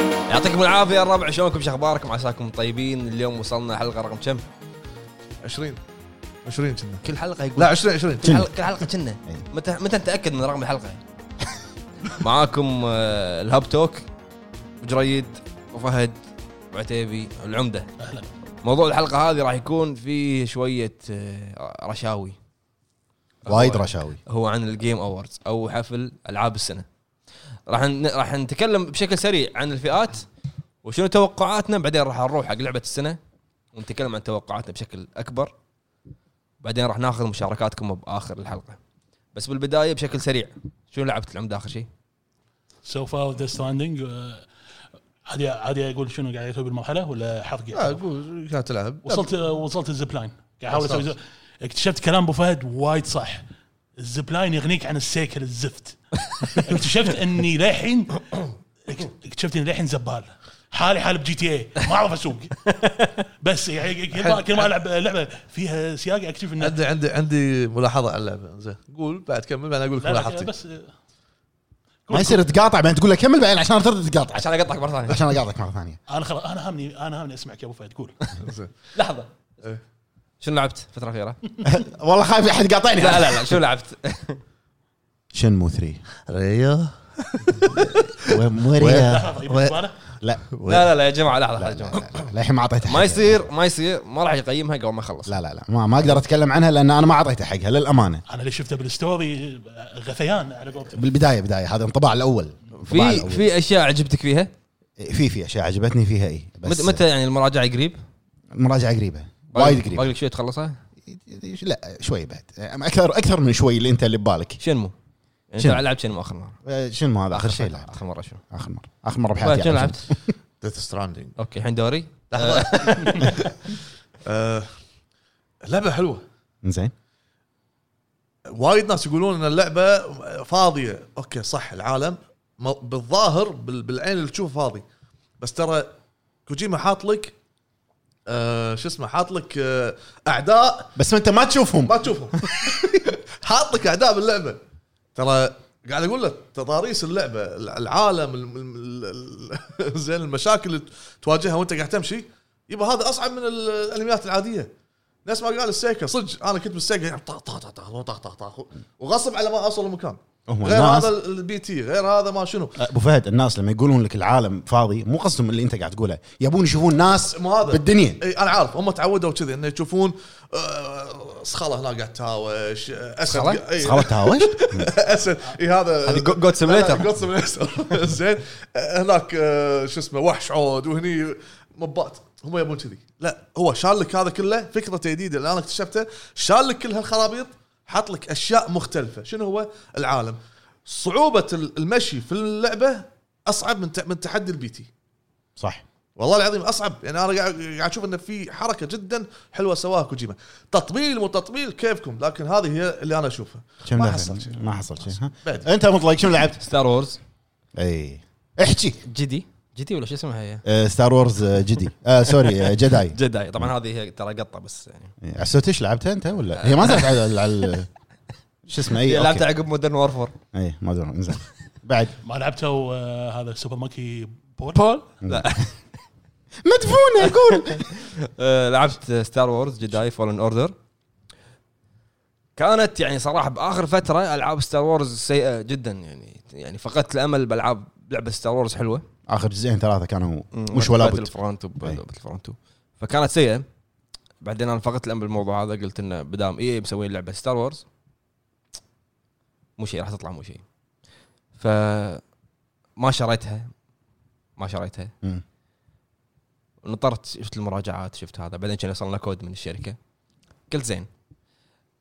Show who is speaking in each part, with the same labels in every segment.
Speaker 1: العافيه يا الربع شلونكم شو اخباركم عساكم طيبين اليوم وصلنا حلقه رقم كم
Speaker 2: 20 20 كنا
Speaker 1: كل حلقه يقول
Speaker 2: لا 20 20
Speaker 1: كل إيه. حلقه كل حلقه كنا متى متى نتاكد من رقم الحلقه معاكم آه، الهاب توك جريد وفهد وعتيبي العمده موضوع الحلقه هذه راح يكون فيه شويه آه، رشاوي
Speaker 3: وايد رشاوي
Speaker 1: هو عن الجيم اووردز او حفل العاب السنه راح ن... راح نتكلم بشكل سريع عن الفئات وشنو توقعاتنا بعدين راح نروح حق لعبه السنه ونتكلم عن توقعاتنا بشكل اكبر بعدين راح ناخذ مشاركاتكم باخر الحلقه بس بالبدايه بشكل سريع شنو لعبت العمده اخر شيء؟
Speaker 4: سو فار ذا ستراندنج uh, عادي عادي اقول شنو قاعد اسوي بالمرحله ولا حرق
Speaker 2: لا
Speaker 4: يعني؟
Speaker 2: قول قاعد تلعب
Speaker 4: وصلت وصلت الزب لاين قاعد احاول اسوي
Speaker 2: أساس.
Speaker 4: زب- اكتشفت كلام ابو فهد وايد صح الزب لاين يغنيك عن السيكل الزفت اكتشفت اني للحين اكتشفت اني للحين زبال حالي حال بجي تي اي ما اعرف اسوق بس يعني كل ما- كل ما العب لعبه فيها سياق اكتشف انه
Speaker 2: عندي عندي عندي ملاحظه على اللعبه زين قول بعد كمل بعدين اقول لك
Speaker 4: لا، لا،
Speaker 2: ملاحظتي
Speaker 4: بس آه،
Speaker 3: ما يصير تقاطع بعدين تقول له كمل بعدين عشان ترد تقاطع
Speaker 1: عشان اقطعك مره ثانيه
Speaker 3: عشان اقاطعك مره ثانيه
Speaker 4: انا خلاص انا همني انا همني اسمعك يا ابو فهد قول
Speaker 2: زين.
Speaker 1: لحظه
Speaker 2: إيه.
Speaker 1: شنو لعبت الفتره الاخيره؟
Speaker 3: والله خايف احد يقاطعني
Speaker 1: لا لا لا شنو لعبت؟
Speaker 3: شنمو 3
Speaker 2: ريا
Speaker 3: وموريا
Speaker 4: طيب
Speaker 3: لا
Speaker 1: لا لا لا يا جماعه لحظه لحظة يا جماعه
Speaker 3: للحين ما اعطيته
Speaker 1: ما يصير ما يصير ما راح يقيمها قبل ما اخلص
Speaker 3: لا لا لا ما, ما اقدر اتكلم عنها لان انا ما اعطيته حقها للامانه
Speaker 4: انا اللي شفته بالستوري غثيان على قولتهم
Speaker 3: بالبدايه بدايه هذا الانطباع الاول الانطباع
Speaker 1: في
Speaker 3: الأول. إيه،
Speaker 1: في اشياء عجبتك فيها؟
Speaker 3: في في اشياء عجبتني فيها اي بس
Speaker 1: مت- متى يعني المراجعه قريب؟
Speaker 3: المراجعه قريبه وايد
Speaker 1: باقي
Speaker 3: قريبه
Speaker 1: لك شوي تخلصها؟
Speaker 3: لا شوي بعد اكثر اكثر من شوي اللي انت اللي ببالك
Speaker 1: شنمو؟ يعني
Speaker 3: شنمو.
Speaker 1: شنو لعبت شنمو اخر مره؟
Speaker 3: أه، شنو هذا اخر شيء لعبت يعني
Speaker 1: اخر مره شنو؟
Speaker 3: اخر مره اخر مره
Speaker 1: وين-
Speaker 3: بحياتي
Speaker 1: شنو
Speaker 3: ألعب
Speaker 1: لعبت؟
Speaker 2: ديث ستراندنج
Speaker 1: اوكي الحين دوري
Speaker 2: آه، لعبه حلوه
Speaker 3: شنو. زين
Speaker 2: وايد ناس يقولون ان اللعبه فاضيه اوكي صح العالم م- بالظاهر بال- بالعين اللي تشوفه فاضي بس ترى كوجيما حاط لك آه شو اسمه حاط لك آه اعداء
Speaker 3: بس انت ما تشوفهم
Speaker 2: ما تشوفهم حاط لك اعداء باللعبه ترى قاعد اقول لك تضاريس اللعبه الع- العالم الم- الم- ال- ال- زين المشاكل اللي تواجهها وانت قاعد تمشي يبا هذا اصعب من ال- الانميات العاديه نفس ما قال السيكا صدق انا كنت بالسيكا يعني طخ طخ طخ طخ طخ طخ طخ وغصب على ما اوصل المكان
Speaker 3: هم
Speaker 2: غير
Speaker 3: الناس-
Speaker 2: هذا البي تي غير هذا ما شنو
Speaker 3: ابو فهد الناس لما يقولون لك العالم فاضي مو قصدهم اللي انت قاعد تقوله يبون يشوفون ناس
Speaker 2: مو هذا
Speaker 3: بالدنيا
Speaker 2: اي انا عارف هم تعودوا كذي انه يشوفون آه، صخله هنا قاعد تهاوش آه، اسد
Speaker 1: صخلة؟
Speaker 2: قا- إي.
Speaker 3: خلاص تهاوش
Speaker 2: اسد اي هذا
Speaker 1: هذه جو- جوت سيميليتر.
Speaker 2: جود سيميليتر زين آه، هناك آه، شو اسمه وحش عود وهني مبات هم يبون كذي لا هو شال لك هذا كله فكره جديده اللي انا اكتشفتها شال لك كل هالخرابيط حط لك اشياء مختلفه شنو هو العالم صعوبه ال- المشي في اللعبه اصعب من ت- من تحدي البيتي
Speaker 3: صح
Speaker 2: والله العظيم اصعب يعني انا قاعد قاعد اشوف انه في حركه جدا حلوه سواها كوجيما تطبيل وتطبيل كيفكم لكن هذه هي اللي انا اشوفها
Speaker 3: كم
Speaker 2: ما
Speaker 3: لعبة؟
Speaker 2: حصل شيء
Speaker 3: ما حصل شيء ها؟
Speaker 2: بعد.
Speaker 3: انت مطلق شنو لعبت؟
Speaker 1: ستار وورز
Speaker 3: اي احكي
Speaker 1: جدي جدي ولا شو اسمها هي؟
Speaker 3: آه، ستار وورز آه، جدي آه سوري آه، جداي
Speaker 1: جداي طبعا هذه هي ترى قطه بس يعني
Speaker 3: إيه، عسوت ايش لعبتها انت ولا هي ما زالت على- على على- شو اسمه اي
Speaker 1: لعبت
Speaker 3: اوكي
Speaker 1: عقب مودرن وورفور
Speaker 3: اي ما ادري زين بعد
Speaker 4: ما لعبته آه، هذا سوبر ماكي بول
Speaker 1: بول لا
Speaker 3: مدفونه اقول
Speaker 1: آه، لعبت ستار وورز جداي فولن اوردر كانت يعني صراحه باخر فتره العاب ستار وورز سيئه جدا يعني يعني فقدت الامل بالعاب لعبه ستار وورز حلوه
Speaker 3: اخر جزئين ثلاثه كانوا مش ولا
Speaker 1: باتل
Speaker 3: بد
Speaker 1: فرونت
Speaker 3: أي.
Speaker 1: وباتل فرونت 2 فكانت سيئه بعدين انا فقدت الامل بالموضوع هذا قلت انه بدام اي مسوي لعبه ستار وورز مو شيء راح تطلع مو شيء ف ما شريتها ما شريتها
Speaker 3: مم.
Speaker 1: نطرت شفت المراجعات شفت هذا بعدين كان وصلنا كود من الشركه قلت زين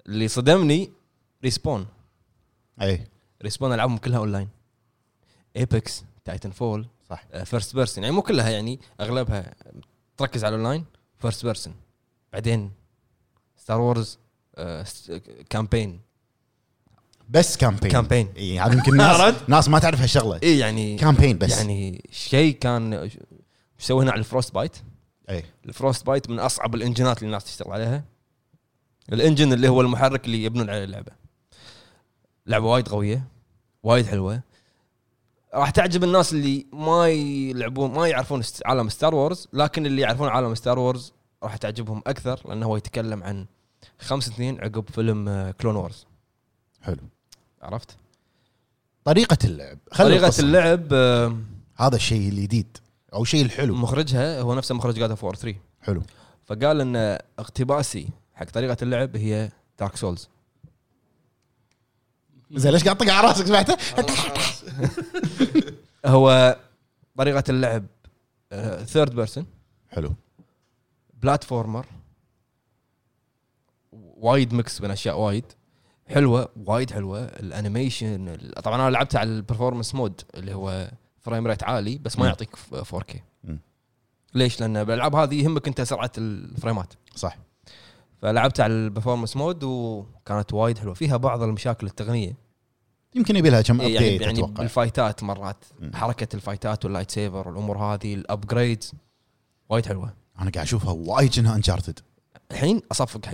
Speaker 1: اللي صدمني ريسبون
Speaker 3: اي
Speaker 1: ريسبون العابهم كلها اونلاين ايبكس تايتن فول
Speaker 3: صح
Speaker 1: فيرست بيرسون يعني مو كلها يعني اغلبها تركز على الاونلاين فيرست بيرسون بعدين آه، ستار وورز كامبين
Speaker 3: بس كامبين
Speaker 1: كامبين.
Speaker 3: اي هذا يمكن ناس
Speaker 1: عرفت؟
Speaker 3: ناس ما تعرف هالشغله
Speaker 1: اي يعني
Speaker 3: كامبين بس يعني
Speaker 1: يعني شيء كان مسوي هنا على الفروست بايت
Speaker 3: اي
Speaker 1: الفروست بايت من اصعب الانجنات اللي الناس تشتغل عليها الانجن اللي هو المحرك اللي يبنون عليه اللعبه لعبه وايد قويه وايد حلوه راح تعجب الناس اللي ما يلعبون ما يعرفون است- عالم ستار وورز لكن اللي يعرفون عالم ستار وورز راح تعجبهم اكثر لانه هو يتكلم عن خمس سنين عقب فيلم كلون وورز
Speaker 3: حلو
Speaker 1: عرفت؟
Speaker 3: طريقه اللعب خلي
Speaker 1: طريقه
Speaker 3: القصة.
Speaker 1: اللعب آه،
Speaker 3: هذا الشيء الجديد او الشيء الحلو
Speaker 1: مخرجها هو نفسه مخرج جاد اوف وور 3
Speaker 3: حلو
Speaker 1: فقال ان اقتباسي حق طريقه اللعب هي دارك سولز
Speaker 3: زين ليش قاعد تطق على راسك سمعته؟
Speaker 1: هو طريقه اللعب آه، ثيرد بيرسون
Speaker 3: حلو
Speaker 1: بلاتفورمر وايد ميكس بين اشياء وايد حلوه وايد حلوه الانيميشن ال- طبعا انا لعبت على البرفورمانس مود اللي هو فريم ريت عالي بس ما
Speaker 3: مم.
Speaker 1: يعطيك ف- 4K
Speaker 3: مم.
Speaker 1: ليش؟ لان بالالعاب هذه يهمك انت سرعه الفريمات
Speaker 3: صح
Speaker 1: فلعبت على البرفورمانس مود وكانت وايد حلوه فيها بعض المشاكل التقنيه
Speaker 3: يمكن يبي لها كم
Speaker 1: يعني
Speaker 3: ابديت
Speaker 1: يعني
Speaker 3: اتوقع
Speaker 1: بالفايتات مرات
Speaker 3: مم.
Speaker 1: حركه الفايتات واللايت سيفر والامور هذه الابجريد وايد حلوه
Speaker 3: انا قاعد اشوفها وايد كأنها انشارتد
Speaker 1: الحين اصفق حق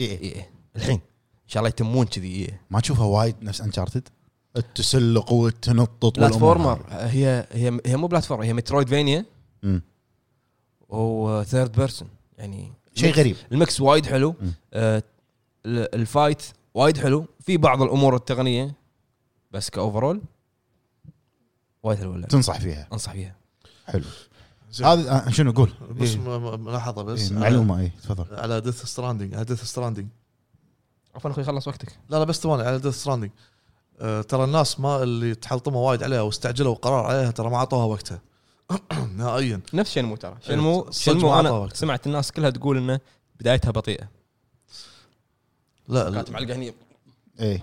Speaker 3: إيه.
Speaker 1: اي إيه. الحين ان شاء الله يتمون كذي إيه.
Speaker 3: ما تشوفها وايد نفس انشارتد التسلق والتنطط والأمور
Speaker 1: بلاتفورمر هي هي هي مو بلاتفورمر هي مترويد فينيا
Speaker 3: هذه. أمم.
Speaker 1: وثيرد بيرسون يعني
Speaker 3: شيء
Speaker 1: الميكس-
Speaker 3: غريب
Speaker 1: الميكس وايد حلو
Speaker 3: مم.
Speaker 1: آه ال- الفايت وايد حلو في بعض الامور التقنيه بس كاوفرول وايد حلو اللعبة.
Speaker 3: تنصح فيها
Speaker 1: انصح فيها
Speaker 3: حلو
Speaker 2: زين.
Speaker 3: هذا آه، شنو قول
Speaker 2: بس
Speaker 3: إيه.
Speaker 2: م- م- ملاحظه بس آه،
Speaker 3: إيه، معلومه اي تفضل
Speaker 2: على- على ديث ستراندنج على ديث ستراندنج
Speaker 1: عفوا اخوي خلص وقتك
Speaker 2: لا لا بس ثواني على ديث ستراندنج ترى الناس ما اللي تحلطموا وايد عليها واستعجلوا قرار عليها ترى ما اعطوها وقتها نهائيا
Speaker 1: نفس شنمو ترى شنمو
Speaker 2: صدق
Speaker 1: شنمو
Speaker 2: ما أعطى
Speaker 1: انا
Speaker 2: وقت.
Speaker 1: سمعت الناس كلها تقول انه بدايتها بطيئه
Speaker 2: لا لا
Speaker 1: كانت معلقه هني
Speaker 3: اي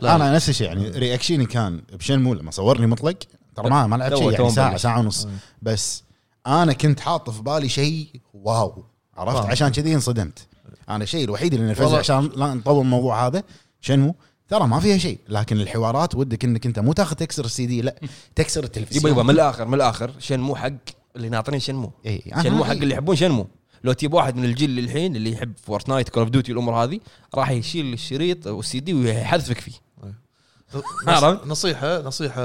Speaker 2: لا.
Speaker 3: انا إيه. نفس الشيء يعني رياكشني كان بشنمو لما صورني مطلق ترى ما ما لعبت
Speaker 1: تو-
Speaker 3: شيء
Speaker 1: تو
Speaker 3: يعني ساعه
Speaker 1: مبلش.
Speaker 3: ساعه ونص
Speaker 2: أي.
Speaker 3: بس انا كنت حاط في بالي شيء واو عرفت
Speaker 2: فاهم.
Speaker 3: عشان كذي انصدمت انا الشيء الوحيد اللي نرفزني
Speaker 2: والله.
Speaker 3: عشان لا نطول الموضوع هذا شنمو ترى ما فيها شيء لكن الحوارات ودك انك انت مو تاخذ تكسر السي دي لا تكسر التلفزيون
Speaker 1: يبا يبا من الاخر من الاخر شنمو حق اللي ناطرين شنمو
Speaker 3: اي
Speaker 1: شنمو حق اللي يحبون شنمو لو تجيب واحد من الجيل اللي الحين اللي يحب فورتنايت كول اوف ديوتي الامور هذه راح يشيل الشريط والسي دي ويحذفك فيه عرفت؟
Speaker 2: نصيحه نصيحه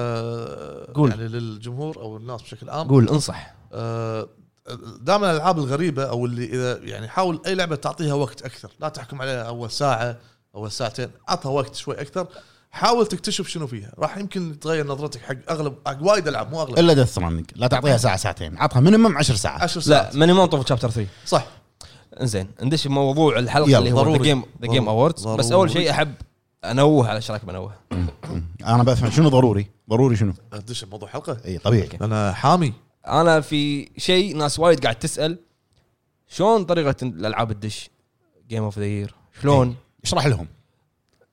Speaker 1: قول.
Speaker 2: قول. يعني للجمهور او الناس بشكل عام
Speaker 1: قول انصح
Speaker 2: آه، دائما الالعاب الغريبه او اللي اذا يعني حاول اي لعبه تعطيها وقت اكثر لا تحكم عليها اول ساعه اول ساعتين اعطها وقت شوي اكثر حاول تكتشف شنو فيها راح يمكن تغير نظرتك حق اغلب حق وايد العاب مو اغلب
Speaker 3: الا ديث ستراندنج لا تعطيها ساعه ساعتين عطها مينيمم 10 ساعات
Speaker 2: 10 ساعات
Speaker 1: لا ماني طوف شابتر 3
Speaker 2: صح
Speaker 1: انزين ندش بموضوع الحلقه
Speaker 3: يلا،
Speaker 1: اللي هو ذا
Speaker 2: ضروري.
Speaker 1: جيم ذا جيم
Speaker 2: ضروري.
Speaker 1: اووردز بس اول شيء
Speaker 2: ضروري.
Speaker 1: احب انوه على شراك بنوه
Speaker 3: انا بفهم شنو ضروري ضروري شنو
Speaker 2: ادش بموضوع حلقه
Speaker 3: اي طبيعي
Speaker 1: أوكي.
Speaker 2: انا حامي
Speaker 1: انا في شيء ناس وايد قاعد تسال شلون طريقه الالعاب الدش جيم اوف ذا يير شلون
Speaker 3: اشرح لهم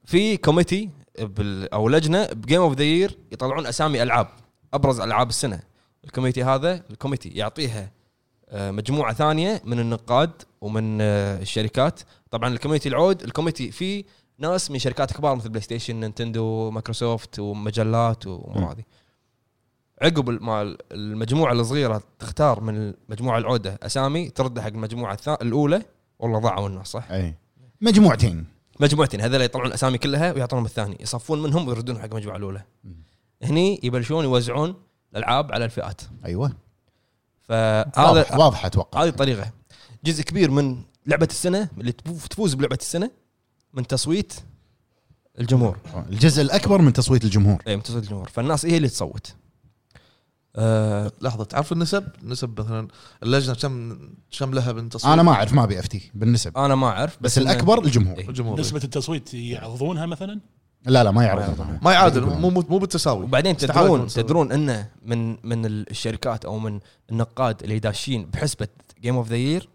Speaker 1: في كوميتي بال او لجنه بجيم اوف ذا يير يطلعون اسامي العاب ابرز العاب السنه الكوميتي هذا الكوميتي يعطيها آه، مجموعه ثانيه من النقاد ومن آه، الشركات طبعا الكوميتي العود الكوميتي فيه ناس من شركات كبار مثل بلاي ستيشن نينتندو مايكروسوفت ومجلات
Speaker 3: مم.
Speaker 1: وامور هذه عقب ال- ما ال- المجموعه الصغيره تختار من المجموعه العوده اسامي ترد حق المجموعه الثا- الاولى والله ضاعوا الناس صح
Speaker 3: اي مجموعتين
Speaker 1: مجموعتين هذول يطلعون الاسامي كلها ويعطونهم الثاني يصفون منهم ويردون حق المجموعه الاولى
Speaker 3: مم.
Speaker 1: هني يبلشون يوزعون الالعاب على الفئات
Speaker 3: ايوه واضح-
Speaker 1: فهذا
Speaker 3: واضحه اتوقع
Speaker 1: هذه الطريقه جزء كبير من لعبه السنه اللي تفو- تفوز بلعبه السنه من تصويت الجمهور
Speaker 3: الجزء الاكبر من تصويت الجمهور
Speaker 1: اي من تصويت الجمهور فالناس هي اللي تصوت آه
Speaker 2: لحظه تعرف النسب نسب مثلا اللجنه كم كم لها من تصويت آه،
Speaker 3: انا ما اعرف ما ابي افتي بالنسب
Speaker 1: انا ما اعرف
Speaker 3: بس
Speaker 1: إنه-
Speaker 3: الاكبر الجمهور
Speaker 1: إيه.
Speaker 2: الجمهور
Speaker 4: نسبه التصويت يعرضونها مثلا
Speaker 3: لا لا ما يعرف
Speaker 2: ما يعادل مو مو مو بالتساوي
Speaker 1: وبعدين
Speaker 2: استحالة
Speaker 1: تدرون
Speaker 2: يكون سوي.
Speaker 1: تدرون انه من من الشركات او من النقاد اللي داشين بحسبه جيم اوف ذا يير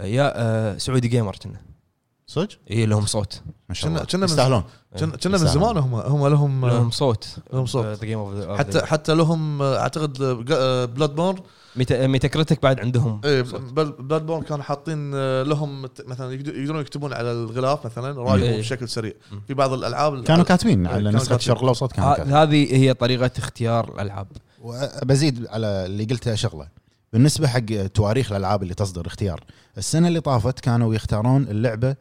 Speaker 1: يا آه سعودي جيمر كنا
Speaker 3: صدق
Speaker 1: اي لهم صوت
Speaker 3: ما شاء
Speaker 2: كنا- كنا
Speaker 3: الله
Speaker 2: من- آه،
Speaker 3: يستاهلون
Speaker 2: كنا كنا من زمان هم هم لهم
Speaker 1: لهم صوت آه،
Speaker 2: لهم صوت
Speaker 1: ذا جيم اوف ذا
Speaker 2: حتى حتى لهم آه، اعتقد بلاد بورن
Speaker 1: ميتا, ميتا كريتك بعد عندهم صوت.
Speaker 2: إيه، بلاد بورن كانوا حاطين آه، لهم مت- مثلا يقد- يقدرون يكتبون على الغلاف مثلا رايهم
Speaker 1: إيه.
Speaker 2: بشكل سريع
Speaker 1: مم.
Speaker 2: في بعض الالعاب
Speaker 3: كانوا كاتبين على
Speaker 2: كانوا
Speaker 3: نسخه
Speaker 2: كاتبين. آه،
Speaker 3: الشرق الاوسط كانوا كاتبين
Speaker 1: ه- هذه هي طريقه اختيار الالعاب
Speaker 3: بزيد على اللي قلته شغله بالنسبه حق تواريخ الالعاب اللي تصدر اختيار السنه اللي طافت كانوا يختارون اللعبه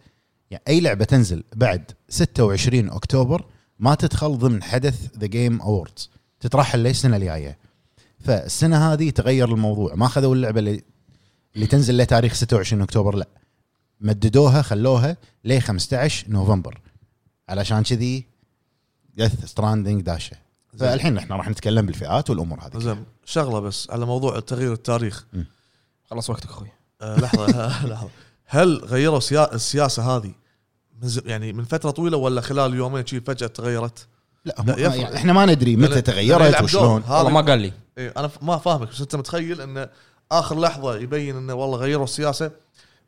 Speaker 3: يعني اي لعبه تنزل بعد 26 اكتوبر ما تدخل ضمن حدث ذا جيم اووردز تترحل للسنه الجايه فالسنه هذه تغير الموضوع ما اخذوا اللعبه اللي, اللي تنزل لتاريخ 26 اكتوبر لا مددوها خلوها ل 15 نوفمبر علشان كذي ديث ستراندنج داشه فالحين احنا راح نتكلم بالفئات والامور هذه
Speaker 2: زين شغله بس على موضوع تغيير التاريخ
Speaker 1: خلص وقتك اخوي
Speaker 2: آه، لحظه لحظه هل غيروا سيا- السياسه هذه من ز- يعني من فتره طويله ولا خلال يومين شي فجاه تغيرت؟
Speaker 3: لا,
Speaker 2: لا،
Speaker 3: لا
Speaker 2: يفرق.
Speaker 3: يعني احنا ما ندري متى
Speaker 2: لأن- لأن
Speaker 3: تغيرت
Speaker 2: يلعب دور.
Speaker 3: وشلون
Speaker 2: هذا-
Speaker 1: والله ما قال لي
Speaker 2: إيه انا ف- ما فاهمك بس انت متخيل انه اخر لحظه يبين انه والله غيروا السياسه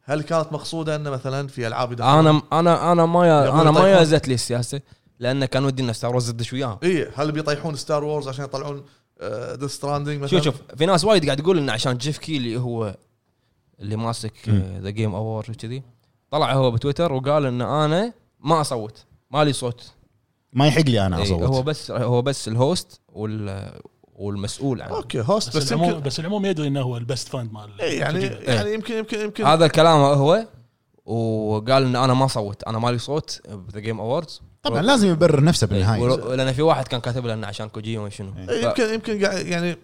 Speaker 2: هل كانت مقصوده انه مثلا في العاب يدخلون-
Speaker 1: انا انا انا ما يا
Speaker 2: يبون
Speaker 1: انا ما
Speaker 2: يطيحون.
Speaker 1: يازت لي السياسه لان كان ودي ان ستار وورز تدش وياهم
Speaker 2: اي إيه، هل بيطيحون ستار وورز عشان يطلعون آه، ذا ستراندنج مثلا
Speaker 1: شوف شوف في ناس وايد قاعد يقول انه عشان جيف كيلي هو اللي ماسك آه، ذا جيم اوورد وكذي طلع هو بتويتر وقال ان انا ما اصوت ما لي صوت
Speaker 3: ما يحق لي انا
Speaker 1: إيه، هو
Speaker 3: اصوت
Speaker 1: بس هو بس الهوست وال والمسؤول عنه
Speaker 2: اوكي هوست
Speaker 4: بس
Speaker 2: بس
Speaker 4: العموم
Speaker 2: يمكن
Speaker 4: بس العموم يدري انه هو البست فاند مال
Speaker 2: إيه يعني
Speaker 4: التجربة.
Speaker 2: يعني يمكن يمكن يمكن
Speaker 1: هذا الكلام هو وقال ان انا ما صوت انا ما لي صوت بذا جيم اووردز
Speaker 3: طبعا لازم يبرر نفسه بالنهايه
Speaker 1: لان في واحد كان كاتب له انه عشان كوجيما شنو
Speaker 2: إيه،
Speaker 1: ف-
Speaker 2: يمكن يمكن قاعد- يعني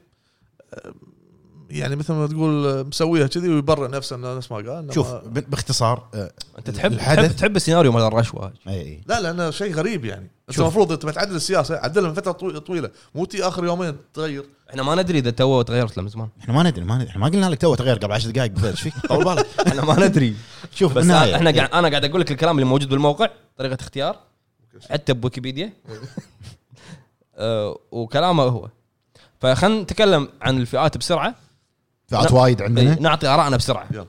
Speaker 2: يعني مثل ما تقول مسويها كذي ويبرر نفسه انه نفس ما قال إنه
Speaker 3: شوف
Speaker 2: ما-
Speaker 3: ب- باختصار آه، إيه،
Speaker 1: انت تحب
Speaker 3: الحدث-
Speaker 1: تحب تحب السيناريو مال الرشوه
Speaker 3: اي اي
Speaker 2: لا لانه شيء غريب يعني انت
Speaker 1: شوف.
Speaker 2: المفروض انت بتعدل السياسه عدلها من فتره طو- طويله مو تي اخر يومين تغير
Speaker 1: احنا ما ندري اذا تو تغيرت له من زمان
Speaker 3: احنا ما ندري ما ندري احنا ما قلنا لك تو تغير قبل 10 دقائق بالضبط ايش فيك طول بالك
Speaker 1: احنا ما ندري
Speaker 3: شوف
Speaker 1: بس
Speaker 3: بالنهاية.
Speaker 1: احنا
Speaker 3: إيه.
Speaker 1: قاعد انا قاعد اقول لك الكلام اللي موجود بالموقع طريقه اختيار حتى بويكيبيديا آه، وكلامه هو فخلنا نتكلم عن الفئات بسرعه
Speaker 3: فئات وايد عندنا
Speaker 1: إيه، نعطي ارائنا بسرعه
Speaker 2: يلا.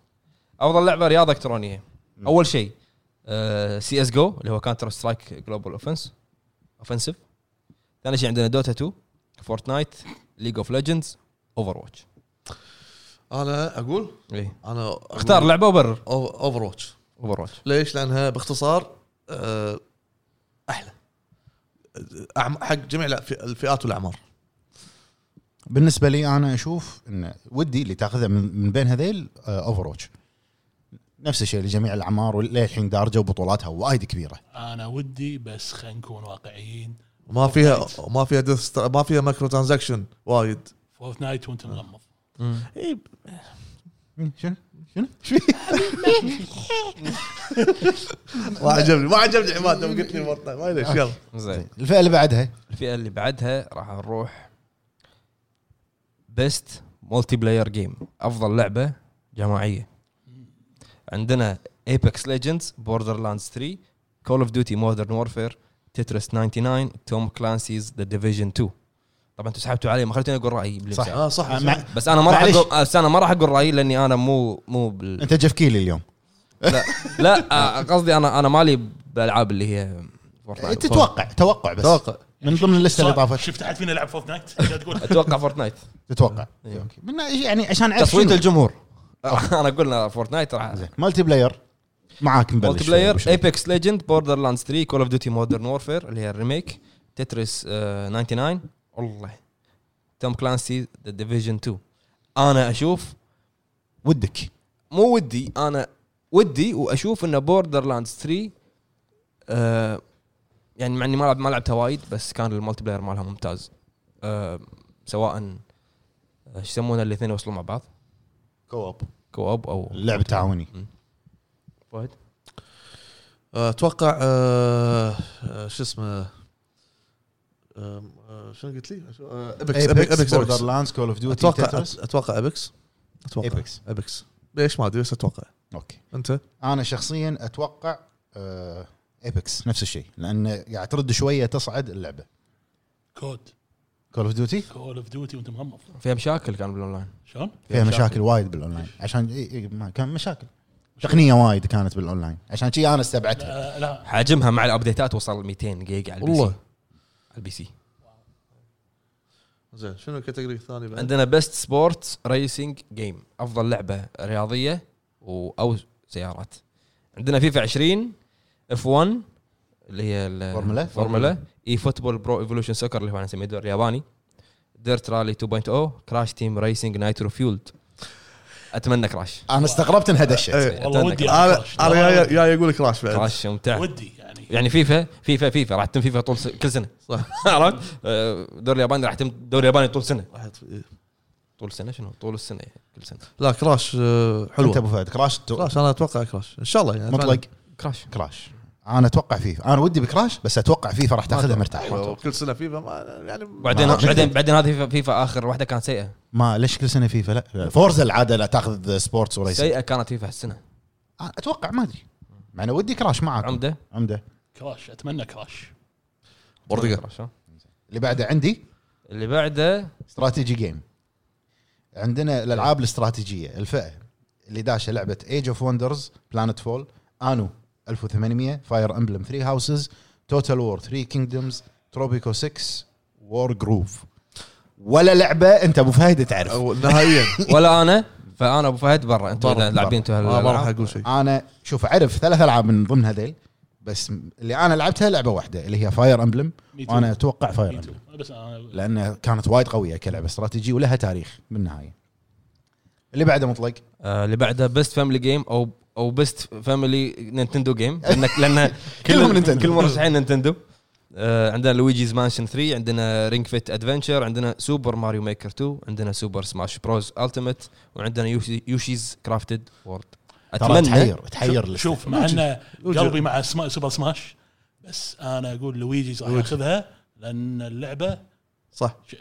Speaker 1: افضل لعبه رياضه الكترونيه اول شيء أه، سي اس جو اللي هو كانتر سترايك جلوبال اوفنس اوفنسيف ثاني شيء عندنا دوتا 2 فورتنايت ليج اوف ليجندز اوفر واتش
Speaker 2: انا اقول انا
Speaker 1: اختار لعبه وبرر
Speaker 2: اوفر واتش
Speaker 1: اوفر واتش
Speaker 2: ليش؟ لانها باختصار آه، احلى أعم- حق جميع الأف- الفئات والاعمار
Speaker 3: بالنسبه لي انا اشوف ان ودي اللي تاخذها من من بين هذيل اوفر واتش نفس الشيء لجميع الاعمار وللحين دارجه وبطولاتها وايد كبيره
Speaker 4: انا ودي بس خلينا نكون واقعيين
Speaker 2: ما فيها ما فيها ديث- ما فيها مايكرو ترانزاكشن وايد
Speaker 4: فورتنايت وانت مغمض
Speaker 2: إيه،
Speaker 3: شنو؟ شنو؟
Speaker 2: ما عجبني ما عجبني عماد لما قلت لي فورتنايت ما ليش يلا
Speaker 1: زين
Speaker 3: الفئه اللي بعدها
Speaker 1: الفئه اللي بعدها راح نروح بيست مولتي بلاير جيم افضل لعبه جماعيه عندنا ايبكس ليجندز بوردر لاندز 3 كول اوف ديوتي مودرن وورفير تترس 99 توم كلانسيز ذا ديفيجن 2 طبعا انتم سحبتوا علي ما خلتوني اقول رايي بالإمساك.
Speaker 3: صح. آه،
Speaker 2: اه صح
Speaker 3: مع-
Speaker 2: صح.
Speaker 1: بس انا ما راح
Speaker 3: معليش.
Speaker 1: اقول بس انا ما راح اقول رايي لاني انا مو مو بال...
Speaker 3: انت جيف كيلي اليوم
Speaker 1: لا لا آه، قصدي انا انا مالي بالالعاب اللي هي فورتنايت.
Speaker 3: إيه، تتوقع توقع بس
Speaker 2: توقع
Speaker 3: من ضمن اللسته اللي طافت
Speaker 4: شفت احد فينا لعب فورتنايت؟ لا تقول
Speaker 1: اتوقع فورتنايت
Speaker 3: تتوقع
Speaker 1: إيه.
Speaker 3: أوكي. من يعني عشان اعرف
Speaker 1: تصويت
Speaker 3: شنو.
Speaker 1: الجمهور انا قلنا فورتنايت راح
Speaker 3: زين مالتي بلاير معاك مبلش
Speaker 1: مالتي بلاير
Speaker 3: وش-
Speaker 1: ايبكس ليجند بوردر لاندز 3 كول اوف ديوتي مودرن وورفير اللي هي الريميك تترس آه، 99 والله توم كلانسي ذا ديفيجن 2 انا اشوف
Speaker 3: ودك
Speaker 1: مو ودي انا ودي واشوف ان بوردر لاندز 3 آه، يعني مع اني ما لعب ما لعبتها وايد بس كان المالتي بلاير مالها ممتاز آه، سواء آه، ايش يسمونه الاثنين يوصلوا مع بعض
Speaker 3: كواب
Speaker 1: كواب او
Speaker 3: اللعب التعاوني
Speaker 1: واحد
Speaker 2: آه، اتوقع آه، آه، شو اسمه آه، آه، شنو قلت لي؟ آه، ابكس ابكس ابكس
Speaker 3: بوردر لاندز كول اوف ديوتي
Speaker 2: اتوقع اتوقع ابكس اتوقع
Speaker 3: Apex.
Speaker 2: ابكس ليش ما ادري بس اتوقع
Speaker 3: اوكي
Speaker 2: انت
Speaker 3: انا شخصيا اتوقع آه، ايبكس نفس الشيء لان قاعد ترد شويه تصعد اللعبه
Speaker 4: كود
Speaker 3: كول اوف ديوتي
Speaker 4: كول اوف ديوتي وانت مغمض
Speaker 1: فيها مشاكل كان بالاونلاين
Speaker 4: شلون؟
Speaker 3: فيها مشاكل وايد بالاونلاين عشان إي إي ما كان مشاكل تقنيه وايد كانت بالاونلاين عشان شي انا استبعدتها
Speaker 4: لا, آه، لا
Speaker 1: حجمها مع الابديتات وصل 200 جيجا على البي سي
Speaker 2: والله.
Speaker 1: على البي سي
Speaker 2: زين شنو الكاتيجوري الثاني بعد؟
Speaker 1: عندنا بيست سبورت ريسنج جيم افضل لعبه رياضيه و- او سيارات عندنا فيفا 20 اف 1 اللي هي ال-
Speaker 3: فورمولا؟
Speaker 1: فورمولا اي فوتبول برو ايفولوشن سوكر اللي هو احنا نسميه الدوري الياباني ديرت رالي 2.0 كراش تيم ريسنج نايترو فيولد اتمنى كراش
Speaker 3: انا استغربت انها دشت
Speaker 2: إيه.
Speaker 4: والله
Speaker 1: أتمنى
Speaker 4: ودي
Speaker 1: كراش.
Speaker 4: ألعب
Speaker 2: انا
Speaker 4: كراش.
Speaker 2: انا جاي- جاي اقول لك راش بعد
Speaker 1: كراش ممتع
Speaker 4: ودي يعني
Speaker 1: يعني فيفا فيفا فيفا راح تتم فيفا طول س... كل سنه
Speaker 2: صح.
Speaker 1: عرفت آه، الدوري الياباني راح يتم الدوري الياباني طول سنه
Speaker 2: واحد في-
Speaker 1: طول سنه شنو طول السنه يعني كل سنه
Speaker 2: لا كراش آه،
Speaker 3: انت
Speaker 2: حلوه
Speaker 3: ابو فهد كراش تو-
Speaker 2: كراش انا اتوقع كراش ان شاء الله يعني
Speaker 3: مطلق
Speaker 1: كراش
Speaker 3: كراش انا اتوقع فيفا انا ودي بكراش بس اتوقع فيفا راح تاخذها مرتاح
Speaker 2: أيوة، كل سنه فيفا ما يعني
Speaker 1: بعدين
Speaker 3: ما-
Speaker 1: بعدين بعدين هذه فيفا, فيفا اخر واحده كانت سيئه
Speaker 3: ما ليش كل سنه فيفا لا فورزا العاده لا تاخذ سبورتس وريسنج
Speaker 1: سيئه كانت فيفا هالسنه
Speaker 3: اتوقع ما ادري مع انه ودي كراش معك
Speaker 1: عمده
Speaker 3: عمده
Speaker 4: كراش اتمنى كراش
Speaker 2: بورتقال
Speaker 1: كراش، ها؟
Speaker 3: اللي بعده عندي
Speaker 1: اللي بعده
Speaker 3: استراتيجي جيم عندنا الالعاب الاستراتيجيه الفئه اللي داشه لعبه ايج اوف وندرز بلانت فول انو 1800 فاير امبلم 3 هاوسز توتال وور 3 كينجدومز تروبيكو 6 وور جروف ولا لعبه انت ابو فهد تعرف
Speaker 2: أو نهائيا
Speaker 1: ولا انا فانا ابو فهد برا انتم
Speaker 2: برا،
Speaker 1: إذا لاعبين
Speaker 3: آه،
Speaker 1: انتم
Speaker 2: آه، ما ما راح
Speaker 1: هالألعاب.
Speaker 2: اقول شيء
Speaker 3: انا شوف اعرف ثلاث العاب من ضمن هذيل بس اللي انا لعبتها لعبه واحده اللي هي فاير امبلم
Speaker 4: Me too.
Speaker 3: وانا اتوقع
Speaker 4: Me
Speaker 3: فاير
Speaker 4: too.
Speaker 3: امبلم
Speaker 4: أنا بس انا
Speaker 3: لانها كانت وايد قويه كلعبه استراتيجي ولها تاريخ بالنهايه اللي بعده مطلق
Speaker 1: آه، اللي بعده بيست فاميلي جيم او او بيست فاميلي نينتندو جيم لانك لان
Speaker 3: كلهم
Speaker 1: كل
Speaker 3: نينتندو.
Speaker 1: كل مرشحين نينتندو آه، عندنا لويجيز مانشن 3 عندنا رينج فيت ادفنتشر عندنا سوبر ماريو ميكر 2 عندنا سوبر سماش بروز التيمت وعندنا يوشي- يوشيز كرافتد وورد
Speaker 3: ترى
Speaker 1: اتمنى
Speaker 3: تحير تحير لسه.
Speaker 4: شوف مع ان
Speaker 2: لوجي.
Speaker 4: قلبي مع سما سوبر سماش بس انا اقول لويجي راح ياخذها لان اللعبه
Speaker 2: صح
Speaker 4: ش-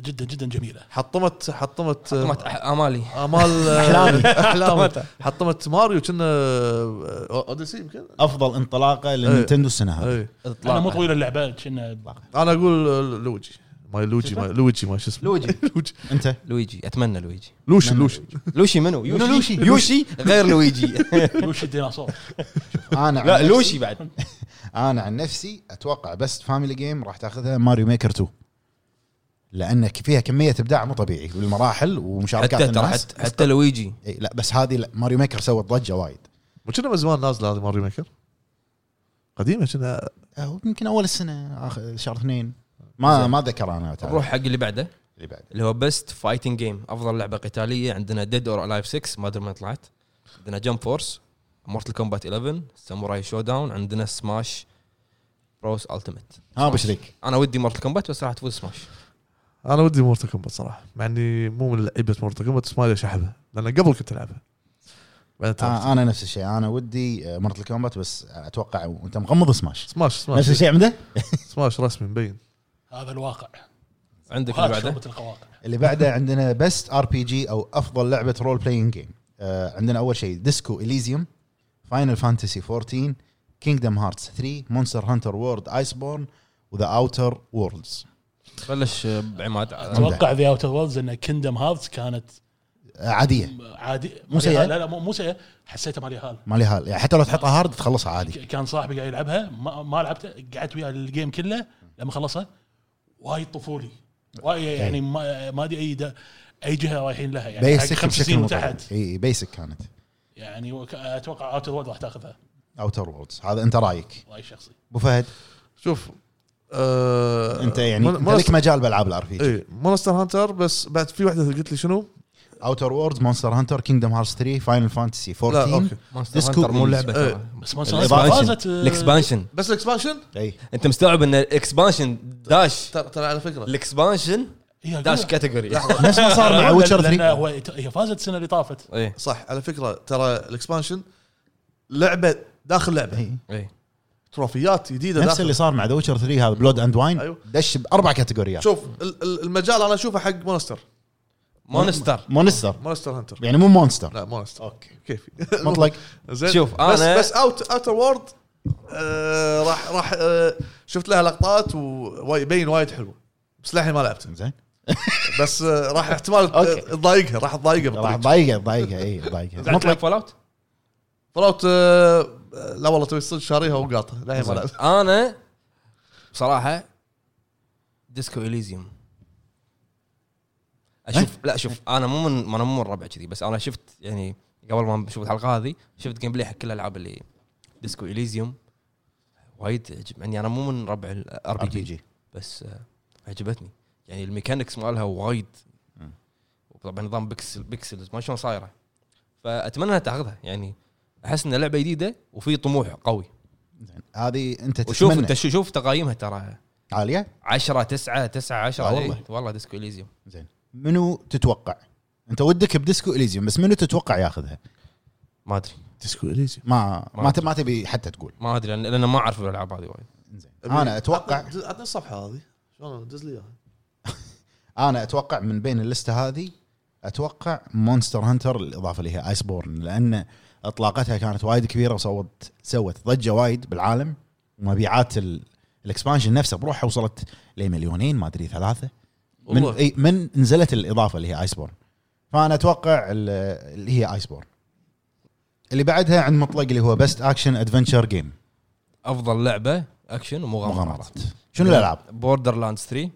Speaker 4: جدا جدا جميله
Speaker 2: حطمت حطمت آه،
Speaker 1: حطمت أح- امالي
Speaker 2: امال
Speaker 3: أحلامي.
Speaker 2: احلامي حطمت ماريو كنا آه، اوديسي يمكن
Speaker 3: افضل انطلاقه للنينتندو السنه هذه
Speaker 2: إيه.
Speaker 4: انا مو طويله اللعبه كنا
Speaker 2: انا اقول آه، لوجي ماي لوجي ماي لوجي ما شو اسمه
Speaker 1: لوجي.
Speaker 2: لوجي
Speaker 3: انت
Speaker 1: لويجي اتمنى لويجي
Speaker 2: لوشي لوشي
Speaker 1: لوشي منو؟
Speaker 3: منو لوشي؟
Speaker 1: يوشي غير لويجي
Speaker 4: وش الديناصور
Speaker 3: انا عن
Speaker 1: لا
Speaker 3: نفسي-
Speaker 1: لوشي بعد
Speaker 3: انا عن نفسي اتوقع بس فاميلي جيم راح تاخذها ماريو ميكر 2 لان ك- فيها كميه ابداع مو طبيعي بالمراحل ومشاركات
Speaker 1: حتى ترى
Speaker 3: الناس
Speaker 1: حتى, حتى لويجي
Speaker 3: إيه لا بس هذه لا، ماريو ميكر سوت ضجه وايد
Speaker 2: مو كنا من زمان نازله هذه ماريو ميكر قديمه كنا
Speaker 3: أه، يمكن اول السنه آخر شهر اثنين ما ما ذكر انا تعال.
Speaker 1: نروح حق اللي بعده
Speaker 3: اللي بعده
Speaker 1: اللي هو بيست فايتنج جيم افضل لعبه قتاليه عندنا ديد اور الايف 6 ما ادري من طلعت عندنا جمب فورس مورتل كومبات 11 ساموراي شو داون عندنا سماش بروس التيمت
Speaker 3: ها بشريك
Speaker 1: انا ودي مورتل كومبات بس راح تفوز سماش
Speaker 2: انا ودي مورتا كومبات صراحه مع اني مو من لعيبه مورتا كومبات بس ما ليش احبها لان قبل كنت العبها بعدين تعبت.
Speaker 3: آه انا نفس الشيء انا ودي مرت الكومبات بس اتوقع وانت مغمض سماش
Speaker 2: سماش
Speaker 3: نفس
Speaker 2: سماش
Speaker 3: الشيء عنده
Speaker 2: سماش رسمي مبين
Speaker 4: هذا الواقع
Speaker 1: عندك اللي
Speaker 4: وهذا
Speaker 1: بعده
Speaker 4: شعبة القواقع
Speaker 3: اللي بعده عندنا بيست ار بي جي او افضل لعبه رول بلاينج جيم آه عندنا اول شيء ديسكو اليزيوم فاينل فانتسي 14 كينجدم هارتس 3 مونستر هانتر وورد ايس بورن وذا اوتر وورلدز
Speaker 1: بلش آه، بعماد
Speaker 3: طيب.
Speaker 4: اتوقع ذا اوتر وورلدز ان كندم هارتس كانت
Speaker 3: آه، عاديه
Speaker 4: عادي
Speaker 3: مو سيئة.
Speaker 4: لا لا مو مو سيئة حسيتها مالي هال
Speaker 3: ما لها يعني حتى لو تحطها هارد تخلصها عادي
Speaker 4: ك- كان صاحبي قاعد يلعبها ما, ما لعبتها قعدت وياه الجيم كله لما خلصها وايد طفولي وايد يعني ما ما ادري اي دا- اي جهه رايحين لها يعني حق
Speaker 3: بيسك
Speaker 4: خمس
Speaker 3: بشكل
Speaker 4: سنين
Speaker 3: مو طبيعي.
Speaker 4: وتحت
Speaker 3: اي بيسك كانت
Speaker 4: يعني وك- اتوقع اوتر وورد راح تاخذها
Speaker 3: اوتر وورلدز هذا انت رايك
Speaker 4: راي شخصي
Speaker 3: ابو فهد
Speaker 2: شوف آه
Speaker 3: انت يعني
Speaker 2: مون-
Speaker 3: انت لك
Speaker 2: مونستر-
Speaker 3: مجال بالعاب الار بي جي
Speaker 2: اي مونستر هانتر بس بعد في واحده قلت لي شنو؟
Speaker 3: اوتر وورلدز مونستر هانتر كينجدم هارتس 3 فاينل فانتسي
Speaker 2: لا، أوكي.
Speaker 3: 14
Speaker 1: مونستر
Speaker 3: ديسكو
Speaker 1: هانتر مو لعبه
Speaker 2: إيه.
Speaker 1: ترى.
Speaker 4: بس ما
Speaker 3: طيب.
Speaker 4: صار- فازت
Speaker 1: الاكسبانشن
Speaker 4: آه،
Speaker 1: الاكسبانشن
Speaker 2: بس الاكسبانشن
Speaker 3: اي
Speaker 1: انت مستوعب ان الاكسبانشن داش
Speaker 2: ترى ترى على فكره
Speaker 1: الاكسبانشن
Speaker 4: هي أقول
Speaker 1: داش
Speaker 4: لك.
Speaker 1: كاتيجوري
Speaker 3: نفس ما صار مع
Speaker 4: لأن-
Speaker 3: ويتشر
Speaker 4: لأن
Speaker 3: 3
Speaker 4: إيه، هو إت- هي فازت السنه اللي طافت
Speaker 1: اي
Speaker 2: صح على فكره ترى الاكسبانشن لعبه داخل لعبه
Speaker 3: إي.
Speaker 1: اي
Speaker 2: تروفيات جديده
Speaker 3: إيه. نفس اللي
Speaker 2: داخل
Speaker 3: صار مع ذا ويتشر 3 هذا بلود اند واين
Speaker 2: أيوة.
Speaker 3: دش باربع كاتيجوريات
Speaker 2: شوف ال- ال- المجال انا اشوفه حق مونستر
Speaker 1: مونستر
Speaker 3: مونستر
Speaker 2: مونستر هانتر
Speaker 3: يعني مو مونستر
Speaker 2: لا مونستر اوكي كيفي
Speaker 3: مطلق
Speaker 2: زين
Speaker 1: شوف،
Speaker 2: بس
Speaker 1: أنا-
Speaker 2: بس اوت اوتر وورد آه راح راح آه شفت لها لقطات ويبين وايد حلو بس للحين ما لعبته
Speaker 3: زين
Speaker 2: بس آه راح احتمال
Speaker 3: أوكي.
Speaker 2: تضايقها راح تضايقها
Speaker 3: راح
Speaker 2: بالطريق
Speaker 3: ضايقه ضايقه اي ضايقه
Speaker 1: مطلق فول اوت
Speaker 2: فلوت آه لا والله توي صدق شاريها وقاطها للحين ما لعبتها
Speaker 1: انا بصراحه ديسكو اليزيوم اشوف لا شوف انا مو من ما انا مو من ربع كذي بس انا شفت يعني قبل ما نشوف الحلقه هذه شفت جيم بلاي حق كل الالعاب اللي ديسكو اليزيوم وايد عجبني انا مو من ربع الار
Speaker 3: ار
Speaker 1: بي
Speaker 3: بي
Speaker 1: جي
Speaker 3: جي
Speaker 1: بس آه، عجبتني يعني الميكانكس مالها وايد
Speaker 3: مم.
Speaker 1: وطبعا نظام بيكسل بيكسلز ما شلون صايره فاتمنى انها تاخذها يعني احس انها لعبه جديده وفي طموح قوي
Speaker 3: زين هذه انت
Speaker 1: وشوف
Speaker 3: تتمنى
Speaker 1: انت شو- شوف تقايمها ترى
Speaker 3: عاليه
Speaker 1: 10 9 9 10
Speaker 3: آه والله.
Speaker 1: والله إيه، والله ديسكو اليزيوم
Speaker 3: زين منو تتوقع؟ انت ودك بديسكو اليزيوم بس منو تتوقع ياخذها؟
Speaker 1: ما ادري
Speaker 2: ديسكو اليزيوم
Speaker 3: ما ما, ت-
Speaker 1: أدري.
Speaker 3: ما تبي حتى تقول
Speaker 1: ما ادري لان لأن ما اعرف الالعاب هذه وايد
Speaker 3: زين انا اتوقع
Speaker 2: عطني عطني الصفحه هذه شلون دز لي اياها
Speaker 3: انا اتوقع من بين اللسته هذه اتوقع مونستر هانتر الاضافه اللي هي ايس بورن لان اطلاقتها كانت وايد كبيره وصوت سوت ضجه وايد بالعالم ومبيعات ال- الاكسبانشن نفسه بروحها وصلت لمليونين ما ادري ثلاثه من إيه؟
Speaker 1: والله.
Speaker 3: اي من نزلت الاضافه اللي هي ايس بورن فانا اتوقع ال- اللي هي ايس بورن اللي بعدها عند مطلق اللي هو بيست اكشن ادفنتشر جيم
Speaker 1: افضل لعبه اكشن ومغامرات
Speaker 3: مغامرات شنو الالعاب؟
Speaker 1: بوردر لاندز 3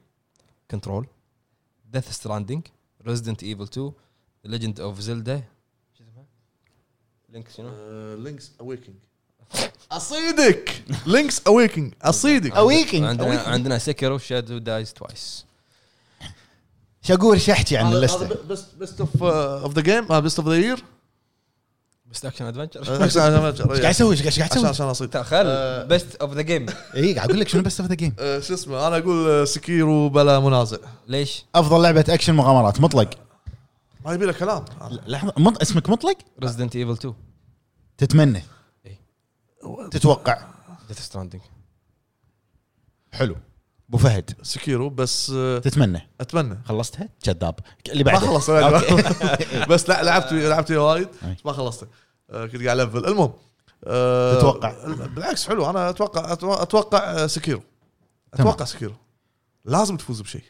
Speaker 1: كنترول ديث ستراندنج ريزدنت ايفل 2 ليجند اوف زلدا شو اسمها؟ لينك شنو؟
Speaker 2: لينكس اويكنج اصيدك لينكس اويكنج اصيدك
Speaker 1: عندنا عندنا سكر شادو دايز توايس
Speaker 3: شقول شحتي عن
Speaker 2: هذا-
Speaker 3: اللسته
Speaker 2: هذا بس بس اوف اوف ذا جيم بيست اوف ذا يير
Speaker 1: بس اكشن ادفنشر
Speaker 3: ايش قاعد اسوي؟ ايش قاعد- ايش قاعد
Speaker 2: عشان
Speaker 3: اسوي؟
Speaker 2: عشان اصيد آه،
Speaker 1: تخيل بيست اوف ذا جيم
Speaker 3: اي إيه، قاعد اقول لك شنو بس ذا جيم
Speaker 2: آه، شو اسمه انا اقول سكيرو بلا منازع
Speaker 1: ليش؟
Speaker 3: افضل لعبه اكشن مغامرات مطلق
Speaker 2: ما يبي له كلام
Speaker 3: لحظه مط... اسمك مطلق
Speaker 1: ريزدنت ايفل 2
Speaker 3: تتمنى إيه.
Speaker 1: إي.
Speaker 3: تتوقع
Speaker 1: ديث ستراندنج
Speaker 3: حلو ابو فهد
Speaker 2: سكيرو بس آه،
Speaker 3: تتمنى
Speaker 2: اتمنى
Speaker 3: خلصتها كذاب اللي
Speaker 2: ما
Speaker 3: بعده
Speaker 2: خلصت
Speaker 3: أوكي.
Speaker 2: بس لا لعبت لعبت وياه وايد
Speaker 3: أي.
Speaker 2: بس ما خلصته آه، كنت قاعد الفل المهم آه،
Speaker 3: تتوقع؟
Speaker 2: بالعكس حلو انا اتوقع أتو- اتوقع آه، سكيرو اتوقع سكيرو لازم تفوز بشيء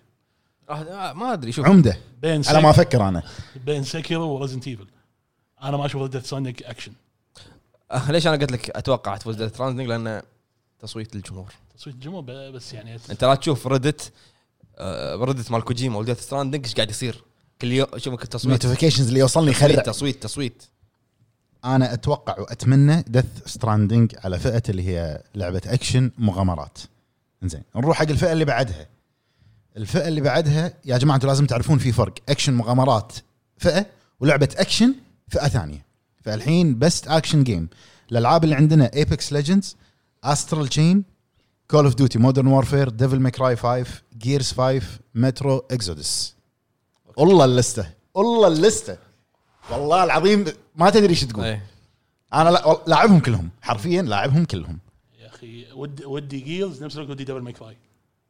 Speaker 1: أه، ما ادري شوف
Speaker 3: عمده
Speaker 4: بين
Speaker 3: على ما
Speaker 4: سك-
Speaker 3: افكر انا
Speaker 4: بين سكيرو ورزنت ايفل انا ما اشوف ديث سونيك اكشن
Speaker 1: أه، ليش انا قلت لك اتوقع تفوز ديث ستراندنج لان تصويت الجمهور
Speaker 4: تصويت الجمهور ب- بس يعني
Speaker 1: انت لا تشوف ريدت ريدت مال كوجيما وديث ستراندنج ايش قاعد يصير كل يوم شوف التصويت
Speaker 3: النوتيفيكيشنز اللي يوصلني
Speaker 1: تصويت
Speaker 3: يخرع
Speaker 1: تصويت تصويت
Speaker 3: انا اتوقع واتمنى دث ستراندنج على فئه اللي هي لعبه اكشن مغامرات زين نروح حق الفئه اللي بعدها الفئه اللي بعدها يا جماعه انتم لازم تعرفون في فرق اكشن مغامرات فئه ولعبه اكشن فئه ثانيه فالحين بست اكشن جيم الالعاب اللي عندنا ايبكس ليجندز استرال تشين كول اوف ديوتي مودرن وورفير ديفل ماكراي 5 جيرز 5 مترو اكزودس والله اللسته والله اللسته والله العظيم ما تدري ايش تقول
Speaker 2: إيه،
Speaker 1: ايه
Speaker 3: انا لا- لاعبهم كلهم حرفيا لاعبهم كلهم
Speaker 4: يا اخي ودي ودي جيلز نفس الوقت ودي دبل ماي كراي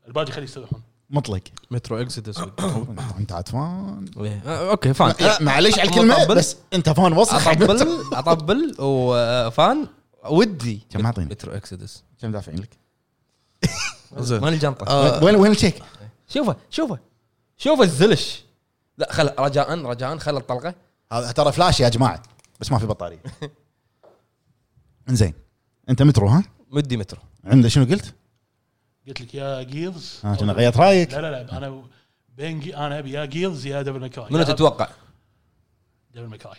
Speaker 4: الباقي خليه يستريحون
Speaker 3: مطلق
Speaker 1: مترو اكسدس
Speaker 3: انت عدفان
Speaker 1: اوكي إيه. آه، فان إيه.
Speaker 3: لا، معليش على الكلمه
Speaker 1: مطبل.
Speaker 3: بس انت فان وسخ
Speaker 1: اطبل اطبل وفان ودي
Speaker 3: كم عاطيني؟
Speaker 1: مترو اكسدس
Speaker 3: كم دافعين لك؟
Speaker 2: زين
Speaker 1: وين الجنطه؟
Speaker 2: آه،
Speaker 3: أه، وين وين الشيك؟
Speaker 1: شوفه شوفه شوفه الزلش لا خل رجاء رجاء خل الطلقه
Speaker 3: هذا ترى فلاش يا جماعه بس ما في بطاريه انزين انت مترو ها؟
Speaker 1: مدي مترو
Speaker 3: عنده شنو قلت؟
Speaker 4: قلت لك يا جيلز
Speaker 3: ها آه، كنا غيرت رايك
Speaker 4: لا لا لا انا بين جي انا ابي يا جيلز يا دبل ماي كراي
Speaker 1: منو
Speaker 4: يا
Speaker 1: تتوقع؟
Speaker 4: دبل ماي كراي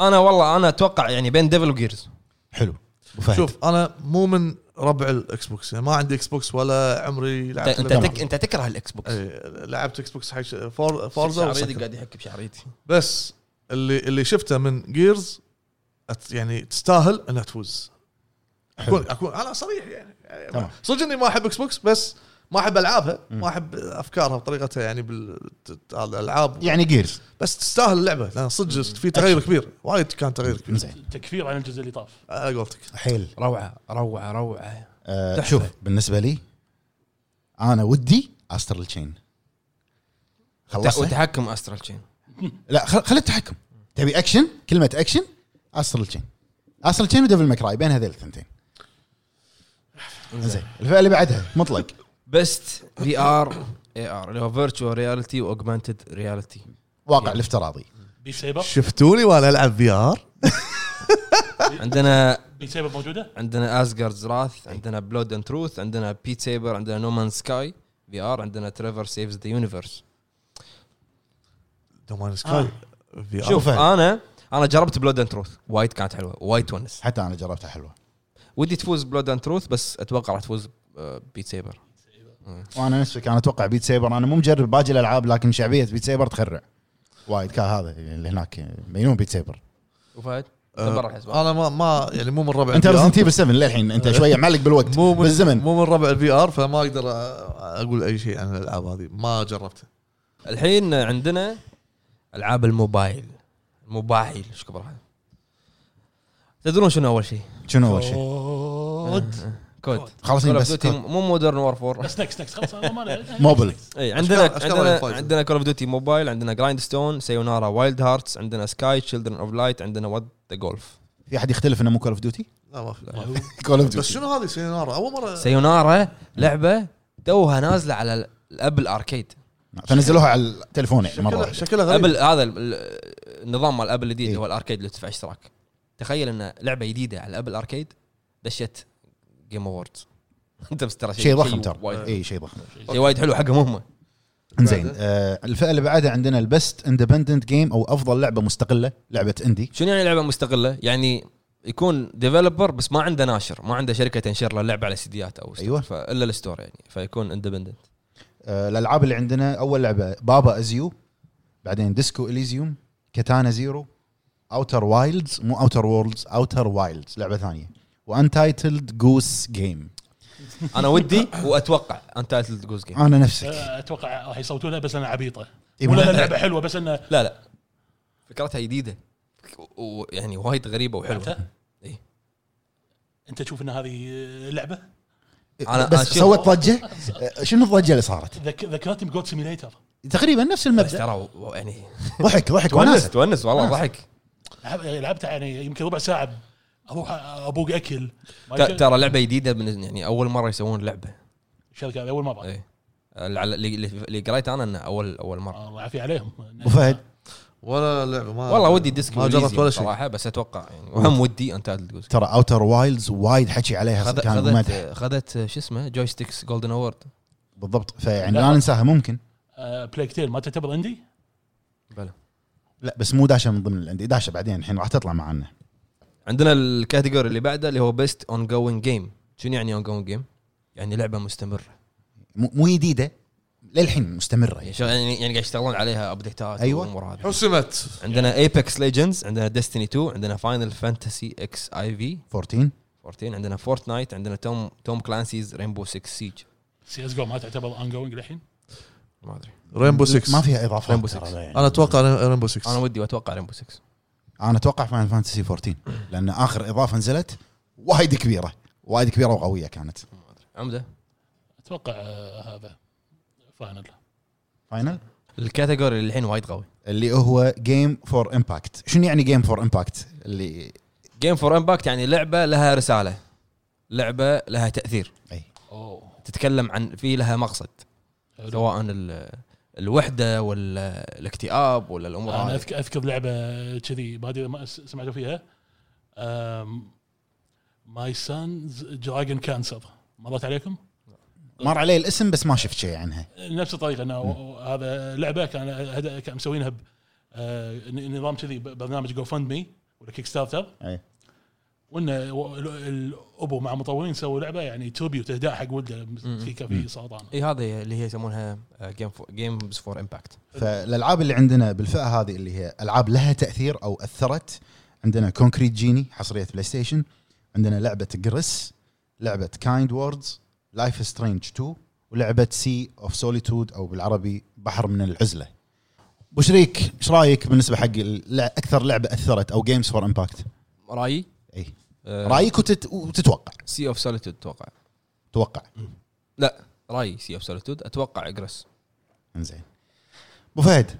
Speaker 1: انا والله انا اتوقع يعني بين ديفل وجيرز
Speaker 3: حلو أبو فهد.
Speaker 2: شوف انا مو من ربع الاكس بوكس يعني ما عندي اكس بوكس ولا عمري
Speaker 1: انت
Speaker 2: لعبت
Speaker 1: انت
Speaker 2: لعبة.
Speaker 1: تك- انت تكره الاكس بوكس
Speaker 2: إيه، لعبت اكس بوكس حق ش- فور فورزا
Speaker 1: شعريتي
Speaker 2: وسكر.
Speaker 1: قاعد يحك بشعريتي
Speaker 2: بس اللي اللي شفته من جيرز أت- يعني تستاهل انها تفوز
Speaker 3: حلو.
Speaker 2: اكون اكون انا صريح يعني, يعني
Speaker 3: تمام.
Speaker 2: صدق اني ما احب اكس بوكس بس ما احب العابها ما احب افكارها وطريقتها يعني بالالعاب
Speaker 3: يعني جيرز
Speaker 2: بس تستاهل اللعبه لان صدق في تغير كبير وايد كان تغير كبير
Speaker 3: انزين
Speaker 4: تكفير عن الجزء اللي طاف
Speaker 2: على قولتك
Speaker 3: حيل
Speaker 1: روعه روعه روعه
Speaker 3: آه،
Speaker 1: تحفة.
Speaker 3: شوف بالنسبه لي انا ودي استرال تشين خلصت
Speaker 1: وتحكم استرال تشين
Speaker 3: لا خل خلي التحكم تبي اكشن كلمه اكشن استرال تشين استرال تشين وديفل ماكراي بين هذيل الثنتين زين الفئه اللي بعدها مطلق
Speaker 1: بيست في ار اي ار اللي هو فيرتشوال رياليتي واوجمانتد رياليتي
Speaker 3: واقع الافتراضي
Speaker 4: بيت سيبر
Speaker 2: شفتوني وانا العب في ار
Speaker 1: عندنا
Speaker 4: بيت سيبر موجوده
Speaker 1: عندنا ازجاردز راث عندنا بلود اند تروث عندنا بيت سيبر عندنا نومان سكاي في ار عندنا تريفر سيفز ذا يونيفرس
Speaker 2: دومان سكاي في ار
Speaker 1: شوف
Speaker 3: فهد.
Speaker 1: انا انا جربت بلود اند تروث وايد كانت حلوه وايد تونس
Speaker 3: حتى انا جربتها حلوه
Speaker 1: ودي تفوز بلود اند تروث بس اتوقع راح تفوز آه، بيت سيبر
Speaker 3: وانا نفسي كان اتوقع بيت سيبر انا مو مجرب باقي الالعاب لكن شعبيه بيت سيبر تخرع وايد كان هذا اللي هناك مجنون بيت سيبر
Speaker 1: وفهد
Speaker 3: آه،
Speaker 1: برا الحسبة.
Speaker 2: انا ما ما يعني مو من ربع
Speaker 3: انت
Speaker 2: ال VR.
Speaker 3: ريزنت ايفل 7 للحين انت شويه معلق بالوقت
Speaker 2: مو من
Speaker 3: بالزمن
Speaker 2: مو من ربع الفي ار فما اقدر أ- اقول اي شيء عن الالعاب هذه ما جربتها
Speaker 1: الحين عندنا العاب الموبايل الموبايل ايش كبرها تدرون شنو اول شيء
Speaker 3: شنو اول شيء
Speaker 4: كود
Speaker 1: كود
Speaker 3: خلصين
Speaker 1: Call of
Speaker 3: بس
Speaker 1: Duty
Speaker 3: كود.
Speaker 1: مو مودرن وار
Speaker 4: بس نكست نكست خلاص أنا ما أدري.
Speaker 3: موبل
Speaker 1: اي عندنا
Speaker 2: أشكال- أشكال
Speaker 1: عندنا
Speaker 2: الفايز.
Speaker 1: عندنا كول اوف ديوتي موبايل عندنا جرايند ستون سيونارا وايلد هارتس عندنا سكاي تشيلدرن اوف لايت عندنا وات ذا جولف
Speaker 3: في احد يختلف انه مو كول اوف ديوتي؟
Speaker 2: لا ما في ما في.
Speaker 3: كول اوف
Speaker 2: بس
Speaker 3: ديوتي
Speaker 2: شنو هذه سينارة اول مره
Speaker 1: سيونارا لعبه توها نازله على ال- الابل اركيد
Speaker 3: نعم، فنزلوها على التليفون يعني مره
Speaker 2: شكلها
Speaker 3: واحدة.
Speaker 2: شكلها غريب
Speaker 1: ابل هذا ال- ال- النظام مال ابل الجديد
Speaker 3: إيه.
Speaker 1: اللي هو الاركيد اللي تدفع اشتراك تخيل ان لعبه جديده على ابل اركيد دشت جيم اووردز انت بس ترى إيه.
Speaker 3: شيء ضخم
Speaker 1: وايد-
Speaker 3: ترى اي شيء ضخم
Speaker 1: شيء وايد حلو حقهم هم
Speaker 3: زين آه الفئه اللي بعدها عندنا البست اندبندنت جيم او افضل لعبه مستقله لعبه اندي
Speaker 1: شنو يعني لعبه مستقله؟ يعني يكون ديفلوبر بس ما عنده ناشر، ما عنده شركه تنشر له اللعبه على سيديات او ستور،
Speaker 3: أيوة.
Speaker 1: ف- الا الستور يعني فيكون اندبندنت.
Speaker 3: آه الالعاب اللي عندنا اول لعبه بابا ازيو بعدين ديسكو اليزيوم كاتانا زيرو اوتر وايلدز مو اوتر وورلدز اوتر وايلدز لعبه ثانيه وانتايتلد جوس جيم
Speaker 1: انا ودي واتوقع انتايتلد جوز جيم.
Speaker 3: انا
Speaker 1: آه.
Speaker 3: نفسك
Speaker 4: اتوقع راح يصوتونها بس انا عبيطه
Speaker 3: إيه،
Speaker 4: ولا
Speaker 3: مو-
Speaker 4: إنها لعبه حلوه بس انه
Speaker 1: لا لا فكرتها جديده ويعني وايد غريبه وحلوه. إيه.
Speaker 4: انت تشوف ان هذه لعبه
Speaker 1: أنا-
Speaker 3: بس
Speaker 1: أنا شنو-
Speaker 3: سوت ضجه آه، شنو الضجه اللي صارت؟
Speaker 4: ذك- ذكرتني بجود سيميليتر
Speaker 3: تقريبا نفس
Speaker 1: بس
Speaker 3: المبدا
Speaker 1: ترى و- يعني
Speaker 3: ضحك ضحك
Speaker 1: تونس
Speaker 3: وناس
Speaker 1: تونس والله ضحك
Speaker 4: لعبتها يعني يمكن ربع ساعه اروح ابوق اكل ما
Speaker 1: ت-
Speaker 4: يك-
Speaker 1: ترى لعبه جديده من يعني اول مره يسوون لعبه
Speaker 4: الشركه هذه اول مره
Speaker 1: إيه. اللي على- اللي- اللي اللي قريته انا انه اول اول مره.
Speaker 4: الله يعافيه عليهم
Speaker 3: ابو فهد
Speaker 2: ولا لعبه ما
Speaker 1: والله ودي ديسك
Speaker 2: آه. ما جربت ولا شيء
Speaker 1: صراحه بس اتوقع يعني وهم ودي انتايتلد جوز
Speaker 3: ترى اوتر وايلدز وايد حكي عليها
Speaker 1: خذ-
Speaker 3: كان مدح
Speaker 1: خذت خذت آه، شو اسمه جويستيكس جولدن اوورد
Speaker 3: بالضبط فيعني
Speaker 4: لا.
Speaker 3: لا ننساها ممكن
Speaker 4: بلاك تيل آه، ما تعتبر اندي
Speaker 1: بلى
Speaker 3: لا بس مو داشه من ضمن الانديه داشه بعدين الحين راح تطلع معنا
Speaker 1: عندنا الكاتيجوري اللي بعده اللي هو بيست اون جوينج جيم شنو يعني اون جوينج جيم؟ يعني لعبه مستمره
Speaker 3: مو مو جديده للحين مستمره
Speaker 1: يعني
Speaker 3: يعني.
Speaker 1: شو- يعني يعني قاعد يشتغلون عليها ابديتات
Speaker 3: أيوة.
Speaker 1: والامور هذه
Speaker 2: حسمت
Speaker 1: عندنا ايبكس ليجندز عندنا ديستني 2 عندنا فاينل فانتسي اكس اي في
Speaker 3: 14
Speaker 1: 14 عندنا فورتنايت عندنا توم توم كلانسيز رينبو 6 سيج
Speaker 4: سي اس جو ما تعتبر اون جوينج للحين
Speaker 1: ما ادري
Speaker 2: رينبو 6
Speaker 3: ما فيها اضافات
Speaker 1: Rainbow
Speaker 3: ترى
Speaker 1: Six.
Speaker 3: لا يعني.
Speaker 2: انا اتوقع رينبو 6
Speaker 1: انا ودي واتوقع رينبو 6
Speaker 3: انا اتوقع فاينل فانتسي 14 لان اخر اضافه نزلت وايد كبيره وايد كبيره وقويه كانت
Speaker 1: عمده
Speaker 4: اتوقع آه، هذا فاينل
Speaker 3: فاينل
Speaker 1: الكاتيجوري اللي الحين وايد قوي
Speaker 3: اللي هو جيم فور امباكت شنو يعني جيم فور امباكت اللي
Speaker 1: جيم فور امباكت يعني لعبه لها رساله لعبه لها تاثير
Speaker 4: اوه
Speaker 1: تتكلم عن في لها مقصد
Speaker 4: حلو.
Speaker 1: سواء ال- الوحده ولا الاكتئاب ولا الامور
Speaker 4: انا
Speaker 1: هذه
Speaker 4: اذكر اذكر لعبه كذي ما ادري ما س- سمعتوا فيها ماي سانز دراجون كانسر مرت عليكم؟
Speaker 3: مر علي الاسم بس ما شفت شيء عنها
Speaker 4: نفس الطريقه انه و- هذا لعبه كان هد- كان مسوينها ب آه، ن- نظام كذي ب- برنامج جو فند مي ولا كيك ستارتر
Speaker 3: أي.
Speaker 4: وان و- ال- الابو مع مطورين سووا لعبه يعني تربيوت اهداء حق ولده مسكينه في سرطان
Speaker 1: اي إيه، هذه اللي هي يسمونها آه، جيم جيمز فور امباكت
Speaker 3: فالالعاب اللي عندنا بالفئه هذه اللي هي العاب لها تاثير او اثرت عندنا كونكريت جيني حصريه بلاي ستيشن عندنا لعبه جريس لعبه كايند ووردز لايف سترينج 2 ولعبه سي اوف سوليتود او بالعربي بحر من العزله وشريك ايش رايك بالنسبه حق اللع- اكثر لعبه اثرت او جيمز فور امباكت
Speaker 1: رايي
Speaker 3: اي
Speaker 1: آه،
Speaker 3: رايك وتت... وتتوقع
Speaker 1: سي اوف سوليتود اتوقع
Speaker 3: توقع
Speaker 1: لا رايي سي اوف سوليتود اتوقع اجرس
Speaker 3: انزين ابو فهد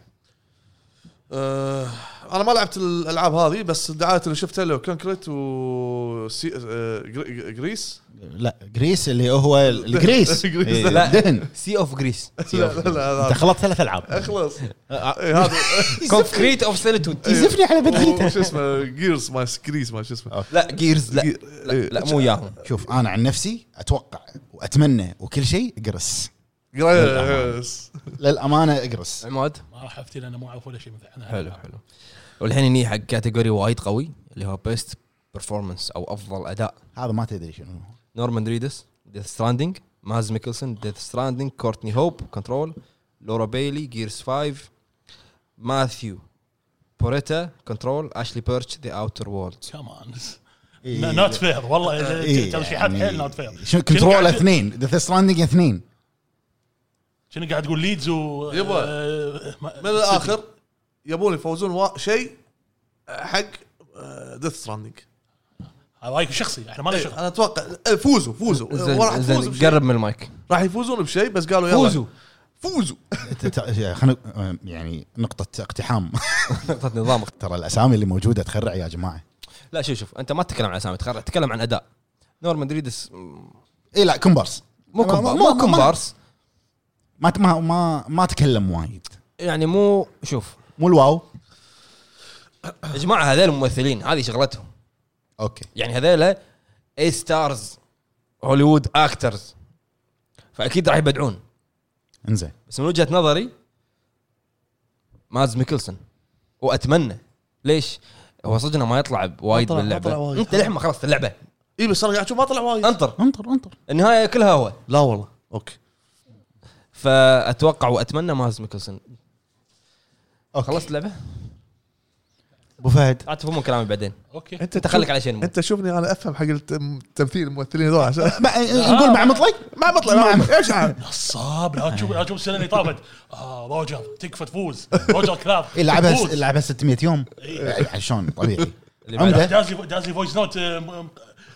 Speaker 2: آه، انا ما لعبت الالعاب هذه بس الدعايات اللي شفتها له كونكريت و سي- آه، جري- جريس
Speaker 3: لا جريس اللي هو الجريس
Speaker 2: جريس.
Speaker 3: إيه،
Speaker 1: لا.
Speaker 3: دهن
Speaker 1: سي اوف جريس
Speaker 2: لا لا لا
Speaker 3: انت
Speaker 2: لا،
Speaker 3: خلطت ثلاث العاب
Speaker 2: اخلص أه،
Speaker 1: أه،
Speaker 2: إيه، هذا
Speaker 1: كونكريت اوف سوليتود
Speaker 3: يزفني على
Speaker 2: و- شو اسمه جيرز ما جريس ما شو اسمه
Speaker 1: لا جيرز لا
Speaker 2: جي- إيه.
Speaker 1: لا مو ياهم
Speaker 3: شوف انا عن نفسي اتوقع واتمنى وكل شيء اقرس
Speaker 2: جريس
Speaker 3: للامانه اقرس
Speaker 1: عماد
Speaker 4: ما راح افتي لانه مو اعرف ولا شيء مثل عنها.
Speaker 1: حلو حلو والحين ني حق كاتيجوري وايد قوي اللي هو بيست برفورمانس او افضل اداء
Speaker 3: هذا ما تدري شنو هو.
Speaker 1: نورمان ريدس ديث ستراندنج ماز ميكلسون ديث ستراندنج كورتني هوب كنترول لورا بيلي جيرز 5 ماثيو بوريتا كنترول اشلي بيرش ذا اوتر وولد
Speaker 4: كمان
Speaker 3: إيه.
Speaker 4: نوت فير والله
Speaker 3: إيه،
Speaker 4: ترشيحات
Speaker 3: يعني
Speaker 4: حيل نوت فير
Speaker 3: شنو كنترول اثنين ذا ستراندنج اثنين
Speaker 4: شنو قاعد تقول ليدز و
Speaker 2: يبا.
Speaker 4: آه، ما-
Speaker 2: من الاخر يبون يفوزون وا- شيء حق أه، ديث ستراندنج
Speaker 4: هذا رايك الشخصي احنا ما لنا شغل
Speaker 2: انا اتوقع آه، فوزوا فوزوا
Speaker 1: إيه. زين
Speaker 2: راح يفوزوا
Speaker 1: زين
Speaker 2: بشيء.
Speaker 1: قرب من المايك
Speaker 2: راح يفوزون بشيء بس قالوا يلا
Speaker 1: فوزوا
Speaker 2: فوزوا
Speaker 3: ت- ت- خلنا يعني نقطة اقتحام
Speaker 1: نقطة نظام
Speaker 3: ترى الاسامي اللي موجودة تخرع يا جماعة
Speaker 1: لا شوف شوف انت ما تتكلم عن اسامي تخرع تتكلم عن اداء نورمان دريدس مو
Speaker 3: اي إيه، لا كومبارس
Speaker 1: كومبارس مو كومبارس
Speaker 3: ما ما ما, ما تكلم وايد
Speaker 1: يعني مو شوف
Speaker 3: مو الواو
Speaker 1: يا جماعه هذول الممثلين هذه شغلتهم
Speaker 3: اوكي
Speaker 1: يعني هذول اي ستارز هوليوود اكترز فاكيد راح يبدعون
Speaker 3: انزين
Speaker 1: بس من وجهه نظري ماز ميكلسون واتمنى ليش؟ هو صدقنا ما يطلع وايد
Speaker 4: طلع- ما طلع
Speaker 1: باللعبه
Speaker 4: وايد.
Speaker 1: انت لحين ما خلصت اللعبه
Speaker 2: اي إيه، بس انا قاعد اشوف ما طلع وايد
Speaker 1: انطر
Speaker 3: انطر انطر
Speaker 1: النهايه كلها هو
Speaker 2: لا والله اوكي
Speaker 1: فاتوقع واتمنى ماز ميكلسون
Speaker 3: أوكي.
Speaker 1: خلصت اللعبه؟
Speaker 3: ابو فهد
Speaker 1: عاد تفهمون كلامي بعدين
Speaker 4: اوكي
Speaker 1: انت خليك على شيء
Speaker 2: انت شوفني انا افهم حق التمثيل الممثلين هذول عشان
Speaker 3: مع- نقول مع مطلق
Speaker 2: ما بطلع ما ايش عاد
Speaker 4: نصاب لا تشوف لا تشوف السنه اللي طافت آه روجر تكفى تفوز روجر كلاب
Speaker 3: إي، إيه، لعبها
Speaker 4: تفوز.
Speaker 3: لعبها 600 يوم
Speaker 4: إي.
Speaker 3: يعني شلون طبيعي
Speaker 1: اللي
Speaker 3: عمده
Speaker 4: داز لي داز لي فويس نوت آه، م- م-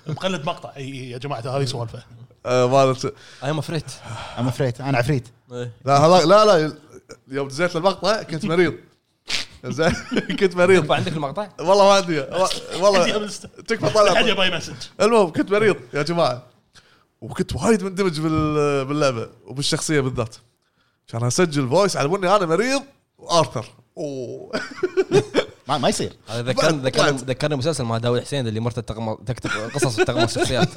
Speaker 4: مقلد مقطع اي إي، يا جماعه هذه سوالفه
Speaker 2: آه، مالت
Speaker 1: اي ام افريت
Speaker 3: انا فريت انا عفريت
Speaker 2: لا هذا لا لا يوم دزيت المقطع كنت مريض زين كنت مريض
Speaker 1: عندك المقطع؟
Speaker 2: والله ما ادري
Speaker 4: حد
Speaker 2: والله
Speaker 4: يبي-
Speaker 2: تكفى
Speaker 4: حد
Speaker 2: طلع
Speaker 4: يبغى مسج
Speaker 2: المهم كنت مريض يا جماعه وكنت وايد مندمج بال- باللعبه وبالشخصيه بالذات كان اسجل فويس على اني انا مريض وارثر اوه
Speaker 3: ما, ما يصير
Speaker 1: هذا ذكرني ذكرني
Speaker 2: طلعت.
Speaker 1: ذكرني مسلسل مع داوود حسين اللي مرته تغم- تكتب قصص وتغمر الشخصيات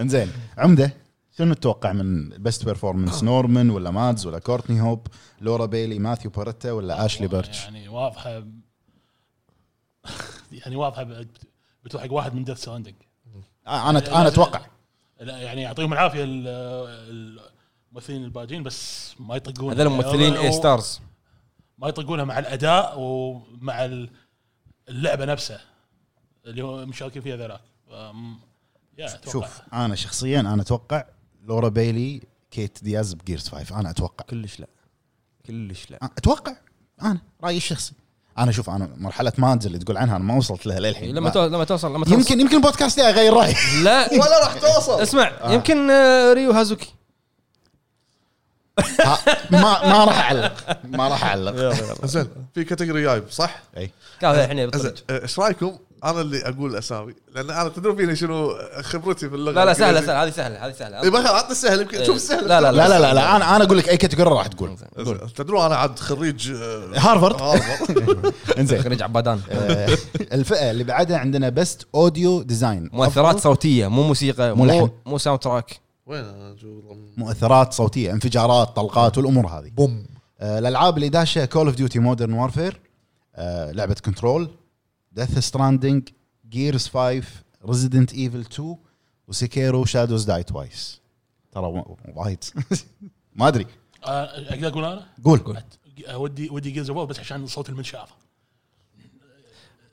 Speaker 3: انزين عمده شنو تتوقع من بيست بيرفورمنس نورمان ولا مادز ولا كورتني هوب لورا بيلي ماثيو باريتا ولا اشلي بيرتش
Speaker 4: يعني واضحه يعني واضحه بت- بتروح حق واحد من ديث ساندنج
Speaker 3: آه، انا انا اتوقع
Speaker 4: لا يعني يعطيهم العافيه ال- الممثلين الباجين بس ما يطقون
Speaker 1: هذول الممثلين إيه، اي ستارز
Speaker 4: ما يطقونها مع الاداء ومع ال- اللعبه نفسها اللي هو مشاركين فيها ذولاك أم، يا أتوقع.
Speaker 3: شوف انا شخصيا انا اتوقع لورا بيلي كيت دياز بجيرز 5 انا اتوقع
Speaker 1: كلش لا كلش لا
Speaker 3: اتوقع انا رايي الشخصي انا شوف انا مرحله مادز اللي تقول عنها انا ما وصلت لها للحين
Speaker 1: لما
Speaker 3: ما-
Speaker 1: تو- لما توصل لما توصل
Speaker 3: يمكن يمكن البودكاست ده اغير رايي
Speaker 1: لا
Speaker 2: ولا راح توصل
Speaker 1: اسمع يمكن آه، ريو هازوكي
Speaker 3: ها، ما ما راح اعلق ما راح اعلق
Speaker 2: زين في كاتيجوري جايب صح؟
Speaker 3: اي
Speaker 1: قال الحين
Speaker 2: زين إيه،
Speaker 1: بالطريق.
Speaker 2: ايش رايكم انا اللي اقول اسامي لان انا تدرون فيني شنو خبرتي في إيه، اللغه
Speaker 1: لا لا سهله
Speaker 2: الإنجليزية.
Speaker 1: سهله هذه سهله هذه سهله
Speaker 3: إيه،
Speaker 2: اي بخير عطني السهل يمكن شوف السهل
Speaker 1: لا لا
Speaker 3: لا لا لا لا انا انا اقول لك اي كاتيجوري راح تقول
Speaker 2: زين، تدرون انا عاد خريج آه،
Speaker 3: هارفرد
Speaker 2: هارفرد
Speaker 3: انزين
Speaker 1: خريج عبادان
Speaker 3: آه، الفئه اللي بعدها عندنا بيست اوديو ديزاين
Speaker 1: مؤثرات صوتيه مو موسيقى
Speaker 3: مو
Speaker 1: مو
Speaker 3: لحن.
Speaker 1: مو ساوند تراك
Speaker 2: وين أنا جو-
Speaker 3: مؤثرات صوتيه انفجارات طلقات والامور هذه
Speaker 2: بوم
Speaker 3: آه، الالعاب اللي داشه كول اوف ديوتي مودرن وارفير لعبه كنترول ديث ستراندنج جيرز 5 ريزيدنت ايفل 2 وسكيرو شادوز داي توايس ترى و- وايد ما ادري
Speaker 4: أه، اقدر اقول انا؟
Speaker 3: قول
Speaker 4: أه، ودي ودي جيرز اوف بس عشان صوت المنشافه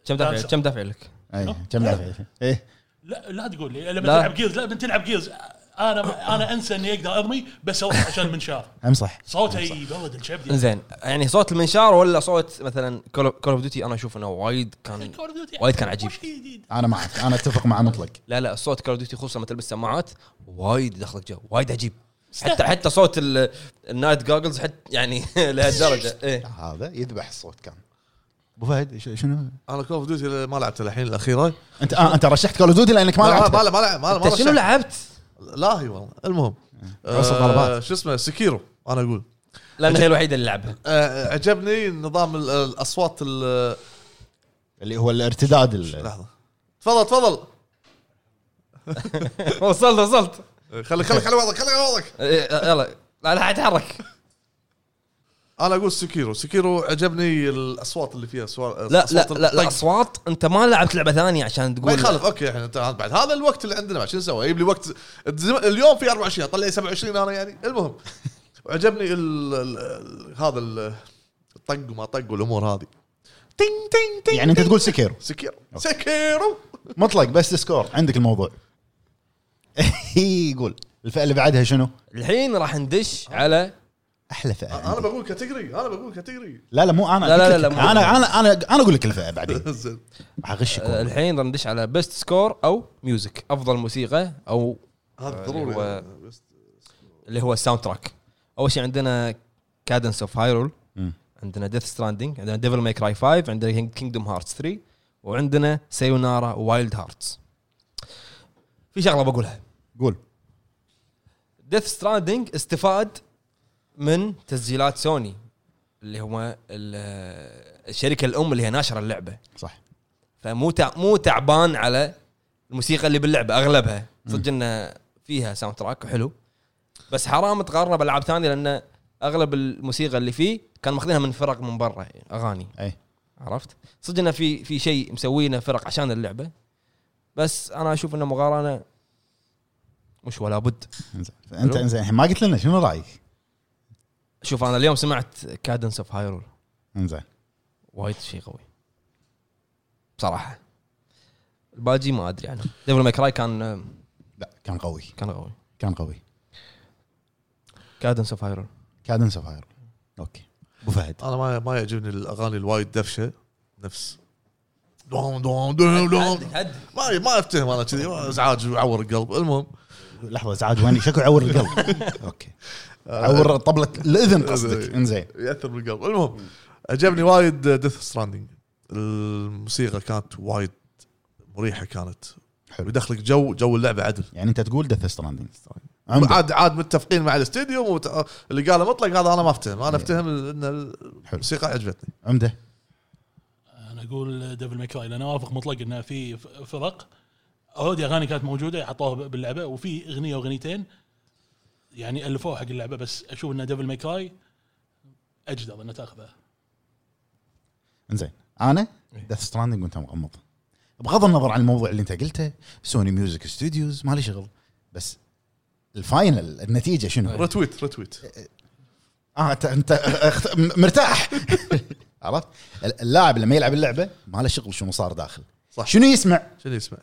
Speaker 1: كم دافع كم دافع لك؟
Speaker 3: أي، إيه، كم لعبه ايه
Speaker 4: لا لا تقول لي لما
Speaker 1: لا.
Speaker 4: تلعب جيرز لا بنتلعب جيرز انا انا انسى اني اقدر اضمي بس اوقف عشان المنشار
Speaker 3: هم صح
Speaker 4: صوته يبرد الشبدي
Speaker 1: زين يعني صوت المنشار ولا صوت مثلا كول اوف ديوتي انا اشوف انه وايد كان
Speaker 4: Call of Duty.
Speaker 1: وايد كان عجيب.
Speaker 4: وش جديد؟
Speaker 3: انا معك انا اتفق مع مطلق
Speaker 1: لا لا الصوت كول اوف ديوتي خصوصا لما تلبس سماعات وايد يدخلك جو وايد عجيب حتى
Speaker 4: استهبل.
Speaker 1: حتى صوت ال- النايت جوجلز حتى يعني لهالدرجه ايه
Speaker 3: هذا يذبح الصوت كان ابو فهد ش- شنو
Speaker 2: انا كول اوف ديوتي ما لعبت الحين الاخيره
Speaker 3: انت آه انت رشحت كول اوف ديوتي لانك ما
Speaker 2: ما
Speaker 3: لعبت
Speaker 2: ما ما ما ما
Speaker 1: انت شنو
Speaker 2: رشحت.
Speaker 1: لعبت؟
Speaker 2: لا هي والله المهم
Speaker 3: وصل
Speaker 2: آه،
Speaker 3: ضربات.
Speaker 2: شو اسمه سكيرو انا اقول
Speaker 1: لان هي الوحيده اللي لعبها
Speaker 2: آه، عجبني نظام ال- الاصوات ال-
Speaker 3: اللي هو الارتداد ال-
Speaker 2: لحظه تفضل تفضل
Speaker 1: وصلت وصلت
Speaker 2: خليك خليك على وضعك خليك على وضعك
Speaker 1: إيه، يلا لا لا اتحرك
Speaker 2: انا اقول سكيرو سكيرو عجبني الاصوات اللي فيها سوار
Speaker 1: لا لا
Speaker 2: أصوات
Speaker 1: لا, لا
Speaker 2: الطق.
Speaker 1: اصوات انت ما لعبت لعبه ثانيه عشان
Speaker 2: ما
Speaker 1: تقول
Speaker 2: يخالف اوكي احنا انت بعد هذا الوقت اللي عندنا بعد شو نسوي؟ يجيب لي وقت الزم- اليوم في 24 طلع لي 27 انا يعني المهم وعجبني ال... ال... ال... هذا ال... الطق وما طق والامور هذه تين تين تين
Speaker 3: يعني انت تقول سكيرو
Speaker 2: سكيرو سكيرو
Speaker 3: مطلق بس سكور عندك الموضوع إيه، يقول الفئه اللي بعدها شنو؟
Speaker 1: الحين راح ندش على
Speaker 3: احلى فئه
Speaker 2: انا
Speaker 3: عندي.
Speaker 2: بقول كاتيجوري انا بقول كاتيجوري
Speaker 3: لا لا مو انا
Speaker 1: آه، لا، لا، لا،
Speaker 3: قلت لك.
Speaker 1: لا، مو-
Speaker 3: انا انا انا انا اقول لك الفئه بعدين
Speaker 2: زين.
Speaker 3: حغشك
Speaker 1: آه،
Speaker 3: والله.
Speaker 1: الحين راح ندش على بيست سكور او ميوزك افضل موسيقى او
Speaker 2: هذا
Speaker 1: اللي هو-
Speaker 2: ضروري بس
Speaker 1: اللي هو الساوند تراك اول شيء عندنا كادنس اوف هايرول
Speaker 3: مم.
Speaker 1: عندنا ديث ستراندنج عندنا ديفل ماي كراي 5 عندنا كينجدوم هارتس 3 وعندنا سيونارا وايلد هارتس في شغله بقولها
Speaker 3: قول
Speaker 1: ديث ستراندنج استفاد من تسجيلات سوني اللي هو ال- الشركه الام اللي هي ناشره اللعبه
Speaker 3: صح
Speaker 1: فمو تع... مو تعبان على الموسيقى اللي باللعبه اغلبها صدق انه فيها ساوند تراك حلو بس حرام تقارنه بالعاب ثانيه لان اغلب الموسيقى اللي فيه كان ماخذينها من فرق من برا اغاني
Speaker 3: اي
Speaker 1: عرفت صدق انه في في شيء مسوينه فرق عشان اللعبه بس انا اشوف انه مقارنه مش ولا بد
Speaker 3: انزين انت انزين الحين ما قلت لنا شنو رايك؟
Speaker 1: شوف انا اليوم سمعت كادنس اوف هايرول
Speaker 3: انزين
Speaker 1: وايد شيء قوي بصراحه الباجي ما ادري عنه ديفل ماي كراي كان
Speaker 3: لا كان قوي
Speaker 1: كان قوي
Speaker 3: كان قوي
Speaker 1: كادنس اوف هايرول
Speaker 3: كادنس اوف هاير اوكي ابو فهد
Speaker 2: انا ما ما يعجبني الاغاني الوايد دفشه نفس دوم دوم دوم دوم ما ما افتهم انا كذي ازعاج ويعور القلب المهم
Speaker 3: لحظه ازعاج وين شكو عور القلب اوكي عور طبله الاذن قصدك انزين
Speaker 2: ياثر بالقلب المهم عجبني وايد ديث ستراندنج الموسيقى كانت وايد مريحه كانت
Speaker 3: حلو.
Speaker 2: ويدخلك جو جو اللعبه عدل
Speaker 3: يعني انت تقول ديث ستراندنج
Speaker 2: عاد عاد متفقين مع الاستديو ومت... اللي قاله مطلق هذا انا ما افتهم انا افتهم ان الموسيقى عجبتني
Speaker 3: عمده
Speaker 4: انا اقول ديفل ماكراي لان أنا اوافق مطلق انه في ف- فرق اوريدي اغاني كانت موجوده حطوها ب- باللعبه وفي اغنيه واغنيتين يعني الفوها حق اللعبه بس اشوف ان ديفل ماكراي اجدر انه تاخذها
Speaker 3: انزين انا ديث ستراندنج وانت مغمض بغض النظر عن الموضوع اللي انت قلته سوني ميوزك ستوديوز ما لي شغل بس الفاينل النتيجه شنو؟
Speaker 2: رتويت رتويت
Speaker 3: اه انت انت اخت- م- مرتاح عرفت؟ ال- اللاعب لما يلعب اللعبه ما له شغل شنو صار داخل
Speaker 2: صح.
Speaker 3: شنو يسمع؟
Speaker 2: شنو يسمع؟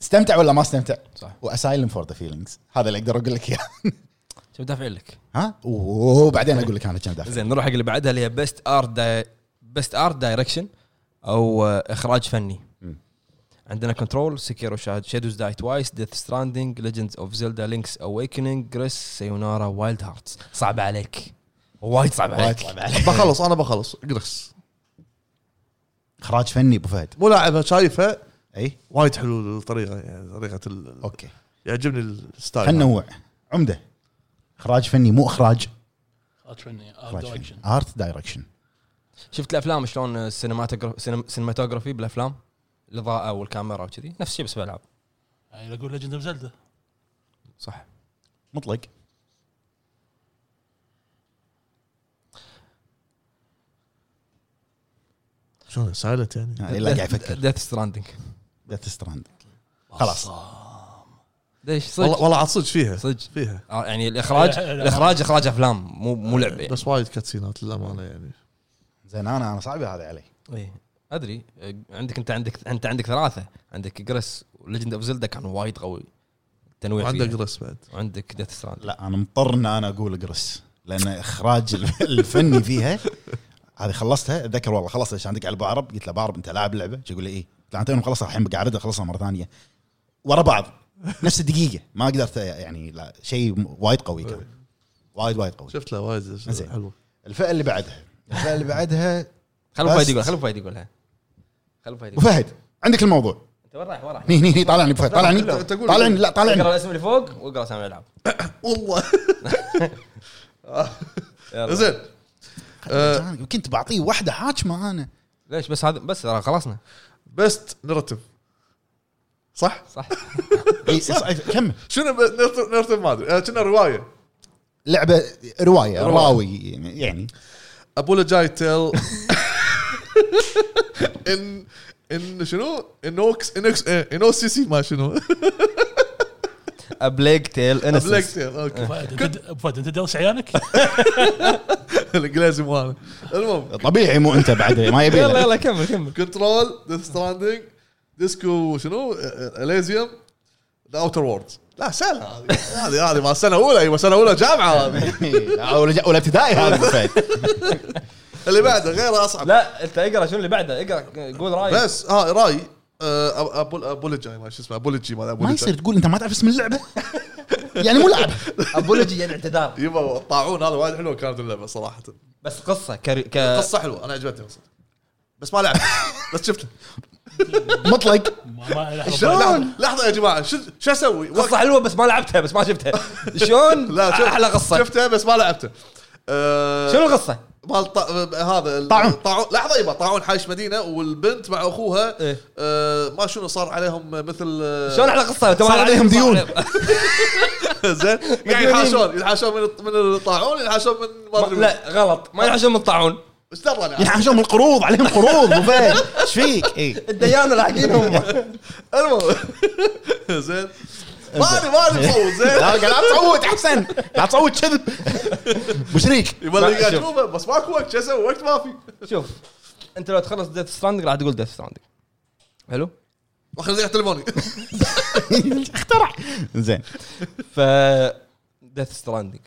Speaker 3: استمتع ولا ما استمتع؟
Speaker 1: صح.
Speaker 3: واسايلم فور ذا فيلينجز هذا اللي اقدر اقول لك اياه
Speaker 1: شوف دافعين لك
Speaker 3: ها وبعدين اقول لك انا كم دافع
Speaker 1: زين نروح حق اللي بعدها اللي هي بيست ارت بيست ارت دايركشن او آه، اخراج فني
Speaker 3: مم.
Speaker 1: عندنا كنترول سكيرو شاد شادوز داي توايس ديث ستراندنج ليجندز اوف زيلدا لينكس اويكننج جريس سيونارا وايلد هارتس صعب عليك وايد صعب
Speaker 3: وايد
Speaker 1: عليك
Speaker 3: صعب عليك.
Speaker 2: بخلص انا بخلص اقرس
Speaker 3: اخراج فني ابو فهد
Speaker 2: مو لاعبها شايفها
Speaker 3: اي
Speaker 2: وايد حلو الطريقه يعني طريقه ال...
Speaker 3: اوكي
Speaker 2: يعجبني
Speaker 1: طيب.
Speaker 2: الستايل
Speaker 3: خلينا ننوع عمده اخراج فني مو اخراج
Speaker 4: اترني
Speaker 3: اخراج
Speaker 4: دايركشن
Speaker 3: فني ارت دايركشن
Speaker 1: شفت الافلام شلون السينماتوغرافي سينماتوغرافي بالافلام الاضاءه والكاميرا وكذي نفس الشيء بس بالالعاب
Speaker 4: يعني اقول ليجند اوف زلدا
Speaker 1: صح
Speaker 3: مطلق
Speaker 2: شلون سايلنت يعني
Speaker 3: لا قاعد يفكر
Speaker 1: ديث ستراندنج
Speaker 3: ديث ستراند خلاص
Speaker 1: ليش صدق
Speaker 2: والله والله عاد صدق فيها
Speaker 1: صدق
Speaker 2: فيها
Speaker 1: آه، يعني الاخراج
Speaker 4: لا، لا، لا.
Speaker 1: الاخراج اخراج افلام مو مو لعبه يعني.
Speaker 2: بس وايد كاتسينات للامانه يعني
Speaker 3: زين انا انا صعبه هذا علي
Speaker 1: إيه. ادري آه، عندك انت عندك انت عندك ثلاثه عندك جريس وليجند اوف زلدا كان وايد قوي التنويع
Speaker 2: وعندك
Speaker 1: فيها
Speaker 2: اقرس بعد
Speaker 1: وعندك ديث ستراند
Speaker 3: لا انا مضطر ان انا اقول اقرس لان اخراج الف- الفني فيها هذه خلصتها اتذكر والله خلصت عشان عندك على ابو عرب قلت له ابو عرب انت لاعب لعبه يقول لي ايه قلت له انت يوم خلصها الحين بقعد اخلصها مره ثانيه ورا بعض نفس الدقيقه ما قدرت يعني لا شيء م- وايد قوي كان وايد وايد قوي
Speaker 2: شفت له وايد
Speaker 3: زين.
Speaker 2: حلو
Speaker 3: الفئه اللي بعدها الفئه اللي بعدها
Speaker 1: خلوا
Speaker 3: بس.
Speaker 1: فايد يقول خلوا فايد يقولها خلوا فايد
Speaker 3: ابو
Speaker 1: يقول.
Speaker 3: فهد عندك الموضوع
Speaker 1: انت وين رايح وين رايح؟
Speaker 3: هني هني هني طالعني ابو فهد طالعني
Speaker 2: لا، أنت قول.
Speaker 3: طالعني لا
Speaker 1: اقرا
Speaker 3: طالعني
Speaker 1: الاسم اللي فوق واقرا اسامي الالعاب
Speaker 2: والله
Speaker 1: يلا.
Speaker 2: زين
Speaker 3: أه. كنت بعطيه واحده حاكمه انا
Speaker 1: ليش بس هذا بس ترى خلصنا
Speaker 2: بيست نرتب صح؟
Speaker 1: صح
Speaker 3: إي، إيه، صح، كمل
Speaker 2: شنو نرتب ما ادري آه، كنا روايه
Speaker 3: لعبه روايه راوي يعني, يعني
Speaker 2: ابولا تيل ان إيه، ان شنو؟ انوكس انوكس انوسيسي ما شنو
Speaker 1: ابليك تيل
Speaker 2: بلاك
Speaker 1: انسنس
Speaker 2: تيل اوكي
Speaker 4: فهد، أنت- فهد انت دوس عيالك
Speaker 2: الانجليزي ماله المهم
Speaker 3: طبيعي مو انت بعد ما يبي
Speaker 1: يلا
Speaker 3: له.
Speaker 1: يلا كمل كمل
Speaker 2: كنترول ديث ستراندنج ديسكو شنو اليزيوم ذا اوتر ووردز لا سهله هذه هذه هذه ما سنه اولى ايوه سنه اولى جامعه هذه
Speaker 3: ولا ولا ابتدائي هذا فهد.
Speaker 2: اللي بعده غير اصعب
Speaker 1: لا انت اقرا شنو اللي بعده اقرا قول رايك
Speaker 2: بس ها راي آه، أب- أب- ابولجي ما شو اسمه ابولجي مال
Speaker 3: ما
Speaker 2: ابولجي
Speaker 3: يصير تقول انت ما تعرف اسم اللعبه يعني مو لعبه
Speaker 1: ابولوجي يعني اعتذار
Speaker 2: يبا الطاعون هذا وايد حلوه كانت اللعبه صراحه
Speaker 1: بس قصه كري... ك...
Speaker 2: قصه حلوه انا عجبتني قصة. بس ما لعبت بس شفته
Speaker 3: مطلق
Speaker 4: ما- ما- لحظة.
Speaker 2: لحظه لحظه يا جماعه شو شو اسوي؟
Speaker 1: قصه حلوه بس ما لعبتها بس ما شفتها شلون
Speaker 2: لا شوف-
Speaker 1: احلى قصه
Speaker 2: شفته بس ما لعبته آه،
Speaker 1: شنو القصه؟
Speaker 2: مال طا... هذا ال-
Speaker 3: طاعون.
Speaker 2: طاعون لحظه يبا طاعون حايش مدينه والبنت مع اخوها
Speaker 1: إيه.
Speaker 2: آه ما شنو صار عليهم مثل آه،
Speaker 1: شلون احلى قصه؟ أنت ما
Speaker 3: صار عليهم
Speaker 1: لعبت-
Speaker 3: ديون.
Speaker 2: زين قاعد يعني ينحاشون ينحاشون من الط- من الطاعون ينحاشون من ما
Speaker 1: ما-
Speaker 2: ادري وين.
Speaker 1: لا غلط ما ينحشون من الطاعون
Speaker 2: ايش درى انا
Speaker 3: ينحشون يعني القروض عليهم قروض ابو فهد ايش فيك؟ إيه. اي
Speaker 1: الديانه لاحقينهم
Speaker 2: المهم زين ماني ماني مصوت زين
Speaker 3: لا لا تصوت احسن لا تصوت كذب ابو شريك
Speaker 2: يبا اللي
Speaker 1: ما-
Speaker 2: قاعد
Speaker 1: شوف.
Speaker 2: اشوفه بس ماكو وقت شو اسوي وقت ما في
Speaker 1: شوف انت لو تخلص ديث ستراندنج راح تقول ديث ستراندنج حلو
Speaker 2: واخذ زين تليفوني
Speaker 3: اخترع زين
Speaker 1: ف ديث ستراندنج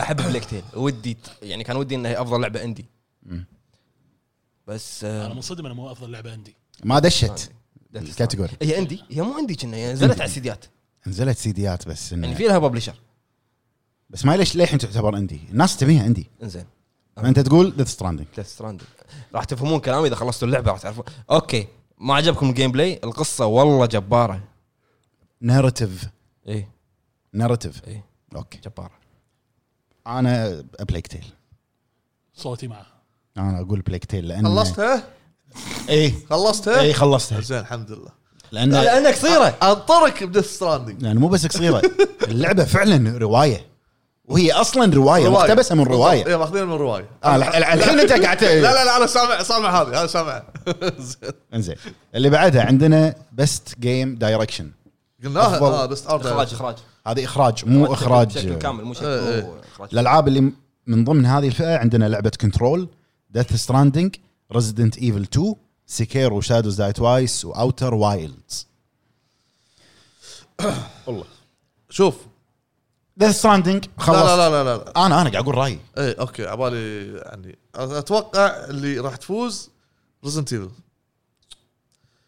Speaker 1: احب بليك تيل ودي يعني كان ودي انها هي افضل لعبه عندي بس آه،
Speaker 4: انا منصدم انا مو افضل لعبه عندي
Speaker 3: ما دشت
Speaker 1: Death Stranding.
Speaker 3: الكاتيجوري.
Speaker 1: هي عندي هي مو عندي كنا هي نزلت على السيديات
Speaker 3: نزلت سيديات بس
Speaker 1: يعني
Speaker 3: إنه
Speaker 1: في لها ببلشر
Speaker 3: بس ما ليش للحين تعتبر عندي الناس تبيها عندي
Speaker 1: انزين آه.
Speaker 3: فانت تقول ديث ستراندنج
Speaker 1: ديث ستراندنج راح تفهمون كلامي اذا خلصتوا اللعبه راح تعرفون اوكي ما عجبكم الجيم بلاي القصه والله جباره
Speaker 3: ناريتيف
Speaker 1: ايه
Speaker 3: ناريتيف
Speaker 1: ايه
Speaker 3: اوكي
Speaker 1: جباره
Speaker 3: انا بليك تيل
Speaker 4: صوتي معه
Speaker 3: انا اقول بليك تيل لان
Speaker 2: خلصتها
Speaker 3: اي
Speaker 2: إيه، خلصتها
Speaker 3: اي خلصتها
Speaker 2: زين الحمد لله
Speaker 3: لان
Speaker 1: لانها
Speaker 2: آه.
Speaker 1: قصيره
Speaker 2: انطرك بديث ستراندنج
Speaker 3: يعني مو بس قصيره اللعبه فعلا روايه وهي اصلا روايه مقتبسه إيه، من إيه.
Speaker 2: اي
Speaker 3: روايه
Speaker 2: إيه، ماخذينها من روايه
Speaker 3: آه الح- الح- الحين انت قاعد ت-
Speaker 2: لا لا لا انا سامع سامع هذه انا سامع زين
Speaker 3: انزين اللي بعدها عندنا بست جيم دايركشن
Speaker 2: قلناها
Speaker 3: أفضل.
Speaker 2: اه بس ارض
Speaker 1: اخراج اخراج
Speaker 3: هذه اخراج مو
Speaker 1: بشكل
Speaker 3: اخراج
Speaker 1: كامل مو شكل
Speaker 2: إيه،
Speaker 1: مو اخراج
Speaker 3: الالعاب اللي من ضمن هذه الفئه عندنا لعبه كنترول ديث ستراندنج ريزيدنت ايفل 2 سكير وشادوز داي توايس واوتر وايلدز والله
Speaker 2: شوف
Speaker 3: ديث ستراندنج
Speaker 2: لا
Speaker 3: خلص
Speaker 2: لا لا لا, إيه، لا.
Speaker 3: انا انا قاعد اقول رايي
Speaker 2: اي اوكي عبالي يعني اتوقع اللي راح تفوز ريزنت ايفل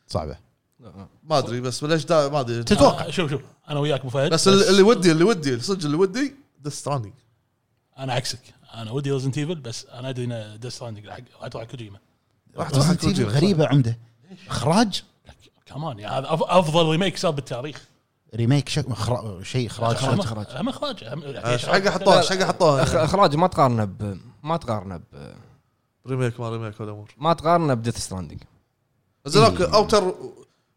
Speaker 3: صعبه
Speaker 1: آه،
Speaker 2: ما ادري بس ليش دا ما ادري
Speaker 3: تتوقع
Speaker 4: أنا- شوف شوف انا وياك ابو فهد
Speaker 2: بس اللي, اللي ودي اللي ودي صدق اللي ودي ذا ستراندنج
Speaker 4: انا عكسك انا ودي ريزنت ايفل بس انا ادري ان ديث ستراندنج حق اتوقع كوجيما
Speaker 2: راح تروح
Speaker 3: Resident Evil
Speaker 2: كوجيما.
Speaker 3: غريبه عمده اخراج
Speaker 4: لك كمان يعني هذا أف- افضل ريميك صار بالتاريخ
Speaker 3: ريميك شك... خرا... شيء اخراج
Speaker 4: أهم-
Speaker 1: إخراج.
Speaker 4: اهم اخراج أهم- يعني
Speaker 2: ايش حق
Speaker 1: لا،
Speaker 2: حطوها
Speaker 1: لا.
Speaker 2: ايش حق حطوها
Speaker 1: اخراج آه. ما تقارنه ب ما تقارنه ب
Speaker 2: ريميك ما ريميك ولا امور
Speaker 1: ما تقارنه بديث ستراندنج
Speaker 2: زين اوكي اوتر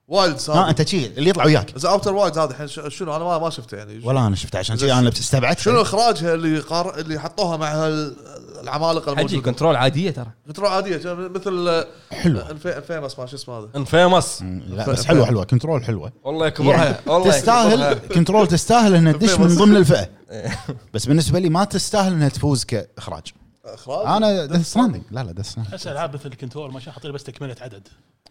Speaker 2: وايلدز
Speaker 3: ها
Speaker 2: هذا
Speaker 3: انت شي آه، اللي يطلع وياك
Speaker 2: زين اوتر وايلدز هذا الحين ش- شنو انا ما ما شفته يعني
Speaker 3: ولا انا شفت عشان شي انا استبعدت
Speaker 2: شنو اخراجها اللي قار... اللي حطوها مع هال- العمالقه
Speaker 1: حجي
Speaker 2: الموجوده
Speaker 1: كنترول عاديه ترى
Speaker 2: كنترول عاديه كان مثل
Speaker 3: حلوه
Speaker 2: الفي- فيمس ما شو اسمه هذا
Speaker 1: انفيمس
Speaker 3: مم، لا بس حلوه حلوه كنترول حلوه
Speaker 1: والله يكبرها والله
Speaker 3: يعني تستاهل
Speaker 1: يكبرها.
Speaker 3: كنترول تستاهل انها تدش من
Speaker 2: بس.
Speaker 3: ضمن الفئه بس بالنسبه لي ما تستاهل انها تفوز كاخراج
Speaker 2: اخراج
Speaker 3: انا ديث ستراندنج لا لا ديث ستراندنج
Speaker 4: بس العاب مثل الكنترول ما شاء حاطين بس تكمله عدد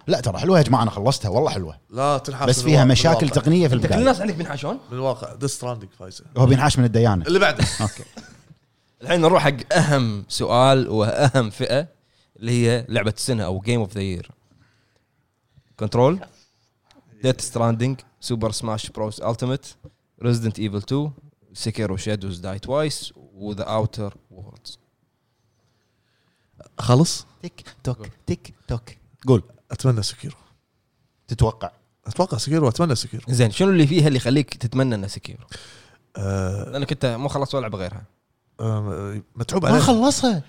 Speaker 3: لا ترى حلوه يا جماعه انا خلصتها والله حلوه
Speaker 2: لا تنحاس
Speaker 3: بس
Speaker 2: من
Speaker 3: فيها
Speaker 2: الواقع- من
Speaker 3: مشاكل
Speaker 2: الواقع.
Speaker 3: تقنيه في
Speaker 1: انت كل
Speaker 3: البدايه
Speaker 1: الناس عندك بينحاشون
Speaker 2: من الواقع ذا ستراندنج فايزه
Speaker 3: هو بينحاش من الديانه
Speaker 2: اللي بعده
Speaker 3: اوكي
Speaker 1: الحين نروح حق اهم سؤال واهم فئه اللي هي لعبه السنه او جيم اوف ذا يير كنترول ديت ستراندنج سوبر سماش بروس التيمت ريزدنت ايفل 2 سكيرو شادوز داي توايس وذا اوتر ووردز
Speaker 2: خلص
Speaker 3: تيك توك تيك توك قول
Speaker 2: اتمنى سكيرو
Speaker 3: تتوقع
Speaker 2: اتوقع سكيرو اتمنى سكيرو
Speaker 1: زين شنو اللي فيها اللي يخليك تتمنى انه سكيرو؟
Speaker 2: أه
Speaker 1: لانك انت مو خلصت ولا لعبه غيرها
Speaker 2: أه متعوب
Speaker 3: ما
Speaker 2: عليه
Speaker 3: خلصها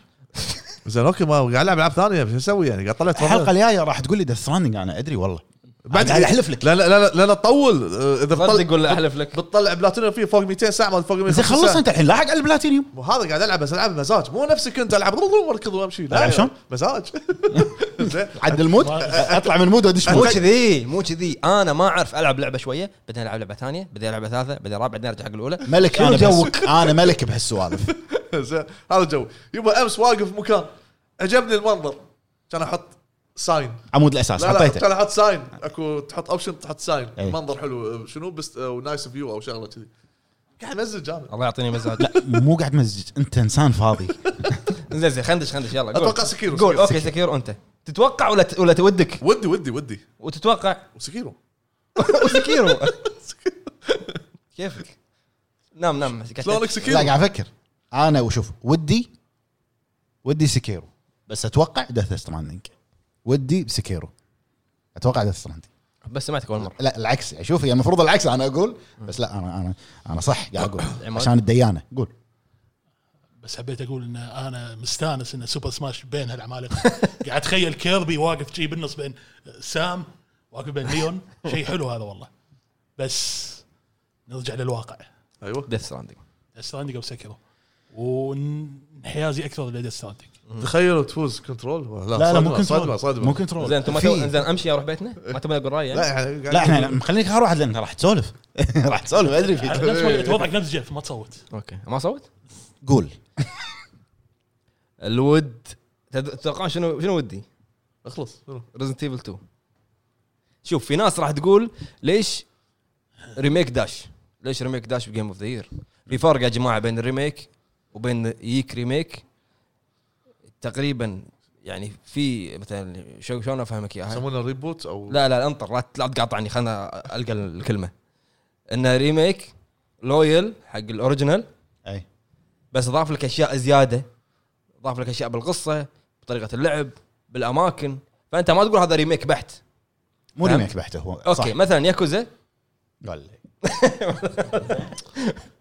Speaker 2: زين اوكي ما قاعد العب العاب ثانيه شو اسوي يعني قاعد طلعت
Speaker 3: الحلقه الجايه راح تقول لي ديث ستراندنج انا ادري والله
Speaker 2: بعد
Speaker 5: قاعد احلف لك
Speaker 2: لا لا لا لا, لا تطول آه، اذا
Speaker 1: صدق
Speaker 2: بطل
Speaker 1: ولا احلف لك
Speaker 2: بتطلع بلاتينيوم فيه فوق 200 ساعه ما فوق 100
Speaker 3: زين خلص انت الحين لاحق على البلاتينيوم
Speaker 2: وهذا قاعد العب بس العب مزاج مو نفسي كنت العب واركض وامشي لا
Speaker 3: ألعب شلون؟
Speaker 2: مزاج زين
Speaker 3: عد المود اطلع من المود وادش
Speaker 1: مو
Speaker 3: مود
Speaker 1: كذي مو كذي انا ما اعرف العب لعبه شويه بعدين العب لعبه ثانيه بعدين العب ثالثه بعدين رابعه بعدين ارجع حق الاولى
Speaker 3: ملك انا جوك انا ملك بهالسوالف
Speaker 2: زين هذا الجو يبا امس واقف مكان عجبني المنظر كان احط ساين
Speaker 3: عمود الاساس
Speaker 2: لا لا
Speaker 3: حطيته
Speaker 2: كان احط ساين اكو تحط اوبشن تحط ساين
Speaker 3: أي.
Speaker 2: منظر حلو شنو بس آه، ونايس فيو او شغله كذي قاعد مزج انا
Speaker 1: الله يعطيني مزاج
Speaker 3: لا مو قاعد مزج انت انسان فاضي
Speaker 1: زين زين خندش خندش يلا قول.
Speaker 2: اتوقع سكيرو
Speaker 1: قول
Speaker 2: سكيرو.
Speaker 1: اوكي سكير انت تتوقع ولا ت- ولا تودك
Speaker 2: ودي ودي ودي
Speaker 1: وتتوقع
Speaker 2: وسكيرو
Speaker 1: وسكيرو كيفك نام نام
Speaker 2: شلونك
Speaker 3: لا
Speaker 2: سكيرو
Speaker 3: قاعد افكر انا وشوف ودي ودي سكيرو بس اتوقع ديث ستراندنج ودي بسكيرو اتوقع ديث ستراندنج
Speaker 1: بس سمعتك اول مره
Speaker 3: لا العكس يعني شوف يعني المفروض العكس انا اقول بس لا انا انا انا صح قاعد اقول
Speaker 1: عماد.
Speaker 3: عشان الديانه قول
Speaker 4: بس حبيت اقول ان انا مستانس ان سوبر سماش بين هالعمالقه قاعد اتخيل كيربي واقف شي بالنص بين سام واقف بين ليون شيء حلو هذا والله بس نرجع للواقع
Speaker 2: ايوه
Speaker 1: ديث ستراندنج
Speaker 4: ديث ستراندنج او سكرو وانحيازي اكثر لديث ستراندنج
Speaker 2: تخيلوا تفوز كنترول
Speaker 1: آه،
Speaker 3: لا لا مو
Speaker 2: صدمه
Speaker 3: كنترول
Speaker 2: صدمه
Speaker 3: مو كنترول
Speaker 1: زين انتم ما
Speaker 3: في-
Speaker 1: تو- زين امشي اروح بيتنا ما تبون اقول رايي
Speaker 2: لا
Speaker 1: يعني؟
Speaker 2: يعني قاعد-
Speaker 3: لا احنا خليك خيار واحد لان راح تسولف راح تسولف ادري فيك
Speaker 4: نفس وضعك نفس جيف ما تصوت
Speaker 1: اوكي ما صوت
Speaker 3: قول
Speaker 1: الود تد- تتوقعون شنو شنو ودي
Speaker 2: اخلص شنو؟
Speaker 1: ريزنت ايفل 2 شوف في ناس راح تقول ليش ريميك داش ليش ريميك داش بجيم اوف ذا يير في فرق يا جماعه بين الريميك وبين ييك ريميك تقريبا يعني في مثلا شو شلون افهمك اياها
Speaker 2: يسمونه ريبوت او
Speaker 1: آه. لا لا انطر لا لا تقاطعني خلنا القى الكلمه ان ريميك لويل حق الاوريجينال
Speaker 3: اي
Speaker 1: بس ضاف لك اشياء زياده ضاف لك اشياء بالقصه بطريقه اللعب بالاماكن فانت ما تقول هذا ريميك بحت
Speaker 3: مو
Speaker 1: فهمت؟
Speaker 3: ريميك بحته هو
Speaker 1: اوكي
Speaker 3: صح.
Speaker 1: مثلا ياكوزا
Speaker 3: قال لي.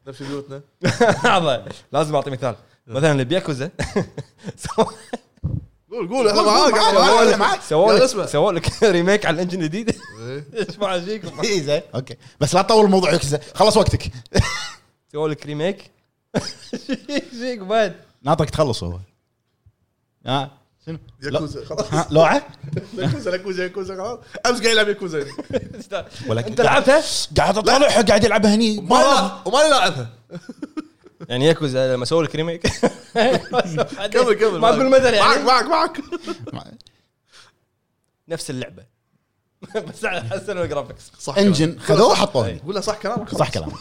Speaker 2: نفس بيوتنا
Speaker 1: هذا لازم اعطي مثال
Speaker 2: أه.
Speaker 1: مثلا اللي بياكوزا سووا-
Speaker 2: قول قول احنا معاك أنا
Speaker 3: ولا
Speaker 2: معاك
Speaker 3: معك
Speaker 1: سووا
Speaker 2: لا،
Speaker 1: لك
Speaker 2: اسمع. إيه.
Speaker 1: سووا لك ريميك على الانجن الجديد ايش ما فيكم
Speaker 3: إي زين اوكي بس لا تطول الموضوع يكزة. خلص وقتك
Speaker 1: سووا لك ريميك ايش فيك بعد
Speaker 3: ناطرك تخلص هو ها شنو؟ آه،
Speaker 2: ياكوزا خلاص
Speaker 3: ها لوعه؟
Speaker 2: ياكوزا ياكوزا ياكوزا خلاص امس قاعد يلعب ياكوزا يعني.
Speaker 3: ولا
Speaker 1: انت لعبتها
Speaker 3: قاعد اطالعها قاعد يلعبها هني
Speaker 2: ما لا- وما يلاعبها
Speaker 1: يعني ياكوزا لما سووا لك ريميك
Speaker 2: كمل كمل
Speaker 1: إيه. ما اقول مثل
Speaker 2: معك
Speaker 1: يعني
Speaker 2: معك معك
Speaker 1: نفس اللعبه بس على حسن الجرافكس
Speaker 2: صح
Speaker 3: انجن خذوه وحطوه هني
Speaker 2: كلامك. قول له صح كلامك
Speaker 3: صح كلامك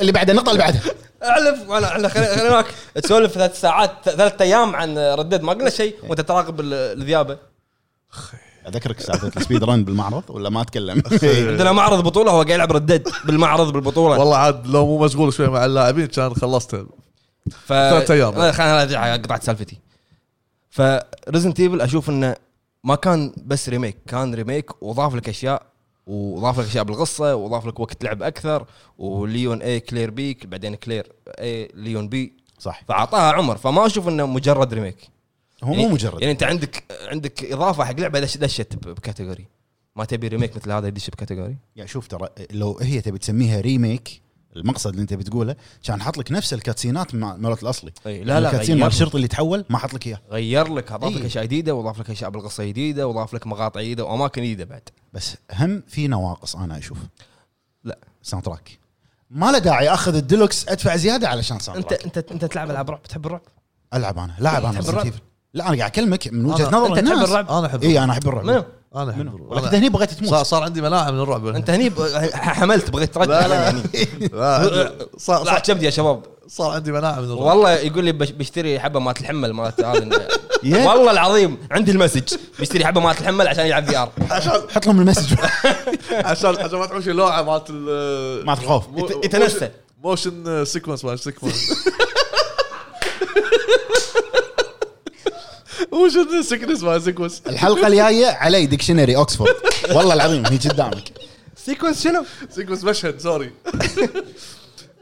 Speaker 3: اللي بعده النقطه اللي بعدها
Speaker 1: اعلف وانا احنا خلي- خليناك تسولف ثلاث ساعات ثلاث ايام عن ردد ما قلنا
Speaker 2: إيه.
Speaker 1: شيء وانت تراقب ال- الذيابه
Speaker 3: اذكرك سالفه السبيد ران بالمعرض ولا ما اتكلم
Speaker 1: عندنا معرض بطوله هو قاعد يلعب ردد بالمعرض بالبطوله
Speaker 2: والله عاد لو مو مشغول شوي مع اللاعبين كان خلصتها
Speaker 1: ف آه،
Speaker 2: ثلاث أيام.
Speaker 1: لا، خليني ارجع قطعت سالفتي فريزنت ايفل اشوف انه ما كان بس ريميك كان ريميك وضاف لك اشياء وضاف لك اشياء بالقصه وضاف لك وقت لعب اكثر وليون اي كلير بي بعدين كلير اي ليون بي
Speaker 3: صح
Speaker 1: فاعطاها عمر فما اشوف انه مجرد ريميك
Speaker 3: هو مو مجرد
Speaker 1: يعني انت عندك عندك اضافه حق لعبه دش- دشت ب- بكاتيجوري ما تبي ريميك مثل هذا يدش بكاتيجوري
Speaker 3: يعني شوف ترى لو هي تبي تسميها ريميك المقصد اللي انت بتقوله كان حط لك نفس الكاتسينات مع- مالت الاصلي
Speaker 1: أي، لا، لا،
Speaker 3: الكاتسين مال
Speaker 1: غيرهم.
Speaker 3: الشرطي اللي تحول ما حط لك اياه
Speaker 1: غير لك اضاف
Speaker 3: إيه.
Speaker 1: لك اشياء جديده وضاف لك اشياء بالقصه جديده وضاف لك مقاطع جديده واماكن جديده بعد
Speaker 3: بس هم في نواقص انا اشوف
Speaker 1: لا.
Speaker 3: ساوند تراك ما له داعي اخذ الديلوكس ادفع زياده علشان ساوند
Speaker 1: انت
Speaker 3: تراك
Speaker 1: انت انت تلعب العاب رعب تحب الرعب؟
Speaker 3: العب انا لاعب انا
Speaker 1: تحب
Speaker 3: Resident
Speaker 1: الرعب؟
Speaker 3: Evil. لا انا قاعد اكلمك من وجهه
Speaker 2: أنا-
Speaker 3: نظر
Speaker 1: انت تحب
Speaker 3: الناس
Speaker 1: الرعب؟
Speaker 2: انا احب
Speaker 3: اي انا احب الرعب
Speaker 1: منو؟
Speaker 2: انا احب
Speaker 3: إيه. منو؟
Speaker 2: الرعب.
Speaker 3: ولكن هني بغيت
Speaker 2: صار
Speaker 3: تموت
Speaker 2: صار عندي مناعه من الرعب
Speaker 1: انت هني ب- ح- حملت بغيت ترجع
Speaker 2: لا، لا.
Speaker 1: يعني
Speaker 2: لا، صار
Speaker 1: لا
Speaker 2: صار-
Speaker 1: كبدي يا شباب
Speaker 2: صار عندي مناعه من الرعب
Speaker 1: والله يقول لي بش- بشتري حبه مالت الحمل مالت هذا
Speaker 3: يا.
Speaker 1: والله العظيم عندي المسج بشتري حبه مالت الحمل عشان يلعب في ار
Speaker 2: عشان
Speaker 3: حط لهم المسج
Speaker 2: عشان عشان ما تحوش اللوعه مالت ال
Speaker 3: مات الخوف
Speaker 2: مو-
Speaker 1: يت- يتنسى.
Speaker 2: موشن سيكونس مال سيكونس موشن سيكونس مال سيكونس
Speaker 3: الحلقه الجايه علي ديكشنري اوكسفورد والله العظيم هي قدامك
Speaker 1: سيكونس شنو؟
Speaker 2: سيكونس مشهد سوري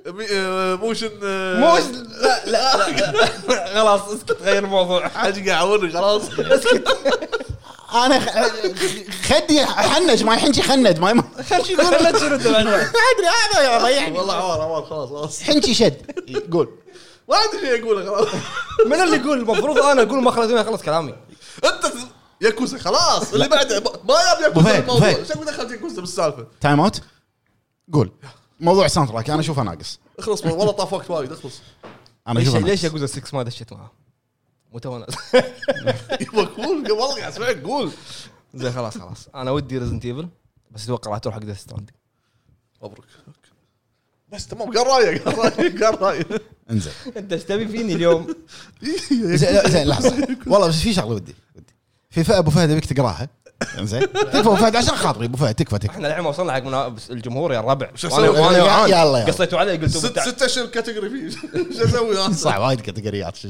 Speaker 2: مي- آه، موشن آه،
Speaker 1: مو لا لا لا خلاص اسكت غير الموضوع
Speaker 2: حاج قاعد يعورني خلاص
Speaker 3: انا خ- خدي حنج ما يحنجي خنج ما ما
Speaker 1: خلشي خلنا نرد بعدين.
Speaker 3: ادري هذا يا ريحني
Speaker 2: والله عوار عوار خلاص خلاص
Speaker 3: حنجي شد قول
Speaker 2: ما ادري شو اقوله خلاص
Speaker 1: من اللي يقول المفروض انا اقول ما خلص اخلص كلامي
Speaker 2: انت ياكوزا خلاص اللي بعده ما- ما ياب
Speaker 3: أبو فهد،
Speaker 2: ياكوزا
Speaker 3: أبو
Speaker 2: الموضوع
Speaker 3: فهد.
Speaker 2: شكو دخلت ياكوزا بالسالفه
Speaker 3: تايم اوت قول موضوع ساوند تراك انا اشوفه ناقص
Speaker 2: اخلص والله طاف وقت وايد اخلص
Speaker 3: انا
Speaker 1: ليش
Speaker 3: اشوفه ناقص.
Speaker 1: ليش ياكوزا 6 ما دشيت معاه؟ متو نازل.
Speaker 2: يبا قول والله قاعد اسمعك قول
Speaker 1: زين خلاص خلاص انا ودي ريزنت ايفل بس اتوقع راح تروح حق ديث ستراندنج
Speaker 2: مبروك بس تمام قال رايك قال رايك قال رايك
Speaker 3: انزين
Speaker 1: انت ايش تبي فيني اليوم؟
Speaker 3: زين لا، زين لحظه والله بس في شغله ودي ودي في فئه ابو فهد ابيك تقراها زين تكفى ابو فهد عشان خاطري ابو فهد تكفى تكفى
Speaker 1: احنا الحين وصلنا حق منا- الجمهور يا الربع
Speaker 2: أسوي؟
Speaker 1: وانا وانا
Speaker 3: يا-
Speaker 1: جوعان.
Speaker 3: يلا، يلا.
Speaker 1: قصيتوا علي قلت
Speaker 2: ست
Speaker 1: بتاع-
Speaker 2: ست اشهر كاتيجوري فيه شو اسوي انا؟
Speaker 3: صح وايد كاتيجوريات شو-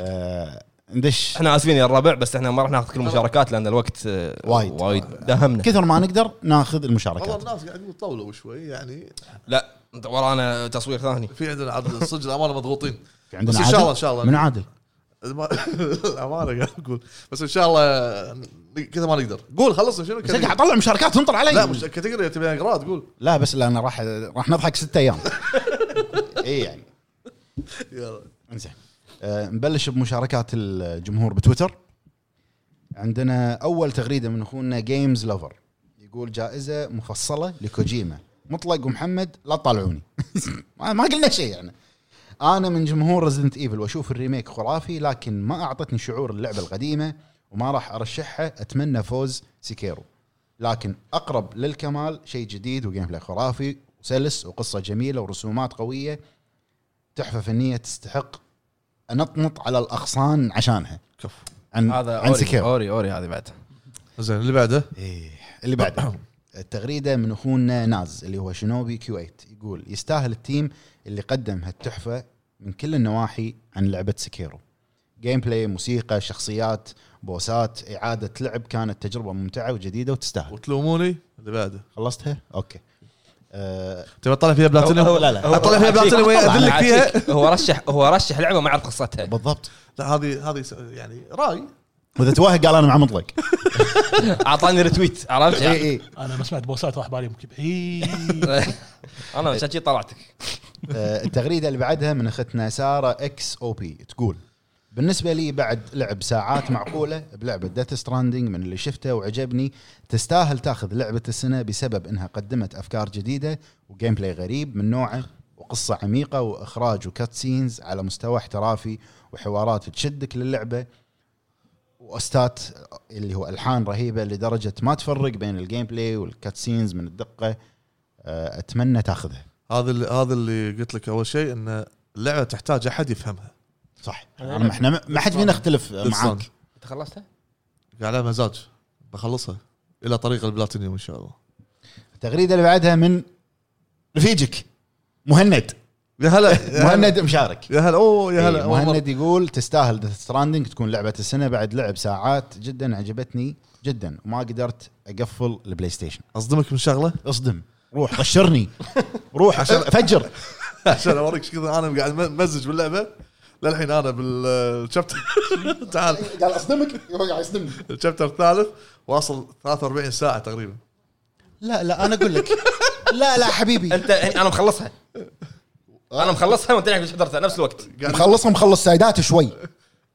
Speaker 3: آه، ندش
Speaker 1: احنا اسفين يا الربع بس احنا ما راح ناخذ كل المشاركات لان الوقت آه،
Speaker 3: وايد.
Speaker 1: وايد داهمنا
Speaker 3: كثر ما نقدر ناخذ
Speaker 2: والله
Speaker 3: المشاركات
Speaker 2: الناس قاعدين يطولوا شوي يعني
Speaker 1: لا انت ورانا تصوير ثاني
Speaker 2: في عندنا عدد صدق الامانه مضغوطين
Speaker 3: في
Speaker 2: بس
Speaker 3: عندنا
Speaker 2: إن شاء الله- إن شاء الله.
Speaker 3: من عادل
Speaker 2: الما- الامانه قاعد اقول بس ان شاء الله ن- كذا ما نقدر قول خلصنا شنو
Speaker 3: بس قاعد
Speaker 2: كاتيجوري؟
Speaker 3: اطلع مشاركات تنطر علي
Speaker 2: لا مش كاتيجوري تبي اقراه تقول
Speaker 3: لا بس لان راح راح نضحك ست ايام اي يعني
Speaker 2: يلا
Speaker 3: انزين آه، نبلش بمشاركات الجمهور بتويتر عندنا اول تغريده من اخونا جيمز لوفر يقول جائزه مفصله لكوجيما مطلق ومحمد لا تطالعوني ما ما قلنا شيء يعني انا من جمهور ريزدنت ايفل واشوف الريميك خرافي لكن ما اعطتني شعور اللعبه القديمه وما راح ارشحها اتمنى فوز سيكيرو لكن اقرب للكمال شيء جديد وجيم بلاي خرافي وسلس وقصه جميله ورسومات قويه تحفه فنيه تستحق انطنط على الاغصان عشانها
Speaker 2: كفو
Speaker 3: عن
Speaker 1: هذا
Speaker 3: عن
Speaker 1: اوري
Speaker 3: سكيرو
Speaker 1: اوري اوري هذه بعد
Speaker 2: زين اللي بعده
Speaker 3: إيه. اللي بعده التغريده من اخونا ناز اللي هو شنوبي كيو 8 يقول يستاهل التيم اللي قدم هالتحفه من كل النواحي عن لعبه سكيرو جيم بلاي موسيقى شخصيات بوسات اعاده لعب كانت تجربه ممتعه وجديده وتستاهل
Speaker 2: وتلوموني اللي بعده
Speaker 3: خلصتها اوكي أه
Speaker 2: تبي اطلع فيها بلاتينيوم؟
Speaker 3: هو- لا، لا. هو-
Speaker 2: اطلع فيها بلاتينيوم وادلك فيها
Speaker 1: هو رشح هو رشح لعبه ما عرف قصتها
Speaker 3: بالضبط
Speaker 2: لا هذه هذه س- يعني راي
Speaker 3: واذا توهق قال انا مع مطلق إيه،
Speaker 1: اعطاني ريتويت عرفت؟
Speaker 3: اي اي
Speaker 4: انا ما سمعت بوسات راح بالي يمكن بعيد
Speaker 1: انا عشان شي طلعتك
Speaker 3: آه، التغريده اللي بعدها من اختنا ساره اكس او بي تقول بالنسبه لي بعد لعب ساعات معقوله بلعبه ديث ستراندنج من اللي شفته وعجبني تستاهل تاخذ لعبه السنه بسبب انها قدمت افكار جديده وجيم بلاي غريب من نوعه وقصه عميقه واخراج وكات سينز على مستوى احترافي وحوارات تشدك للعبه واستات اللي هو الحان رهيبه لدرجه ما تفرق بين الجيم بلاي والكات سينز من الدقه آه، اتمنى تاخذها
Speaker 2: هذا اللي هذا اللي قلت لك اول شيء ان اللعبه تحتاج احد يفهمها
Speaker 3: صح أنا احنا ما- ما حد فينا اختلف
Speaker 2: بالصدق.
Speaker 3: معاك
Speaker 1: انت خلصتها؟
Speaker 2: قاعد على مزاج بخلصها الى طريق البلاتينيوم ان شاء الله
Speaker 3: التغريده اللي بعدها من رفيجك مهند
Speaker 2: يا هلا يا هلا.
Speaker 3: مهند مشارك
Speaker 2: يا هلا اوه يا هلا
Speaker 3: إيه،
Speaker 2: أول مرة.
Speaker 3: مهند يقول تستاهل ذا ستراندنج تكون لعبه السنه بعد لعب ساعات جدا عجبتني جدا وما قدرت اقفل البلاي ستيشن
Speaker 2: اصدمك من شغله
Speaker 3: اصدم روح غشرني روح
Speaker 2: عشان-
Speaker 3: فجر
Speaker 2: عشان اوريك ايش كثر انا قاعد ممزج باللعبه للحين انا بالشابتر تعال
Speaker 3: قال اصدمك هو قاعد يصدمني
Speaker 2: الشابتر الثالث واصل 43 ساعه تقريبا
Speaker 3: لا لا انا اقول لك لا لا حبيبي
Speaker 1: انت انا إيه، مخلصها انا مخلصها وانت لعبت حضرتها نفس الوقت
Speaker 2: قاعد
Speaker 3: مخلصها مخلص سايدات شوي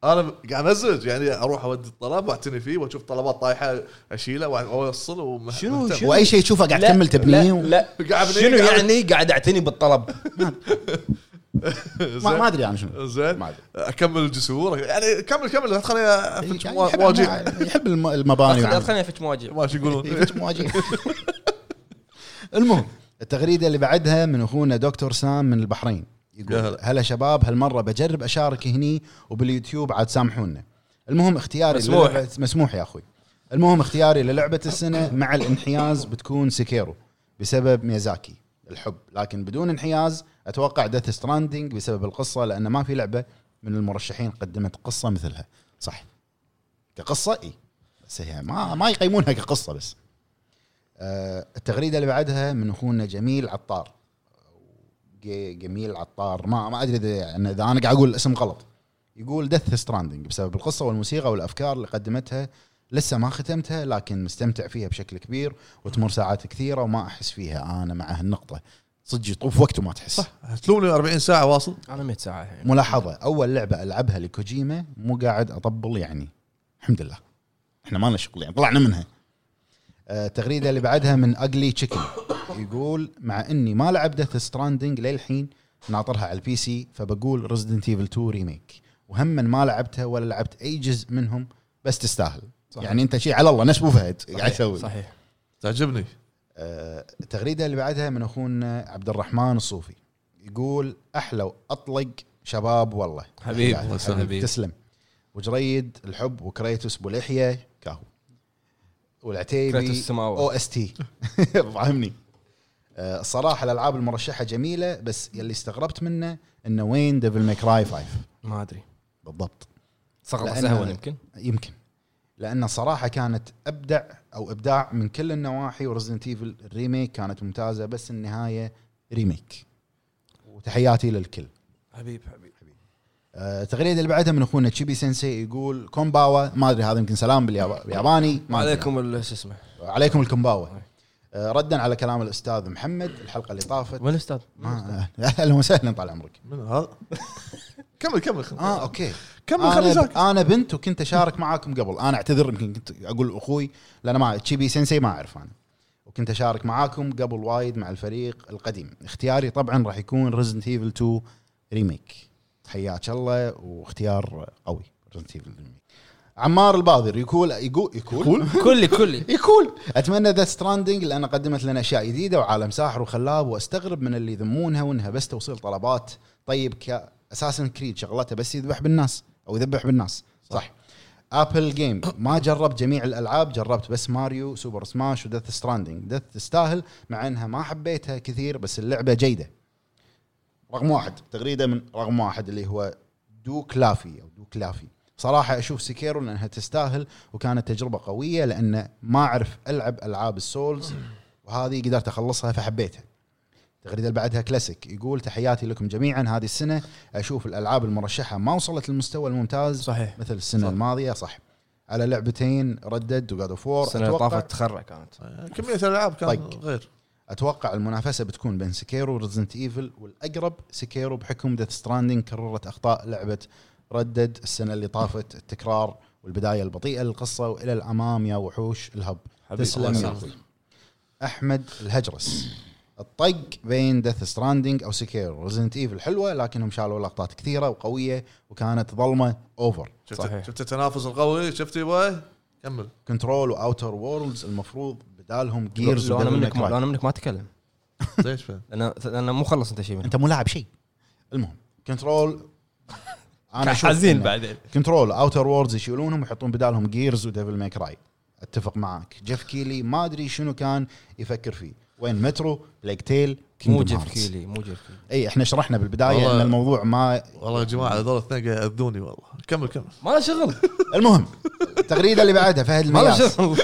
Speaker 2: انا قاعد امزج يعني اروح اودي الطلب واعتني فيه واشوف طلبات طايحه اشيله واوصل ومه-
Speaker 1: شنو-
Speaker 2: مهتم.
Speaker 1: شنو؟
Speaker 3: واي شيء تشوفه قاعد تكمل تبنيه و-
Speaker 1: لا لا
Speaker 2: قاعد أبني-
Speaker 1: شنو
Speaker 2: قاعد-
Speaker 1: يعني قاعد اعتني بالطلب
Speaker 3: ما ما ادري انا شنو
Speaker 2: زين
Speaker 3: ما أدري.
Speaker 2: اكمل الجسور يعني كمل كمل لا تخليني افتش
Speaker 3: يعني يحب-
Speaker 2: مواجيع
Speaker 3: يحب الم- المباني يعني.
Speaker 1: خليني
Speaker 3: وعن-
Speaker 1: خليني افتش مواجع
Speaker 2: ما شو يقولون
Speaker 3: يفتش مواجيع المهم التغريده اللي بعدها من اخونا دكتور سام من البحرين
Speaker 2: يا
Speaker 3: يقول
Speaker 2: هلا.
Speaker 3: هلا شباب هالمره بجرب اشارك هني وباليوتيوب عاد سامحونا المهم اختياري
Speaker 1: مسموح.
Speaker 3: للعبة- مسموح يا اخوي المهم اختياري للعبه السنه مع الانحياز بتكون سكيرو بسبب ميازاكي الحب لكن بدون انحياز اتوقع ديث ستراندنج بسبب القصه لان ما في لعبه من المرشحين قدمت قصه مثلها صح كقصه اي بس هي ما ما يقيمونها كقصه بس آه، التغريده اللي بعدها من اخونا جميل عطار جي- جميل عطار ما ما ادري اذا يعني اذا انا قاعد اقول الاسم غلط يقول دث ستراندنج بسبب القصه والموسيقى والافكار اللي قدمتها لسه ما ختمتها لكن مستمتع فيها بشكل كبير وتمر ساعات كثيره وما احس فيها انا مع هالنقطه صدق يطوف وقت وما تحس صح.
Speaker 2: تلومني 40 ساعه واصل
Speaker 1: انا 100 ساعه الحين
Speaker 3: ملاحظه اول لعبه العبها لكوجيما مو قاعد اطبل يعني الحمد لله احنا ما لنا شغل يعني طلعنا منها آه، التغريده اللي بعدها من اجلي تشيكن يقول مع اني ما لعب ديث ستراندنج للحين ناطرها على البي سي فبقول ريزدنت ايفل 2 ريميك وهم من ما لعبتها ولا لعبت اي جزء منهم بس تستاهل
Speaker 1: صحيح.
Speaker 3: يعني انت شيء على الله نفس ابو فهد قاعد يسوي
Speaker 1: صحيح
Speaker 2: تعجبني
Speaker 3: آه، التغريده اللي بعدها من اخونا عبد الرحمن الصوفي يقول احلى واطلق شباب والله
Speaker 1: حبيب، الله
Speaker 3: حبيب,
Speaker 1: يسلمك.
Speaker 3: حبيب. تسلم وجريد الحب وكريتوس بولحيه كاهو والعتيبي
Speaker 1: كريتوس السماوة.
Speaker 3: او اس تي ضعمني آه، الصراحه الالعاب المرشحه جميله بس يلي استغربت منه انه وين ديفل ميك راي 5
Speaker 1: ما ادري
Speaker 3: بالضبط
Speaker 1: صغر
Speaker 3: لأن-
Speaker 1: سهوا يمكن
Speaker 3: يمكن لان صراحه كانت ابدع او ابداع من كل النواحي ورزدنت ايفل الريميك كانت ممتازه بس النهايه ريميك وتحياتي للكل
Speaker 1: حبيب حبيب
Speaker 3: آه، التغريده اللي بعدها من اخونا تشيبي سensei يقول كومباوا ما ادري هذا يمكن سلام باليابا- بالياباني
Speaker 1: ما
Speaker 3: ما أدري.
Speaker 1: عليكم ال- شو اسمه
Speaker 3: عليكم الكومباوا آه، ردا على كلام الاستاذ محمد الحلقه اللي طافت
Speaker 1: وين الاستاذ؟
Speaker 3: ما اهلا وسهلا طال عمرك
Speaker 2: من هذا كمل كمل خل-
Speaker 3: اه اوكي
Speaker 2: كمل خلي
Speaker 3: انا
Speaker 2: جاك
Speaker 3: انا بنت وكنت اشارك معاكم قبل انا اعتذر يمكن كنت اقول اخوي لان ما تشيبي سensei ما اعرف انا وكنت اشارك معاكم قبل وايد مع الفريق القديم اختياري طبعا راح يكون ريزنت ايفل 2 ريميك حياك الله واختيار قوي ريزنت ايفل ريميك عمار الباذر يقول يقول يقول
Speaker 1: كلي كلي
Speaker 3: يقول اتمنى ذا ستراندنج لان قدمت لنا اشياء جديده وعالم ساحر وخلاب واستغرب من اللي يذمونها وانها بس توصيل طلبات طيب كاساسن كريد شغلته بس يذبح بالناس او يذبح بالناس صح, صح. ابل جيم ما جربت جميع الالعاب جربت بس ماريو سوبر سماش وديث ستراندنج ديث تستاهل مع انها ما حبيتها كثير بس اللعبه جيده رقم واحد تغريده من رقم واحد اللي هو دو كلافي او دو كلافي صراحه اشوف سكيرو لانها تستاهل وكانت تجربه قويه لان ما اعرف العب العاب السولز وهذه قدرت اخلصها فحبيتها التغريده اللي بعدها كلاسيك يقول تحياتي لكم جميعا هذه السنه اشوف الالعاب المرشحه ما وصلت للمستوى الممتاز
Speaker 1: صحيح
Speaker 3: مثل السنه صح. الماضيه صح على لعبتين ردد وجاد اوف وور
Speaker 1: السنه اللي
Speaker 3: أتوقع-
Speaker 1: طافت تخرع كانت
Speaker 2: كميه الالعاب كان
Speaker 3: طق.
Speaker 2: غير
Speaker 3: اتوقع المنافسه بتكون بين سكيرو وريزنت ايفل والاقرب سكيرو بحكم ديث ستراندنج كررت اخطاء لعبه ردد السنه اللي طافت التكرار والبدايه البطيئه للقصه والى الامام يا وحوش الهب
Speaker 1: حبيبي،
Speaker 3: تسلم
Speaker 1: الله
Speaker 3: يا
Speaker 1: يسلمك.
Speaker 3: اخوي احمد الهجرس الطق بين ديث ستراندنج او سكيرو ريزنت ايفل حلوه لكنهم شالوا لقطات كثيره وقويه وكانت ظلمه اوفر
Speaker 2: شفت
Speaker 1: صحيح.
Speaker 2: شفت التنافس القوي شفت يبا كمل
Speaker 3: كنترول واوتر وورلدز المفروض بدالهم جيرز
Speaker 1: لو انا منك ما لو انا منك ما اتكلم
Speaker 2: ليش فين؟
Speaker 1: لان لان مو خلص انت شيء منه
Speaker 3: انت مو لاعب شيء المهم كنترول انا أشوف إنه
Speaker 1: بعدين
Speaker 3: كنترول اوتر ووردز يشيلونهم ويحطون بدالهم جيرز وديفل ميك راي اتفق معك جيف كيلي ما ادري شنو كان يفكر فيه وين مترو بلاك تيل
Speaker 1: مو
Speaker 3: كينجدم
Speaker 1: جيف
Speaker 3: هارتس.
Speaker 1: كيلي مو جيف كيلي
Speaker 3: اي احنا شرحنا بالبدايه
Speaker 2: والله-
Speaker 3: ان الموضوع ما
Speaker 2: والله يا جماعه هذول الاثنين قاعد ياذوني والله كمل كمل
Speaker 1: ما له شغل
Speaker 3: المهم التغريده اللي بعدها فهد
Speaker 1: ما له
Speaker 3: المياس
Speaker 1: شغل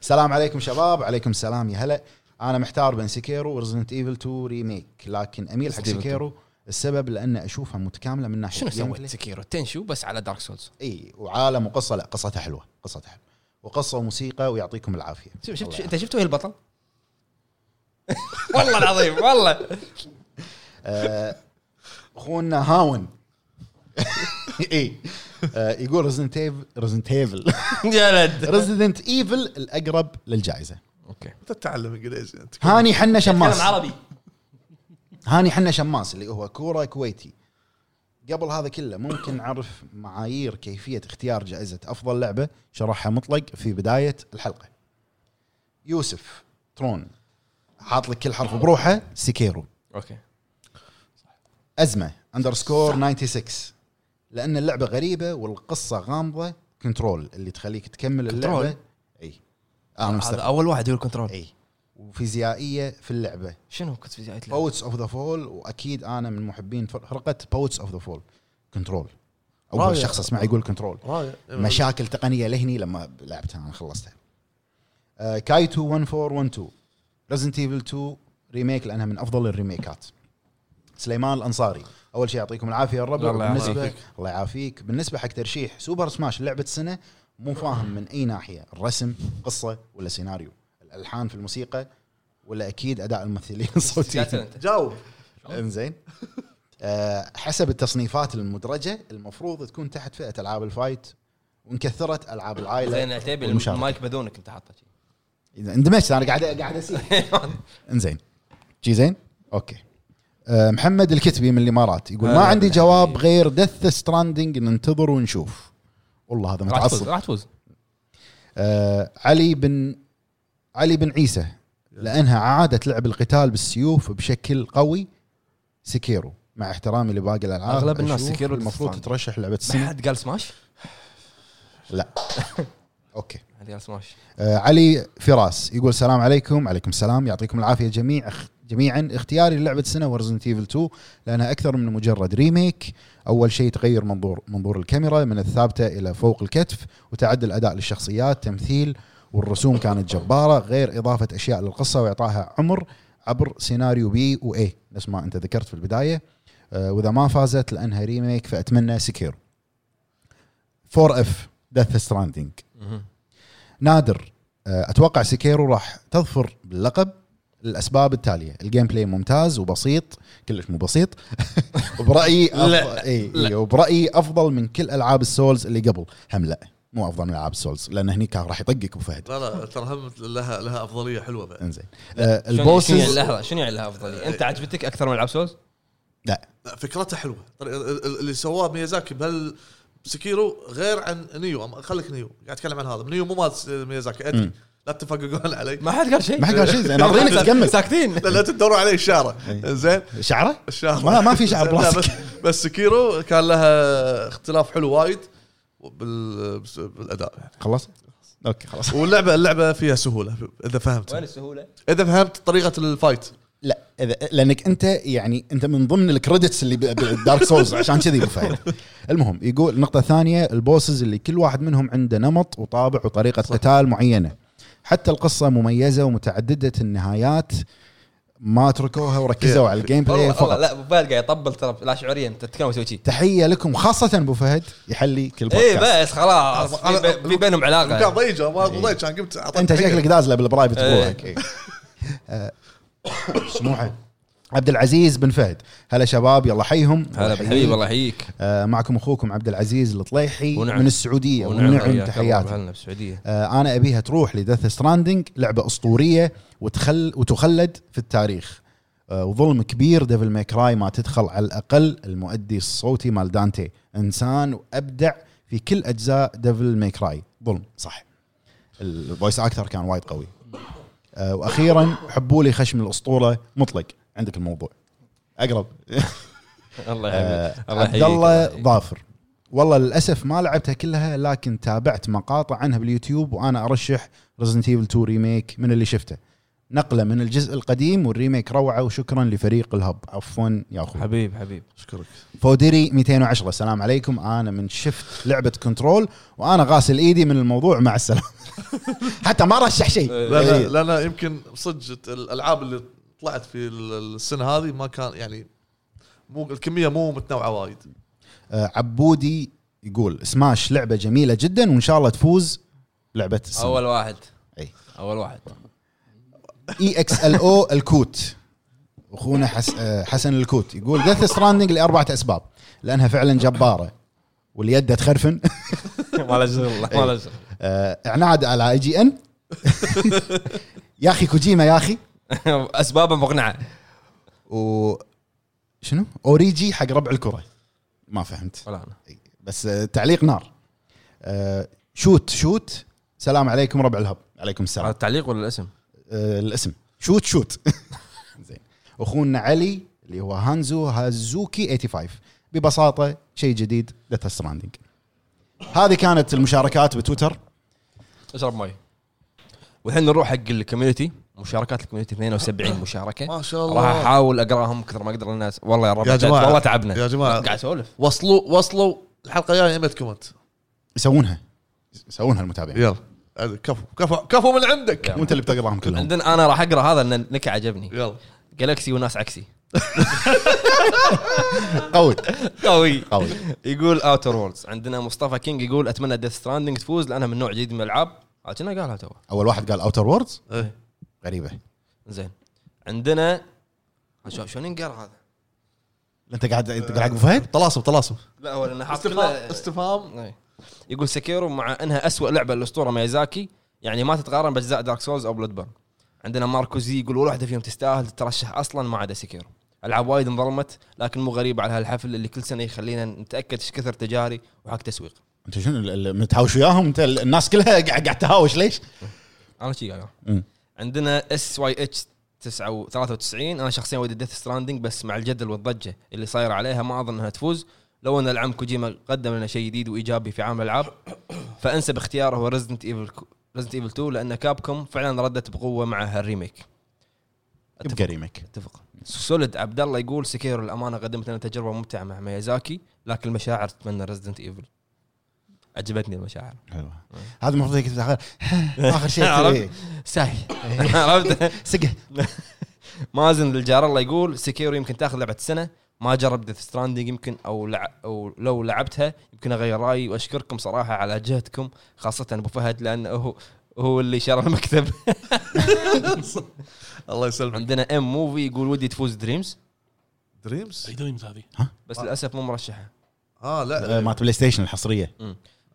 Speaker 3: السلام عليكم شباب عليكم السلام يا هلا انا محتار بين سيكيرو ورزنت ايفل 2 ريميك لكن اميل حق
Speaker 1: Resident Evil 2.
Speaker 3: سيكيرو السبب لان اشوفها متكامله من ناحيه
Speaker 1: شنو سويت
Speaker 3: gameplay.
Speaker 1: سكيرو تنشو بس على دارك سولز
Speaker 3: اي وعالم وقصه لا قصتها حلوه قصتها حلوه وقصه وموسيقى ويعطيكم العافيه
Speaker 1: شوف شفت
Speaker 3: الله
Speaker 1: انت شفت وين البطل؟ والله العظيم والله
Speaker 3: آه، اخونا هاون اي آه، يقول ريزنت ايفل ريزنت ايفل
Speaker 1: جلد
Speaker 3: ريزنت ايفل الاقرب للجائزه
Speaker 1: اوكي
Speaker 2: انت تتعلم انجليزي انت
Speaker 3: هاني حنا شماس
Speaker 1: كلام عربي
Speaker 3: هاني حنا شماس اللي هو كوره كويتي قبل هذا كله ممكن نعرف معايير كيفية اختيار جائزة أفضل لعبة شرحها مطلق في بداية الحلقة يوسف ترون حاط لك كل حرف بروحه سيكيرو
Speaker 1: اوكي
Speaker 3: آه، أزمة أندرسكور 96 لأن اللعبة غريبة والقصة غامضة كنترول اللي تخليك تكمل اللعبة أي أنا
Speaker 1: هذا
Speaker 3: مستغرب
Speaker 1: اول واحد يقول كنترول
Speaker 3: أي وفيزيائية في اللعبة
Speaker 1: إيه. شنو كنت في بدايه اللعبة؟
Speaker 3: بوتس اوف ذا فول واكيد انا من محبين فرقه بوتس اوف ذا فول كنترول اول
Speaker 2: رائع.
Speaker 3: شخص اسمع يقول كنترول
Speaker 2: رايق
Speaker 1: إيه.
Speaker 3: مشاكل تقنيه لهني لما لعبتها انا خلصتها آه، كايتو 1412 ريزنت ايفل 2 ريميك لانها من افضل الريميكات سليمان الانصاري اول شيء يعطيكم العافيه يا الربع
Speaker 1: الله
Speaker 3: بالنسبه
Speaker 1: يعافيك.
Speaker 3: الله يعافيك بالنسبه حق ترشيح سوبر سماش لعبه السنه مو فاهم من اي ناحيه الرسم قصه ولا سيناريو الالحان في الموسيقى ولا اكيد اداء الممثلين
Speaker 1: قاتل
Speaker 3: الصوتيين
Speaker 1: انت
Speaker 2: جاوب
Speaker 3: انزين آه، حسب التصنيفات المدرجه المفروض تكون تحت فئه العاب الفايت وانكثرت العاب
Speaker 1: زين
Speaker 3: العائله
Speaker 1: عتيبي
Speaker 3: والمشاركة.
Speaker 1: المايك بذونك انت حاطه شي.
Speaker 3: اذا اندمجت انا قاعد قاعد اسير انزين جي زين اوكي آه، محمد الكتبي من الامارات يقول ما
Speaker 1: هلا
Speaker 3: عندي
Speaker 1: بالحبيب.
Speaker 3: جواب غير دث ستراندنج ننتظر ونشوف والله هذا
Speaker 1: راح تفوز
Speaker 3: متعصب
Speaker 1: راح تفوز
Speaker 3: آه علي بن علي بن عيسى لانها عادت لعب القتال بالسيوف بشكل قوي سكيرو مع احترامي لباقي الالعاب
Speaker 1: أغلب الناس
Speaker 3: أشوف
Speaker 1: سكيرو
Speaker 3: المفروض
Speaker 1: تستانس.
Speaker 3: تترشح لعبه
Speaker 1: ما
Speaker 3: السنه
Speaker 1: حد قال سماش
Speaker 3: لا اوكي
Speaker 1: ما حد قال سماش
Speaker 3: آه علي فراس يقول السلام عليكم عليكم السلام يعطيكم العافيه جميع أخ- جميعا اختياري للعبه السنه ورزنت ايفل 2 لانها اكثر من مجرد ريميك اول شيء تغير منظور منظور الكاميرا من الثابته الى فوق الكتف وتعدل الاداء للشخصيات تمثيل والرسوم كانت جباره غير اضافه اشياء للقصه واعطائها عمر عبر سيناريو بي واي نفس ما انت ذكرت في البدايه آه واذا ما فازت لانها ريميك فاتمنى سكير 4 اف ديث ستراندنج
Speaker 1: مهم.
Speaker 3: نادر آه، اتوقع سيكيرو راح تظفر باللقب للاسباب التاليه الجيم بلاي ممتاز وبسيط كلش مو بسيط وبرايي أف...
Speaker 2: لا،
Speaker 3: اي
Speaker 2: لا.
Speaker 3: إي، وبرايي افضل من كل العاب السولز اللي قبل هم لا مو افضل من العاب السولز لان هني كان راح يطقك ابو فهد
Speaker 2: لا لا ترى هم لها لها افضليه حلوه بعد
Speaker 3: انزين آه
Speaker 1: شنو- شنو يعني
Speaker 3: البوسز
Speaker 1: لحظه شنو يعني لها افضليه؟ انت عجبتك اكثر من العاب سولز؟
Speaker 3: لا
Speaker 2: لا، فكرتها حلوه طريقة- ال- ال- اللي سواه ميازاكي بهال سكيرو غير عن نيو أم- خليك نيو قاعد اتكلم عن هذا نيو مو مال س- ميازاكي ادري لا تفققون علي
Speaker 1: ما حد قال شيء
Speaker 3: ما حد قال شيء زين، ناطرينك تكمل
Speaker 1: ساكتين
Speaker 2: لا لا تدورون علي الشارع زين
Speaker 3: شعره؟
Speaker 2: الشعر
Speaker 3: إيه. ما- ما في شعر براسك.
Speaker 2: لا، بس, بس سكيرو كان لها اختلاف حلو وايد بال... بس- بالاداء يعني.
Speaker 3: خلص؟ اوكي خلاص
Speaker 2: واللعبه اللعبه فيها سهوله اذا فهمت
Speaker 1: وين السهوله؟
Speaker 2: اذا فهمت طريقه الفايت
Speaker 3: لا إذا- لانك انت يعني انت من ضمن الكريدتس اللي ب- بالدارك سولز عشان كذي أبو فهد المهم يقول النقطه الثانيه البوسز اللي كل واحد منهم عنده نمط وطابع وطريقه
Speaker 2: صح.
Speaker 3: قتال معينه حتى القصه مميزه ومتعدده النهايات ما تركوها وركزوا على الجيم بلاي
Speaker 1: والله والله
Speaker 3: فقط
Speaker 1: لا ابو فهد قاعد يطبل ترى لا شعوريا انت تتكلم وتسوي شي
Speaker 3: تحيه لكم خاصه ابو فهد يحلي كل
Speaker 1: اي
Speaker 3: بودكاست
Speaker 1: إيه، بس خلاص
Speaker 2: أنا-
Speaker 1: في بي- في بينهم
Speaker 2: كان
Speaker 1: علاقه
Speaker 2: ضيجه ما ضيج كان قمت أعطيت
Speaker 3: انت
Speaker 2: حقه.
Speaker 3: شكلك دازله بالبرايفت
Speaker 1: إيه.
Speaker 3: بروحك إيه. آه، سموحه عبد العزيز بن فهد هلا شباب يلا حيهم
Speaker 1: هلا بالحبيب الله يحييك
Speaker 3: آه، معكم اخوكم عبد العزيز الطليحي
Speaker 1: ونعم.
Speaker 3: من السعوديه ونعم
Speaker 1: حياك الله
Speaker 3: تحياتي
Speaker 1: بأهلنا بالسعوديه
Speaker 3: آه، انا ابيها تروح لدث ستراندنج لعبه اسطوريه وتخل وتخلد في التاريخ آه، وظلم كبير ديفل ماكراي ما تدخل على الاقل المؤدي الصوتي مال دانتي انسان وابدع في كل اجزاء ديفل ماكراي ظلم صح الفويس اكتر كان وايد قوي آه، واخيرا حبوا لي خشم الاسطوره مطلق عندك الموضوع اقرب
Speaker 1: الله
Speaker 3: آه،
Speaker 1: يحييك
Speaker 3: عبد الله ظافر والله للاسف ما لعبتها كلها لكن تابعت مقاطع عنها باليوتيوب وانا ارشح ريزنت ايفل 2 ريميك من اللي شفته نقله من الجزء القديم والريميك روعه وشكرا لفريق الهب عفوا يا اخوي
Speaker 1: حبيب حبيب
Speaker 2: اشكرك
Speaker 3: فوديري 210 السلام عليكم انا من شفت لعبه كنترول وانا غاسل ايدي من الموضوع مع السلامه حتى ما رشح شيء
Speaker 2: لا
Speaker 3: إيه.
Speaker 2: لا لا لا يمكن صدق الالعاب اللي طلعت في ال- السنه هذه ما كان يعني مو الكميه مو متنوعه وايد
Speaker 3: آه، عبودي يقول سماش لعبه جميله جدا وان شاء الله تفوز لعبه السنه
Speaker 1: اول واحد
Speaker 3: أي.
Speaker 1: اول واحد
Speaker 3: اي اكس ال او الكوت اخونا حس آه، حسن الكوت يقول ديث ستراندنج لاربعه اسباب لانها فعلا جباره واليد تخرفن
Speaker 1: ما له شغل ما له شغل
Speaker 3: آه، اعناد على اي جي ان يا اخي كوجيما يا اخي
Speaker 1: اسبابه مقنعه
Speaker 3: و شنو اوريجي حق ربع الكره ما فهمت
Speaker 1: ولا انا
Speaker 3: بس آه، تعليق نار آه، شوت شوت سلام عليكم ربع الهب عليكم
Speaker 1: هذا
Speaker 3: السلام
Speaker 1: التعليق ولا الاسم؟
Speaker 3: آه، الاسم شوت شوت زين اخونا علي اللي هو هانزو هازوكي 85 ببساطه شيء جديد داتا ستراندنج هذه كانت المشاركات بتويتر
Speaker 1: اشرب مي والحين نروح حق الكوميونتي مشاركات الكوميونتي 72 مشاركه
Speaker 2: ما شاء الله
Speaker 1: راح احاول اقراهم كثر ما اقدر الناس والله يا رب
Speaker 2: يا
Speaker 1: جد،
Speaker 2: جماعة.
Speaker 1: والله تعبنا
Speaker 2: يا جماعة.
Speaker 1: قاعد اسولف
Speaker 2: وصلوا وصلوا الحلقه الجايه 100 كومنت
Speaker 3: يسوونها يسوونها المتابعين
Speaker 2: يلا عاد كفو كفو كفو من عندك
Speaker 3: وانت اللي بتقراهم كلهم
Speaker 1: عندنا انا راح اقرا هذا لان لك عجبني
Speaker 2: يلا
Speaker 1: جالكسي وناس عكسي
Speaker 3: قوي
Speaker 1: قوي
Speaker 3: قوي
Speaker 1: يقول اوتر وولدز عندنا مصطفى كينج يقول اتمنى ديث ستراندنج تفوز لانها من نوع جديد من الالعاب آه، كنا قالها تو
Speaker 3: اول واحد قال اوتر ووردز
Speaker 2: إيه.
Speaker 3: غريبه
Speaker 1: زين عندنا شو شلون ينقر هذا؟
Speaker 3: انت قاعد انت قاعد ابو فهد
Speaker 2: طلاسم طلاسم
Speaker 1: لا هو لانه حاط
Speaker 2: استفهام
Speaker 1: كله-
Speaker 2: استفهام
Speaker 1: إيه. يقول سكيرو مع انها أسوأ لعبه للاسطوره ميازاكي يعني ما تتقارن باجزاء دارك سولز او بلود بيرن عندنا ماركو زي يقول ولا واحده فيهم تستاهل تترشح اصلا ما عدا سكيرو العاب وايد انظلمت لكن مو غريب على هالحفل اللي كل سنه يخلينا نتاكد ايش كثر تجاري وحق تسويق
Speaker 3: انت شنو ال- ال- متهاوش وياهم انت ال- الناس كلها قاعد قاعد تهاوش ليش؟
Speaker 1: انا شي قايل
Speaker 3: مم.
Speaker 1: عندنا اس واي اتش 93 انا شخصيا ودي ديث ستراندنج بس مع الجدل والضجه اللي صاير عليها ما اظن انها تفوز لو ان العم كوجيما قدم لنا شيء جديد وايجابي في عالم الالعاب فانسب اختياره هو ريزدنت ايفل ريزدنت ايفل 2 لان كابكوم فعلا ردت بقوه مع هالريميك
Speaker 3: يبقى ريميك
Speaker 1: اتفق سوليد عبد الله يقول سكيرو الامانه قدمت لنا تجربه ممتعه مع ميازاكي لكن المشاعر تتمنى ريزدنت ايفل عجبتني المشاعر
Speaker 3: حلوه هذا المفروض يكتب اخر اخر شيء
Speaker 1: عرفت؟
Speaker 3: كذي.
Speaker 1: ساي عرفت
Speaker 3: سقه
Speaker 1: مازن الجار الله يقول سكيرو يمكن تاخذ لعبه السنه ما جرب ديث ستراندنج يمكن او لع... او لو لعبتها يمكن اغير رايي واشكركم صراحه على جهدكم خاصه ابو فهد لانه هو هو اللي شرى المكتب
Speaker 2: الله يسلمك
Speaker 1: عندنا ام موفي يقول ودي تفوز دريمز
Speaker 2: دريمز
Speaker 4: اي دريمز هذه
Speaker 1: بس للاسف مو مرشحه
Speaker 2: اه لا
Speaker 3: آه، مالت بلاي ستيشن الحصريه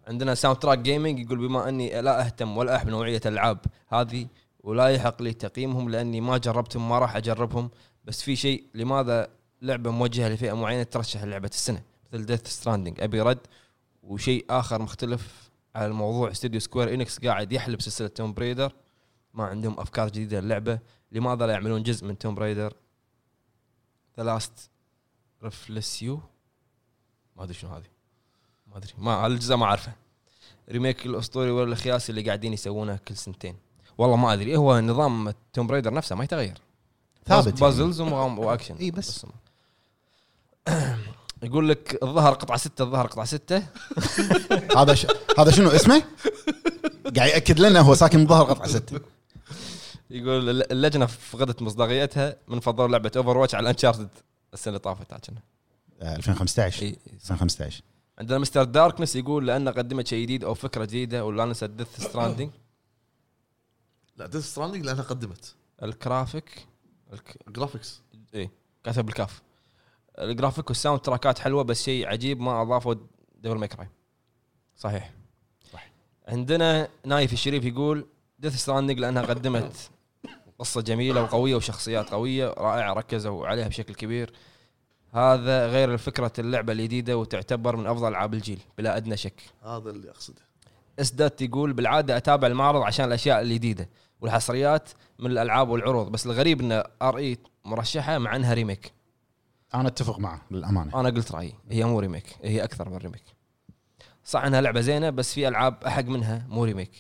Speaker 1: عندنا ساوند تراك جيمنج يقول بما اني لا اهتم ولا احب نوعيه الالعاب هذه ولا يحق لي تقييمهم لاني ما جربتهم ما راح اجربهم بس في شيء لماذا لعبه موجهه لفئه معينه ترشح لعبه السنه مثل ديث ستراندنج ابي رد وشيء اخر مختلف على الموضوع استوديو سكوير انكس قاعد يحلب سلسله توم بريدر ما عندهم افكار جديده للعبه لماذا لا يعملون جزء من توم بريدر ذا لاست ريفلسيو ما ادري شنو هذه ما ادري ما الجزء ما اعرفه ريميك الاسطوري ولا الخياسي اللي قاعدين يسوونه كل سنتين والله ما ادري هو نظام توم برايدر نفسه ما يتغير
Speaker 3: ثابت يعني.
Speaker 1: بازلز ومغام- واكشن
Speaker 3: إي بس.
Speaker 1: ما- يقول لك الظهر قطعه سته الظهر قطعه سته
Speaker 3: يعني. هذا ش... هذا شنو اسمه؟ قاعد ياكد لنا هو ساكن ظهر قطعه سته
Speaker 1: يقول الل- اللجنه فقدت مصداقيتها من فضل لعبه اوفر واتش على انشارتد السنه اللي طافت عاد كنا.
Speaker 3: آه، 2015
Speaker 1: إي.
Speaker 3: 2015
Speaker 1: عندنا مستر داركنس يقول لانه قدمت شيء جديد او فكره جديده ولا ننسى ديث ستراندنج
Speaker 2: لا ديث ستراندنج لانها قدمت
Speaker 1: الكرافيك الك...
Speaker 2: جرافيكس
Speaker 1: اي كاتب إيه، بالكاف الجرافيك والساوند تراكات حلوه بس شيء عجيب ما اضافوا دبل ميكراي صحيح
Speaker 3: صح.
Speaker 1: عندنا نايف الشريف يقول ديث ستراندنج لانها قدمت قصه جميله وقويه وشخصيات قويه رائعه ركزوا عليها بشكل كبير هذا غير فكره اللعبه الجديده وتعتبر من افضل العاب الجيل بلا ادنى شك
Speaker 2: هذا اللي اقصده
Speaker 1: اسدات يقول بالعاده اتابع المعرض عشان الاشياء الجديده والحصريات من الالعاب والعروض بس الغريب ان ار اي مرشحه مع انها ريميك
Speaker 3: انا اتفق معه للامانه
Speaker 1: انا قلت رايي هي مو ريميك هي اكثر من ريميك صح انها لعبه زينه بس في العاب احق منها مو ريميك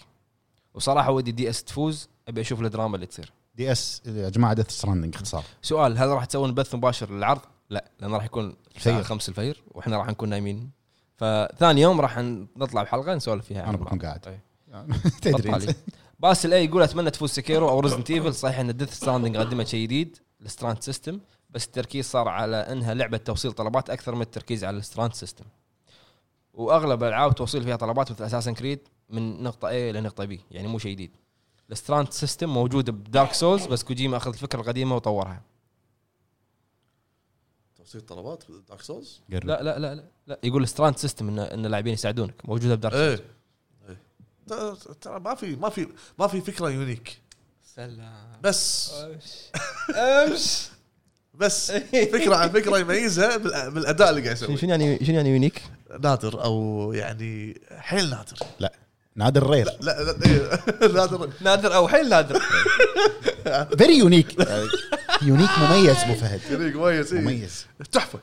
Speaker 1: وصراحه ودي دي اس تفوز ابي اشوف الدراما اللي تصير
Speaker 3: دي اس يا جماعه ديث ستراندنج اختصار
Speaker 1: سؤال هل راح تسوون بث مباشر للعرض لا لان راح يكون الساعه
Speaker 3: الفجر.
Speaker 1: 5 الفجر واحنا راح نكون نايمين فثاني يوم راح نطلع بحلقه نسولف فيها عن
Speaker 3: انا بكون
Speaker 1: المعرض.
Speaker 3: قاعد
Speaker 1: طيب.
Speaker 3: تدري
Speaker 1: بطل
Speaker 3: أنت.
Speaker 1: علي. باس الاي يقول اتمنى تفوز سكيرو او ريزنت ايفل صحيح ان ديث ستراندنج قدمت شيء جديد الستراند سيستم بس التركيز صار على انها لعبه توصيل طلبات اكثر من التركيز على الستراند سيستم واغلب الالعاب توصيل فيها طلبات مثل اساسن كريد من نقطه A لنقطه B يعني مو شيء جديد الستراند سيستم موجود بدارك سولز بس كوجيما اخذ الفكره القديمه وطورها
Speaker 2: توصيل طلبات دارك سولز
Speaker 3: قرب.
Speaker 1: لا لا لا لا, لا. يقول الستراند سيستم ان ان اللاعبين يساعدونك موجوده بدارك سولز
Speaker 2: ايه إيه. ترى- ترى ما في ما في ما في فكره يونيك
Speaker 1: سلام
Speaker 2: بس
Speaker 1: امش
Speaker 2: بس فكره عن فكره يميزها بال- بالاداء اللي قاعد
Speaker 1: شنو
Speaker 2: يسويه
Speaker 1: شنو يعني شنو يعني يونيك؟
Speaker 2: نادر او يعني حيل نادر
Speaker 3: لا نادر رير
Speaker 2: لا لا إيه، نادر
Speaker 1: نادر او حيل نادر
Speaker 3: فيري يونيك يونيك مميز ابو فهد
Speaker 2: فريق مميز إيه.
Speaker 3: مميز
Speaker 2: تحفه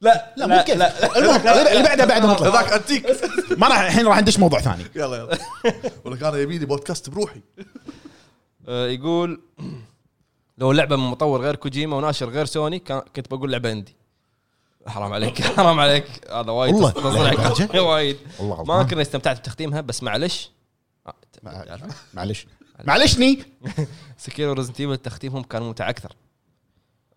Speaker 1: لا
Speaker 3: لا مو كيف المهم اللي بعده بعده نطلع
Speaker 2: هذاك انتيك
Speaker 3: ما راح الحين راح ندش موضوع ثاني
Speaker 2: يلا يلا ولك انا يبيني بودكاست بروحي
Speaker 1: آه، يقول لو لعبه من مطور غير كوجيما وناشر غير سوني كان- كنت بقول لعبه عندي حرام عليك حرام عليك هذا وايد
Speaker 3: والله،
Speaker 1: تصنيعك
Speaker 3: لهالدرجة؟
Speaker 1: وايد
Speaker 3: والله غلطان.
Speaker 1: ما كنا استمتعت بتختيمها بس معلش آه، ت- تعرف.
Speaker 3: معلش معلشني
Speaker 1: سكيرو ريزنت ايفل تختيمهم كان ممتع اكثر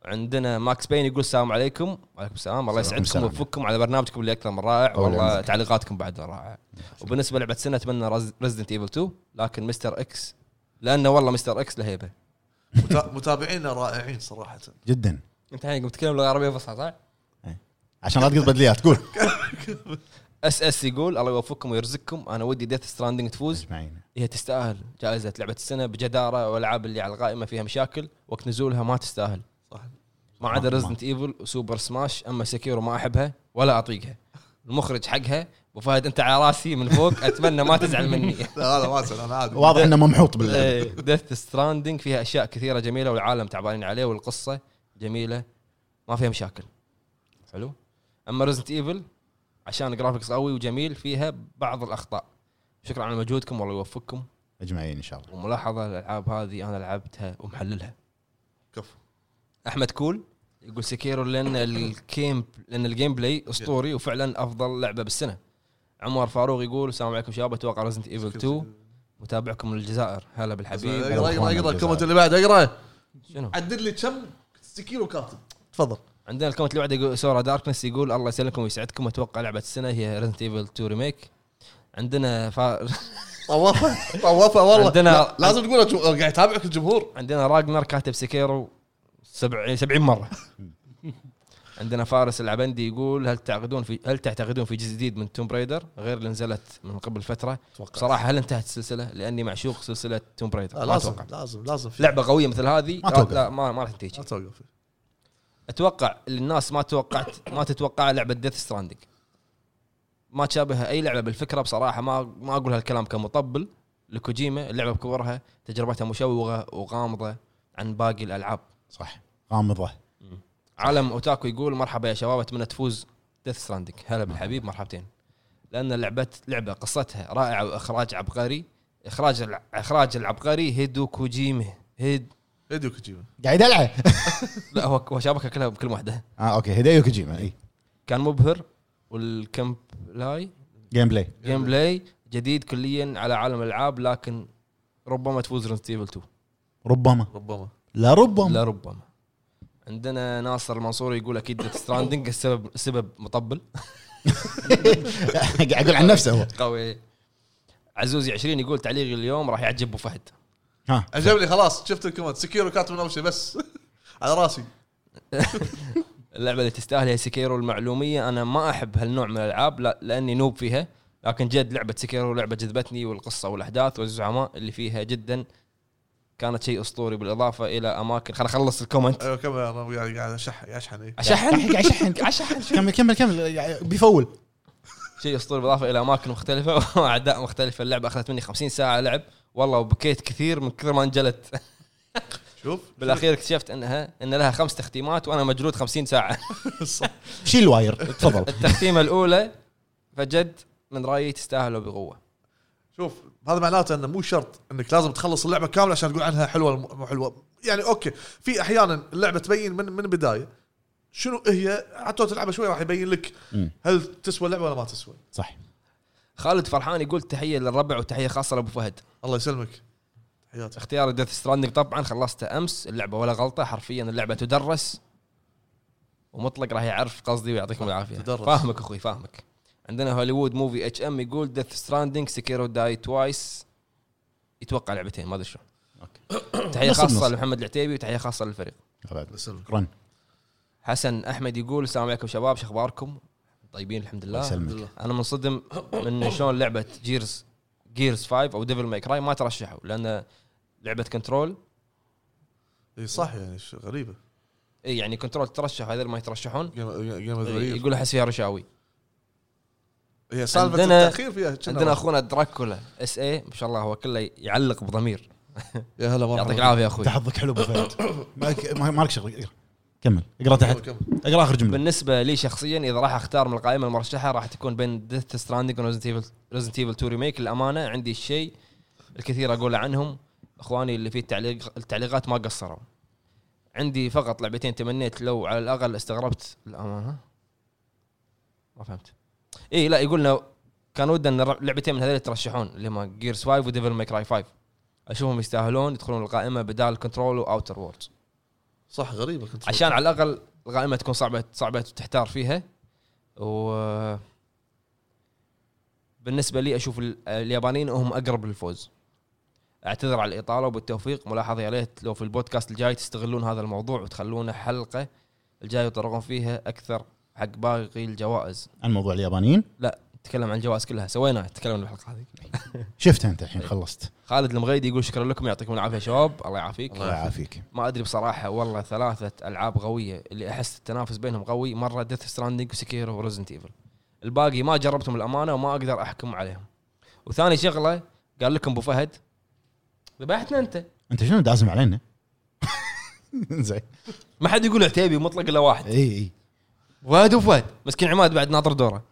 Speaker 1: عندنا ماكس بين يقول السلام عليكم وعليكم السلام الله
Speaker 3: السلام
Speaker 1: يسعدكم
Speaker 3: عليكم.
Speaker 1: ويوفقكم على برنامجكم اللي اكثر من رائع
Speaker 3: أولا
Speaker 1: والله
Speaker 3: منك.
Speaker 1: تعليقاتكم بعد رائعه وبالنسبه للعبه سنه اتمنى ريزدنت ايفل 2 لكن مستر اكس لانه والله مستر اكس له هيبه
Speaker 2: متا- متابعينا رائعين صراحه
Speaker 3: جدا
Speaker 1: انت الحين قمت تتكلم لغه عربيه فصحى صح؟
Speaker 3: عشان لا تقط بدليات قول
Speaker 1: اس اس يقول الله يوفقكم ويرزقكم انا ودي ديث ستراندنج تفوز
Speaker 3: اسمعين
Speaker 1: هي تستاهل جائزه لعبه السنه بجداره والالعاب اللي على القائمه فيها مشاكل وقت نزولها ما تستاهل
Speaker 2: صح
Speaker 1: ما عدا
Speaker 3: ما-
Speaker 1: ريزنت ايفل وسوبر سماش اما سكيرو ما احبها ولا اطيقها المخرج حقها ابو فهد انت على راسي من فوق اتمنى ما تزعل مني
Speaker 2: لا لا ما اسال انا عادي
Speaker 3: واضح انه ممحوط باللعب
Speaker 1: ديث ستراندنج إيه، فيها اشياء كثيره جميله والعالم تعبانين عليه والقصه جميله ما فيها مشاكل حلو اما ريزنت ايفل عشان جرافيكس قوي وجميل فيها بعض الاخطاء شكرا على مجهودكم والله يوفقكم
Speaker 3: اجمعين ان شاء الله
Speaker 1: وملاحظه الالعاب هذه انا لعبتها ومحللها
Speaker 2: كفو
Speaker 1: احمد كول يقول سكيرو لان الكيم لان الجيم بلاي اسطوري وفعلا افضل لعبه بالسنه عمر فاروق يقول السلام عليكم شباب اتوقع ريزنت ايفل 2 متابعكم من الجزائر هلا بالحبيب
Speaker 2: اقرا اقرا اقرا الكومنت اللي بعده اقرا
Speaker 1: شنو
Speaker 2: عدد لي كم سكيرو كاتب تفضل
Speaker 1: عندنا الكومنت اللي بعده يقول سورا داركنس يقول الله يسلمكم ويسعدكم اتوقع لعبه السنه هي ريزنت ايفل 2 ريميك عندنا فا...
Speaker 2: طوفه طوفه والله
Speaker 1: عندنا-
Speaker 2: لا، لازم تقول الجمهور- قاعد يتابعك الجمهور
Speaker 1: عندنا راجنر كاتب سكيرو 70 70 مره عندنا فارس العبندي يقول هل تعتقدون في هل تعتقدون في جزء جديد من توم برايدر غير اللي نزلت من قبل فتره؟ بصراحه هل انتهت السلسله؟ لاني معشوق سلسله توم برايدر
Speaker 2: لا،
Speaker 1: ما
Speaker 2: لازم
Speaker 1: اتوقع
Speaker 2: لازم لازم في-
Speaker 1: لعبه قويه مثل هذه
Speaker 3: ما أتوقع.
Speaker 1: لا ما ما راح تنتهي
Speaker 2: ما توقف
Speaker 1: اتوقع اللي الناس ما توقعت ما تتوقع لعبه ديث ستراندنج ما تشابه اي لعبه بالفكره بصراحه ما ما اقول هالكلام كمطبل لكوجيما اللعبه بكبرها تجربتها مشوقه وغامضه عن باقي الالعاب
Speaker 3: صح غامضه
Speaker 1: عالم اوتاكو يقول مرحبا يا شباب اتمنى تفوز ديث ستراندنج هلا بالحبيب مرحبتين لان لعبه لعبه قصتها رائعه واخراج عبقري اخراج الع- اخراج العبقري هيدو كوجيما هيد
Speaker 2: هيديو كوجيما
Speaker 3: قاعد العب
Speaker 1: لا هو هو شابكها كلها بكل واحده
Speaker 3: اه اوكي هدايو كوجيما اي
Speaker 1: كان مبهر والكمب لاي
Speaker 3: جيم بلاي
Speaker 1: جيم بلاي جديد كليا على عالم الالعاب لكن ربما تفوز ريزنت ايفل 2
Speaker 3: ربما
Speaker 2: ربما
Speaker 3: لا ربما
Speaker 1: لا ربما عندنا ناصر المنصوري يقول اكيد ديث ستراندنج السبب السبب مطبل
Speaker 3: قاعد اقول عن نفسه هو
Speaker 1: قوي عزوزي 20 يقول تعليقي اليوم راح يعجب ابو فهد
Speaker 3: ها
Speaker 2: عجبني خلاص شفت الكومنت سكيرو كاتب من اول شيء بس على راسي
Speaker 1: اللعبه اللي تستاهل هي سكيرو المعلوميه انا ما احب هالنوع من الالعاب لا لاني نوب فيها لكن جد لعبه سكيرو لعبه جذبتني والقصه والاحداث والزعماء اللي فيها جدا كانت شيء اسطوري بالاضافه الى اماكن خل اخلص الكومنت
Speaker 2: ايوه كم انا قاعد قاعد اشحن قاعد اشحن إيه.
Speaker 1: اشحن
Speaker 3: قاعد يشحن كمل كمل كمل بيفول
Speaker 1: شيء اسطوري بالاضافه الى اماكن مختلفه واعداء مختلفه اللعبه اخذت مني 50 ساعه لعب والله وبكيت كثير من كثر ما انجلت
Speaker 2: شوف
Speaker 1: بالاخير اكتشفت انها ان لها خمس تختيمات وانا مجلود 50 ساعه
Speaker 3: شيل واير تفضل
Speaker 1: التختيمه الاولى فجد من رايي تستاهله بقوه
Speaker 2: شوف هذا معناته انه مو شرط انك لازم تخلص اللعبه كامله عشان تقول عنها حلوه ولا مو حلوه يعني اوكي في احيانا اللعبه تبين من من البدايه شنو هي حتى لو تلعبها شوي راح يبين لك
Speaker 3: مم.
Speaker 2: هل تسوى اللعبه ولا ما تسوى
Speaker 3: صح
Speaker 1: خالد فرحان يقول تحيه للربع وتحيه خاصه لابو فهد
Speaker 2: الله يسلمك تحياتي
Speaker 1: اختيار ديث ستراندنج طبعا خلصته امس اللعبه ولا غلطه حرفيا اللعبه تدرس ومطلق راح يعرف قصدي ويعطيكم العافيه
Speaker 2: تدرس.
Speaker 1: فاهمك اخوي فاهمك عندنا هوليوود موفي اتش ام يقول ديث ستراندنج سكيرو داي توايس يتوقع لعبتين ما ادري شو تحيه
Speaker 3: نص
Speaker 1: خاصه
Speaker 3: بنص.
Speaker 1: لمحمد العتيبي وتحيه خاصه للفريق
Speaker 3: أبد.
Speaker 2: يسلمك.
Speaker 3: شكرا
Speaker 1: حسن احمد يقول السلام عليكم شباب شو اخباركم؟ طيبين الحمد
Speaker 3: الله
Speaker 1: لله
Speaker 3: يسلمك
Speaker 1: انا منصدم من شلون لعبه جيرز جيرز 5 او ديفل ماي كراي ما ترشحوا لان لعبه كنترول
Speaker 2: اي صح يعني ش- غريبه
Speaker 1: اي يعني كنترول ترشح هذول ما يترشحون
Speaker 2: جيم جيم اوف ذا
Speaker 1: إي،
Speaker 2: يير.
Speaker 1: يقول احس فيها رشاوي
Speaker 2: هي سالفه
Speaker 1: عندنا-
Speaker 2: التاخير فيها كنا-
Speaker 1: عندنا اخونا دراكولا اس اي ما شاء الله هو كله يعلق بضمير
Speaker 2: يا هلا مرحبا
Speaker 1: يعطيك العافيه يا اخوي
Speaker 3: انت حظك حلو ابو فهد مالك- مالك شغل اقرا كمل اقرا تحت
Speaker 2: كمل.
Speaker 3: اقرا اخر جمله
Speaker 1: بالنسبه لي شخصيا اذا راح اختار من القائمه المرشحه راح تكون بين ديث ستراندنج وريزنت ايفل ريزنت ايفل 2 ريميك الامانه عندي الشيء الكثير اقوله عنهم اخواني اللي في التعليق التعليقات ما قصروا عندي فقط لعبتين تمنيت لو على الاقل استغربت الامانه ما فهمت اي لا يقولنا كان ودنا ان لعبتين من هذول ترشحون اللي هم جيرز 5 وديفل ماي كراي 5 اشوفهم يستاهلون يدخلون القائمه بدال كنترول واوتر ووردز
Speaker 2: صح غريبه كنت
Speaker 1: عشان على الاقل القائمه تكون صعبه صعبه تحتار فيها و بالنسبه لي اشوف ال- اليابانيين هم اقرب للفوز اعتذر على الاطاله وبالتوفيق ملاحظه يا ليت لو في البودكاست الجاي تستغلون هذا الموضوع وتخلونه حلقه الجاي يطرقون فيها اكثر حق باقي الجوائز
Speaker 3: عن موضوع اليابانيين
Speaker 1: لا نتكلم عن الجوائز كلها سويناها تكلمنا بالحلقه هذه
Speaker 3: شفتها انت الحين خلصت
Speaker 1: خالد المغيدي يقول شكرا لكم يعطيكم العافيه شباب الله يعافيك
Speaker 3: الله يعافيك
Speaker 1: ما ادري بصراحه والله ثلاثه العاب قويه اللي احس التنافس بينهم قوي مره ديث ستراندنج وسكيرو وريزنت ايفل الباقي ما جربتهم الامانه وما اقدر احكم عليهم وثاني شغله قال لكم ابو فهد ذبحتنا انت
Speaker 3: انت شنو دازم علينا؟ زين
Speaker 1: ما حد يقول عتيبي مطلق الا واحد
Speaker 3: اي اي
Speaker 1: فهد وفهد مسكين عماد بعد ناطر دوره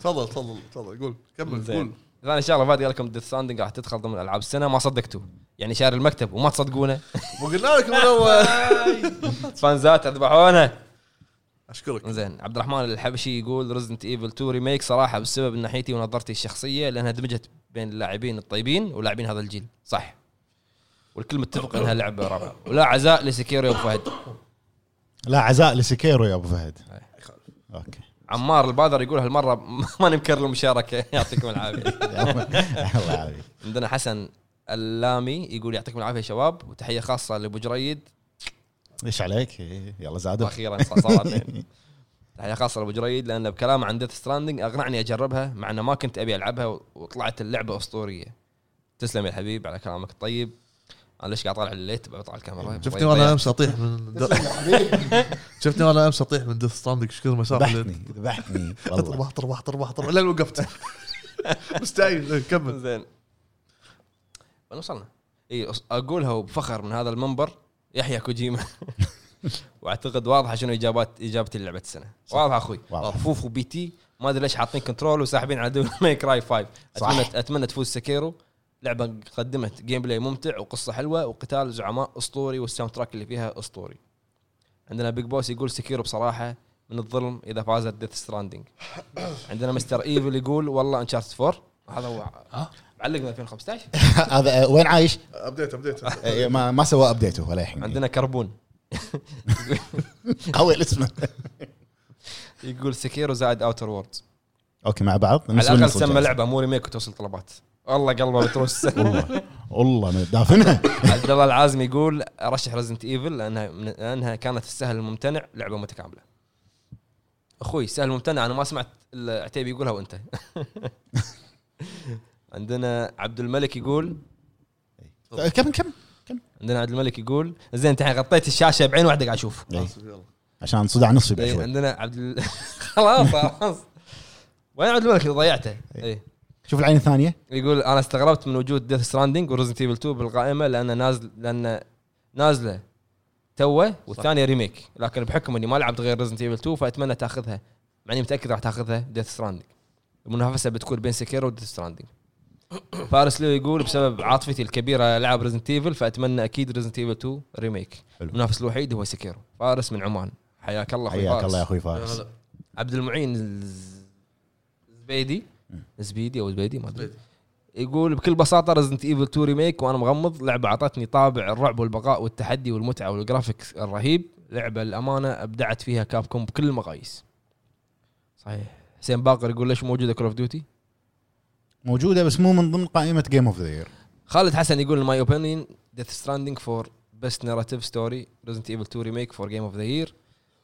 Speaker 2: تفضل تفضل تفضل قول كمل قول
Speaker 1: زين ثاني شغله فهد قال لكم ديث ستراندنج راح تدخل ضمن العاب السنه ما صدقتوه يعني شاري المكتب وما تصدقونه
Speaker 2: وقلنا آه، لك من الاول
Speaker 1: فانزات اذبحونا
Speaker 2: اشكرك
Speaker 1: زين عبد الرحمن الحبشي يقول ريزنت ايفل 2 ريميك صراحه بسبب ناحيتي ونظرتي الشخصيه لانها دمجت بين اللاعبين الطيبين ولاعبين هذا الجيل صح والكل متفق انها لعبه رابعه ولا عزاء لسكيرو يا أبو فهد
Speaker 3: لا عزاء لسكيرو يا ابو فهد اوكي
Speaker 1: عمار البادر يقول هالمره ما نمكر المشاركه يعطيكم العافيه
Speaker 3: الله يعافيك
Speaker 1: عندنا حسن اللامي يقول يعطيكم العافيه يا شباب وتحيه خاصه لابو جريد
Speaker 3: ايش عليك؟ إيه، يلا زادوا
Speaker 1: واخيرا صار- صار عطلين. تحيه خاصه لابو جريد لان بكلامه عن ديث ستراندنج اقنعني اجربها مع انه ما كنت ابي العبها و- وطلعت اللعبه اسطوريه تسلم يا الحبيب على كلامك الطيب انا ليش قاعد طالع الليت بطلع الكاميرا طيب،
Speaker 2: شفتني وانا امس اطيح من د- شفتني وانا امس اطيح من ديث ستراندنج ايش كثر ما صار
Speaker 3: ذبحتني ذبحتني والله
Speaker 2: طربح طربح طربح طربح لين وقفت مستعجل إيه، كمل
Speaker 1: زين وين وصلنا؟ اي أص- اقولها وبفخر من هذا المنبر يحيى كوجيما واعتقد واضحه شنو اجابات اجابتي للعبه السنه واضحه اخوي
Speaker 3: واضحة.
Speaker 1: فوفو بي تي ما ادري ليش حاطين كنترول وساحبين على دول ماي كراي 5
Speaker 3: صح.
Speaker 1: اتمنى اتمنى تفوز سكيرو لعبه قدمت جيم بلاي ممتع وقصه حلوه وقتال زعماء اسطوري والساوند تراك اللي فيها اسطوري عندنا بيج بوس يقول سكيرو بصراحه من الظلم اذا فازت ديث ستراندنج عندنا مستر ايفل يقول والله انشارت 4 هذا هو معلق من 2015
Speaker 3: هذا آه، وين عايش؟
Speaker 2: ابديت ابديت
Speaker 3: آه، ما ما سوى ابديت ولا الحين
Speaker 1: عندنا كربون
Speaker 3: قوي الاسم
Speaker 1: يقول سكيرو زائد اوتر ووردز
Speaker 3: اوكي مع بعض
Speaker 1: على
Speaker 3: نص
Speaker 1: الاقل
Speaker 3: بالنص
Speaker 1: سمى
Speaker 3: والجاز.
Speaker 1: لعبه مو ريميك وتوصل طلبات والله قلبه بتروس
Speaker 3: والله والله من- دافنها
Speaker 1: عبد الله العازمي يقول ارشح ريزنت ايفل لانها من- لانها كانت السهل الممتنع لعبه متكامله اخوي سهل الممتنع انا ما سمعت إلا عتيبي يقولها وانت عندنا عبد الملك يقول
Speaker 3: آه، كم كم كم
Speaker 1: عندنا عبد الملك يقول زين انت الحين غطيت الشاشه بعين واحده قاعد اشوف
Speaker 3: عشان صداع نصفي إيه، بعد
Speaker 1: إيه،
Speaker 3: شوي
Speaker 1: عندنا عبد ال... خلاص خلاص وين عبد الملك ضيعته
Speaker 3: إيه.
Speaker 1: إيه. اي
Speaker 3: شوف العين الثانيه
Speaker 1: يقول انا استغربت من وجود ديث ستراندنج وريزنت ايفل 2 بالقائمه لان نازل لان نازله توه والثانيه ريميك لكن بحكم اني ما لعبت غير ريزنت ايفل 2 فاتمنى تاخذها مع اني متاكد راح تاخذها ديث ستراندنج المنافسه بتكون بين سكيرو وديث ستراندنج فارس ليو يقول بسبب عاطفتي الكبيره لعب ريزنت ايفل فاتمنى اكيد ريزنت ايفل 2 ريميك
Speaker 3: حلو.
Speaker 1: المنافس الوحيد هو سكيرو فارس من عمان حياك الله أخوي
Speaker 3: حياك
Speaker 1: فارس.
Speaker 3: الله يا اخوي فارس
Speaker 1: عبد المعين الز- الزبيدي زبيدي او زبيدي ما ادري
Speaker 2: زبيدي.
Speaker 1: يقول بكل بساطه ريزنت ايفل 2 ريميك وانا مغمض لعبه اعطتني طابع الرعب والبقاء والتحدي والمتعه والجرافيكس الرهيب لعبه الامانه ابدعت فيها كابكوم بكل المقاييس صحيح حسين باقر يقول ليش موجوده كول اوف ديوتي
Speaker 3: موجوده بس مو من ضمن قائمه جيم اوف ذا يير
Speaker 1: خالد حسن يقول ماي اوبينيون ديث ستراندينج فور بيست نيراتيف ستوري ريزنت ايفل 2 ريميك فور جيم اوف ذا يير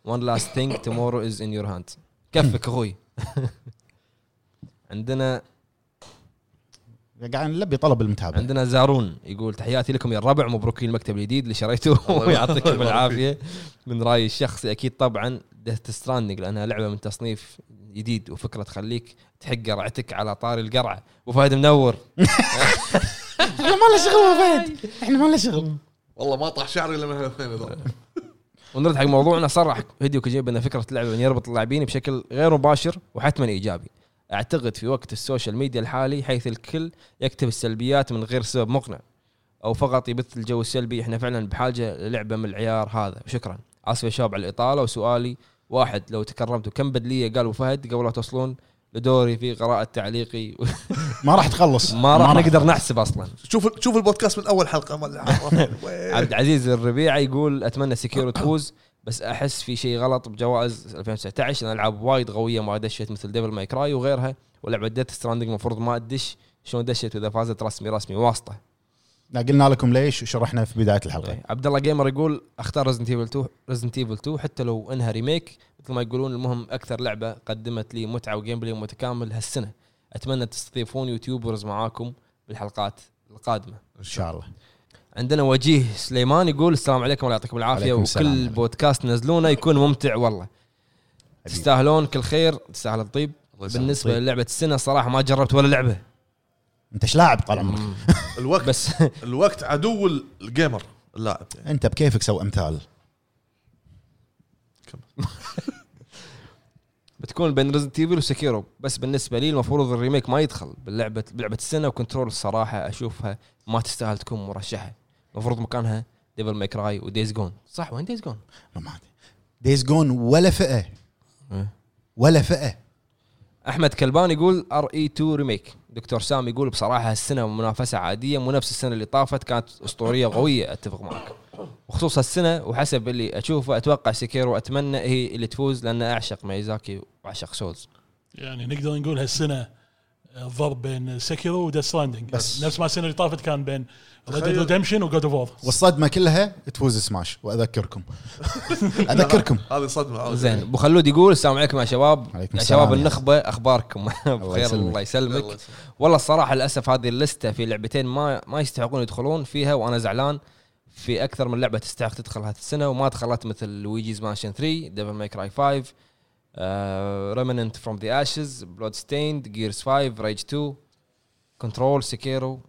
Speaker 1: وان لاست ثينج تومورو از ان يور هاند كفك اخوي عندنا
Speaker 3: قاعد نلبي طلب المتابع
Speaker 1: عندنا زارون يقول تحياتي لكم يا الربع مبروكين المكتب الجديد اللي شريته ويعطيكم العافيه من رايي الشخصي اكيد طبعا ديث ستراندنج لانها لعبه من تصنيف جديد وفكره تخليك تحق قرعتك على طاري القرعه وفهد منور
Speaker 3: احنا ما لنا شغل فهد احنا ما لنا شغل
Speaker 2: والله ما طاح شعري الا من هالفين هذول.
Speaker 1: ونرد حق موضوعنا صرح هيديو كوجيما بان فكره اللعبه ان يربط اللاعبين بشكل غير مباشر وحتما ايجابي اعتقد في وقت السوشيال ميديا الحالي حيث الكل يكتب السلبيات من غير سبب مقنع او فقط يبث الجو السلبي احنا فعلا بحاجه للعبه من العيار هذا وشكرا اسف يا شباب على الاطاله وسؤالي واحد لو تكرمتوا كم بدليه قال أبو فهد قبل لا توصلون لدوري في قراءة تعليقي
Speaker 3: ما راح تخلص
Speaker 1: ما راح نقدر نحسب اصلا
Speaker 2: شوف شوف البودكاست من اول حلقه ما
Speaker 1: عبد العزيز الربيعه يقول اتمنى سكيرو تفوز بس احس في شيء غلط بجوائز 2019 لان العاب وايد قويه ما دشت مثل ديفل ماي كراي وغيرها ولعبه ديت ستراندنج المفروض ما تدش شلون دشت اذا فازت رسمي رسمي واسطه
Speaker 3: لا، قلنا لكم ليش وشرحنا في بدايه الحلقه
Speaker 1: عبد الله جيمر طيب. يقول اختار ريزنت ايفل 2 ريزنت ايفل 2 حتى لو انها ريميك مثل ما يقولون المهم اكثر لعبه قدمت لي متعه وجيم بلاي متكامل هالسنه اتمنى تستضيفون يوتيوبرز معاكم بالحلقات القادمه
Speaker 3: ان شاء الله
Speaker 1: عندنا وجيه سليمان يقول السلام عليكم الله يعطيكم العافيه
Speaker 3: عليكم السلام
Speaker 1: وكل
Speaker 3: عليكم.
Speaker 1: بودكاست نزلونه يكون ممتع والله تستاهلون كل خير تستاهل الطيب بالنسبه
Speaker 3: طيب.
Speaker 1: للعبه السنه صراحه ما جربت ولا لعبه
Speaker 3: انت ايش لاعب طال عمرك
Speaker 2: الوقت
Speaker 1: بس
Speaker 2: الوقت عدو الجيمر اللاعب
Speaker 1: إيه.
Speaker 2: يعني.
Speaker 3: انت بكيفك سو امثال
Speaker 1: بتكون بين ريزنت ايفل وسكيرو بس بالنسبه لي المفروض الريميك ما يدخل بلعبه بلعبه السنه وكنترول الصراحه اشوفها ما تستاهل تكون مرشحه المفروض مكانها ديفل ماي كراي وديز جون صح وين ديز جون
Speaker 3: ما- ما ادري دايز جون ولا فئه
Speaker 1: إيه.
Speaker 3: ولا فئه
Speaker 1: احمد كلبان يقول ار اي 2 ريميك دكتور سام يقول بصراحه هالسنه منافسه عاديه مو نفس السنه اللي طافت كانت اسطوريه وقويه اتفق معك وخصوص هالسنه وحسب اللي اشوفه اتوقع سكيرو اتمنى هي اللي تفوز لان اعشق مايزاكي واعشق سولز
Speaker 4: يعني نقدر نقول هالسنه الضرب بين سكيرو وديث ستراندنج
Speaker 3: بس.
Speaker 4: نفس ما السنه اللي طافت كان بين ريد
Speaker 2: تخيل.
Speaker 4: ريدمشن وجود اوف وور
Speaker 3: والصدمه كلها تفوز سماش واذكركم اذكركم
Speaker 2: هذه صدمه
Speaker 1: زين ابو خلود يقول السلام عليكم يا شباب
Speaker 3: عليكم
Speaker 1: يا
Speaker 3: السلام
Speaker 1: شباب
Speaker 3: يا
Speaker 1: النخبه اخباركم بخير
Speaker 3: يسلمك.
Speaker 1: الله
Speaker 2: الله
Speaker 1: يسلمك
Speaker 2: يسلمك.
Speaker 1: والله الصراحه للاسف هذه اللسته في لعبتين ما ما يستحقون يدخلون فيها وانا زعلان في اكثر من لعبه تستحق تدخل هالسنه وما دخلت مثل لويجيز مانشن 3 ديفل ماي كراي 5 ريمننت فروم ذا اشز بلود ستيند جيرز 5 ريج 2 كنترول سكيرو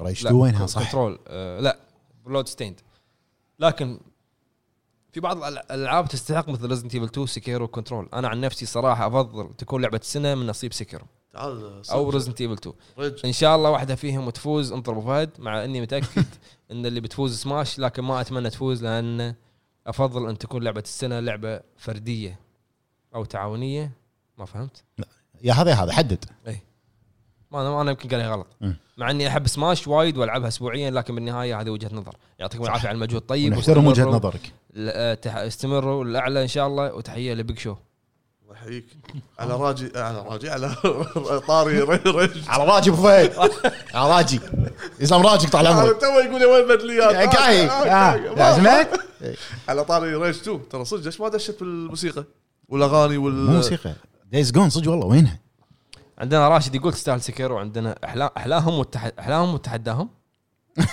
Speaker 3: ريش
Speaker 1: لا،
Speaker 3: تو وينها صح؟
Speaker 1: كنترول آه لا بلود ستيند لكن في بعض الألع- الالعاب تستحق مثل ريزنت ايفل 2 سكيرو كنترول انا عن نفسي صراحه افضل تكون لعبه السنه من نصيب سكيرو
Speaker 2: تعال صدق.
Speaker 1: او ريزنت ايفل 2
Speaker 2: رج.
Speaker 1: ان شاء الله واحده فيهم تفوز انطر أبو فهد مع اني متاكد ان اللي بتفوز سماش لكن ما اتمنى تفوز لان افضل ان تكون لعبه السنه لعبه فرديه او تعاونيه ما فهمت
Speaker 3: يا هذا يا هذا حدد
Speaker 1: ما انا انا يمكن قالها غلط
Speaker 3: مم.
Speaker 1: مع اني احب سماش وايد والعبها اسبوعيا لكن بالنهايه هذه وجهه نظر يعطيكم العافيه على المجهود الطيب
Speaker 3: ونحترم وجهه
Speaker 1: واستمروا-
Speaker 3: نظرك
Speaker 1: ل- آه، تح- استمروا الاعلى ان شاء الله وتحيه لبيج شو
Speaker 2: الله يحييك على راجي على راجي على طاري رج- رج
Speaker 3: على راجي ابو فهد على راجي اسلام راجيك طال
Speaker 2: على
Speaker 3: عمرك
Speaker 2: تو يقول يا وين بدليات
Speaker 3: يا كاي آه، يا
Speaker 2: آه.
Speaker 3: سمعت؟
Speaker 2: على طاري ريج 2 ترى صدق ايش ما دشت بالموسيقى والاغاني وال
Speaker 3: مو موسيقى دايز جون صدق والله وينها؟
Speaker 1: عندنا راشد يقول تستاهل سكيرو عندنا أحلا- احلاهم والتح- احلاهم وتحداهم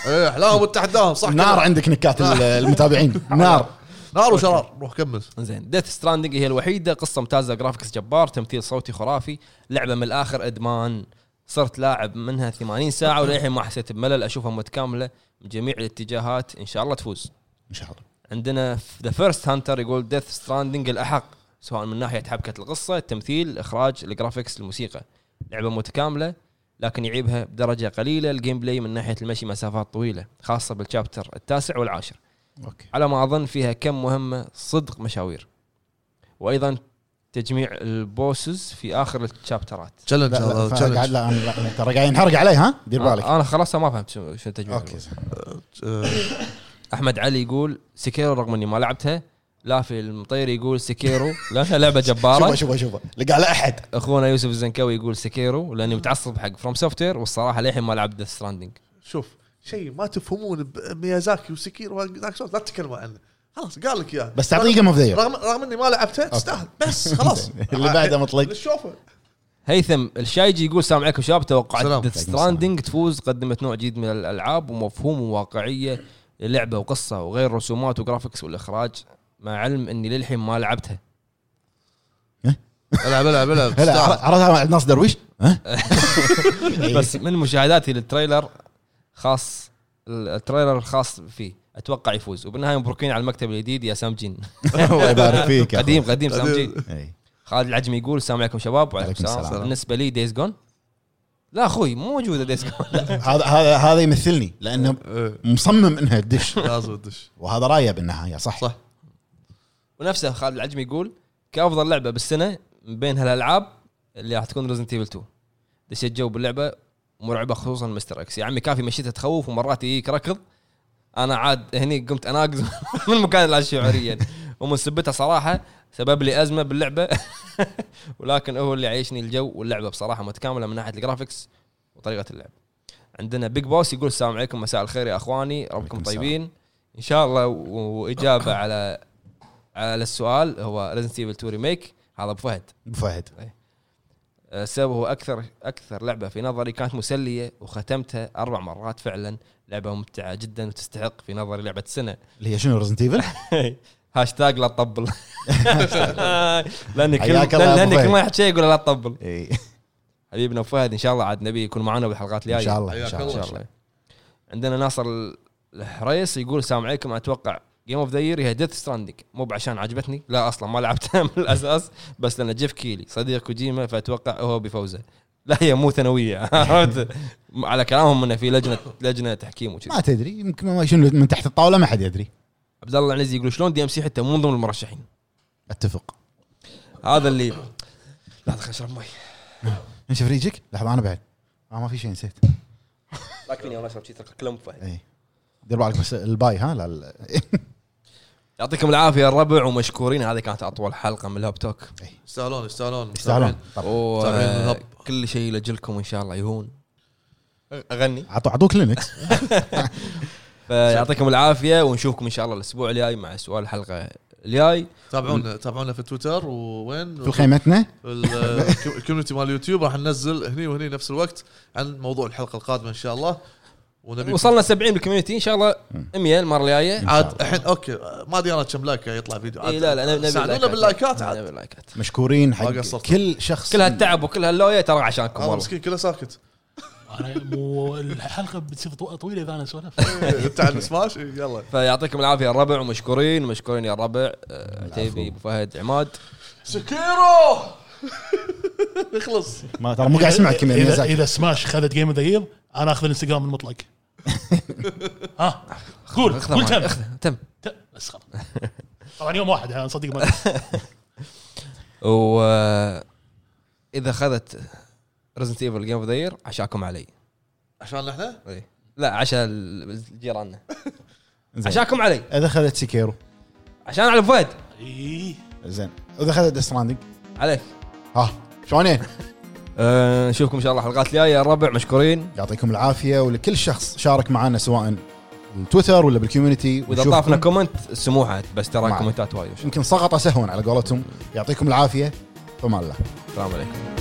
Speaker 2: ايه احلاهم وتحداهم صح
Speaker 3: نار
Speaker 2: كذا.
Speaker 3: عندك نكات ال- المتابعين نار
Speaker 2: نار وشرار روح كمل
Speaker 1: زين ديث ستراندنج هي الوحيده قصه ممتازه جرافيكس جبار تمثيل صوتي خرافي لعبه من الاخر ادمان صرت لاعب منها 80 ساعه وللحين ما حسيت بملل اشوفها متكامله من جميع الاتجاهات ان شاء الله تفوز
Speaker 3: ان شاء الله
Speaker 1: عندنا ذا فيرست هانتر يقول ديث ستراندنج الاحق سواء من ناحيه حبكه القصه التمثيل الاخراج الجرافيكس الموسيقى لعبه متكامله لكن يعيبها بدرجه قليله الجيم بلاي من ناحيه المشي مسافات طويله خاصه بالشابتر التاسع والعاشر
Speaker 3: اوكي
Speaker 1: على ما اظن فيها كم مهمه صدق مشاوير وايضا تجميع البوسز في اخر الشابترات
Speaker 2: تشالنج
Speaker 3: لا لا
Speaker 2: هذا
Speaker 3: فأنا قاعد-
Speaker 2: تشالنج
Speaker 3: لا، أنا- لا، ترى قاعد ينحرق علي ها دير بالك
Speaker 1: انا آه، خلاص ما فهمت شنو شنو تجميع
Speaker 3: اوكي
Speaker 1: البوسز
Speaker 2: آه،
Speaker 1: احمد علي يقول سكيرو رغم اني ما لعبتها لافي المطيري يقول سكيرو لانها لعبه
Speaker 3: شوفه
Speaker 1: جباره
Speaker 3: شوفه شوفه لقى على احد
Speaker 1: اخونا يوسف الزنكوي يقول سكيرو لاني متعصب حق فروم سوفت وير والصراحه للحين ما لعبت ديث ستراندنج
Speaker 2: شوف شيء ما تفهمون بميازاكي وسكير ودارك سولز لا تتكلموا عنه خلاص قال لك اياه
Speaker 3: بس تعطيه جيم اوف ذا
Speaker 2: رغم رغم اني ما لعبته تستاهل بس خلاص
Speaker 3: اللي بعده مطلق.
Speaker 2: للشوفه
Speaker 1: هيثم الشايجي يقول السلام عليكم شباب توقعت
Speaker 2: سلام.
Speaker 1: ديث ستراندنج تفوز قدمت نوع جديد من الالعاب ومفهوم وواقعيه للعبه وقصه وغير رسومات وجرافكس والاخراج مع علم اني للحين ما لعبتها
Speaker 2: العب العب العب
Speaker 3: هلا
Speaker 2: تستاهل.
Speaker 3: عر- عرضها مع ناصر درويش ها
Speaker 1: بس من مشاهداتي للتريلر خاص التريلر الخاص فيه اتوقع يفوز وبالنهايه مبروكين على المكتب الجديد يا سامجين
Speaker 3: الله يبارك فيك يا
Speaker 1: قديم
Speaker 3: أخوي.
Speaker 1: قديم سامجين
Speaker 3: إي.
Speaker 1: خالد العجمي يقول السلام عليكم شباب
Speaker 3: عليكم
Speaker 1: وعليكم السلام
Speaker 3: السلام.
Speaker 1: بالنسبه لي دايز جون لا اخوي مو موجوده دايز جون
Speaker 3: هذا هذا هذا يمثلني لانه
Speaker 2: إيه،
Speaker 3: مصمم انها تدش
Speaker 2: لازم تدش
Speaker 3: وهذا رايه بالنهايه صح
Speaker 2: صح.
Speaker 1: ونفسه خالد العجمي يقول كافضل لعبه بالسنه من بين هالالعاب اللي راح تكون ريزنت ايفل 2 دشيت جو باللعبه مرعبه خصوصا مستر اكس يا عمي كافي مشيتها تخوف ومرات يجيك ركض انا عاد هني قمت اناقز من المكان لا شعوريا ومن سبتها صراحه سبب لي ازمه باللعبه ولكن هو اللي عيشني الجو واللعبه بصراحه متكامله من ناحيه الجرافكس وطريقه اللعب عندنا بيج بوس يقول السلام عليكم مساء الخير يا اخواني ربكم
Speaker 3: عليكم
Speaker 1: طيبين ان شاء الله و- واجابه على على السؤال هو ريزنت ايفل 2 ريميك هذا ابو فهد
Speaker 3: ابو فهد
Speaker 1: السبب هو اكثر اكثر لعبه في نظري كانت مسليه وختمتها اربع مرات فعلا لعبه ممتعه جدا وتستحق في نظري لعبه سنه
Speaker 3: اللي هي شنو ريزنت ايفل؟
Speaker 1: هاشتاج لا تطبل لان كل
Speaker 3: حياك الله يا أبو
Speaker 1: لان كل
Speaker 3: فهد.
Speaker 1: ما يحكي شيء يقول لا تطبل
Speaker 3: إي.
Speaker 1: حبيبنا أبو فهد ان شاء الله عاد نبي يكون معنا بالحلقات الجايه
Speaker 3: ان شاء الله ان
Speaker 2: حياك
Speaker 3: شاء
Speaker 1: ان
Speaker 3: الله
Speaker 1: شاء الله عندنا ناصر الحريص يقول السلام عليكم اتوقع جيم اوف ذا يير هي ديث ستراندنج مو بعشان عجبتني لا اصلا ما لعبتها من الاساس بس لان جيف كيلي صديق كوجيما فاتوقع هو بفوزه لا هي مو ثانويه عرفت؟ على كلامهم انه في لجنه لجنه تحكيم وكذا
Speaker 3: ما تدري يمكن ما شنو من تحت الطاوله ما حد يدري
Speaker 1: عبد الله العنزي يقول شلون دي ام سي حتى مو من ضمن المرشحين
Speaker 3: اتفق
Speaker 1: هذا اللي لحظه خليني اشرب مي
Speaker 3: نشوف ريجك لحظه انا بعد آه ما في شيء نسيت
Speaker 1: لا كفيني والله اشرب شيء ترى كلام فهد
Speaker 3: اي دير بالك بس الباي ها لا لا
Speaker 1: يعطيكم العافيه يا الربع ومشكورين هذه كانت اطول حلقه من الهوب توك
Speaker 2: يستاهلون يستاهلون
Speaker 3: يستاهلون إيه. طبعاً.
Speaker 1: و-
Speaker 2: متابعين الهب.
Speaker 1: كل شيء لجلكم ان شاء الله يهون اغني
Speaker 3: عطوا عطوك لينكس
Speaker 1: فيعطيكم العافيه ونشوفكم ان شاء الله الاسبوع الجاي مع سؤال الحلقه الجاي
Speaker 2: تابعونا تابعونا في تويتر ووين
Speaker 3: في خيمتنا
Speaker 2: الكوميونتي مال اليوتيوب راح ننزل هني وهني نفس الوقت عن موضوع الحلقه القادمه ان شاء الله ونبي
Speaker 1: وصلنا 70 بالكوميونتي ان شاء الله 100 المره الجايه
Speaker 2: عاد الحين اوكي ما ادري انا كم لايك يطلع فيديو عاد
Speaker 1: اي لا لا نبي- نبي
Speaker 2: ساعدونا باللايكات
Speaker 1: نبي
Speaker 2: عاد
Speaker 1: اللايكات
Speaker 3: مشكورين
Speaker 2: ما
Speaker 3: حق
Speaker 2: قصرتوا.
Speaker 3: كل شخص
Speaker 1: كل هالتعب وكل هاللويه ترى عشانكم
Speaker 2: هذا
Speaker 1: والله
Speaker 2: آه، مسكين كله ساكت
Speaker 4: انا يعني مو الحلقه بتصير طو- طويله اذا انا اسولف
Speaker 2: انت عن سماش يلا
Speaker 1: فيعطيكم العافيه يا الربع ومشكورين مشكورين يا الربع آه، عتيبي ابو فهد عماد
Speaker 2: سكيرو نخلص
Speaker 3: ما ترى مو قاعد اسمعك يا
Speaker 4: اذا
Speaker 3: ميازاكي
Speaker 4: اذا سماش خذت جيم اوف ذا يير انا اخذ الانستغرام المطلق ها قول
Speaker 1: اخذها
Speaker 4: قول
Speaker 1: معك،
Speaker 4: تم
Speaker 1: اخذها، تم
Speaker 4: تم. بس خلاص طبعا يوم واحد انا صدق ما
Speaker 1: و آه، اذا اخذت ريزنت ايفل جيم اوف ذا يير عشاكم علي
Speaker 2: عشان احنا
Speaker 1: إيه. لا عشان جيراننا
Speaker 3: زين.
Speaker 1: عشانكم علي
Speaker 3: اذا اخذت سيكيرو
Speaker 1: عشان على أبو فهد
Speaker 4: إيه.
Speaker 3: زين اذا اخذت ديث ستراندنج
Speaker 1: عليك
Speaker 3: ها شلونين؟
Speaker 1: أه، نشوفكم ان شاء الله حلقات الجايه يا الربع مشكورين
Speaker 3: يعطيكم العافيه ولكل شخص شارك معنا سواء تويتر ولا بالكوميونتي
Speaker 1: واذا
Speaker 3: ونشوفكم.
Speaker 1: طافنا كومنت سموحه بس ترى
Speaker 3: معك.
Speaker 1: كومنتات وايد
Speaker 3: يمكن سقط سهوا على قولتهم يعطيكم العافيه فما الله
Speaker 1: السلام عليكم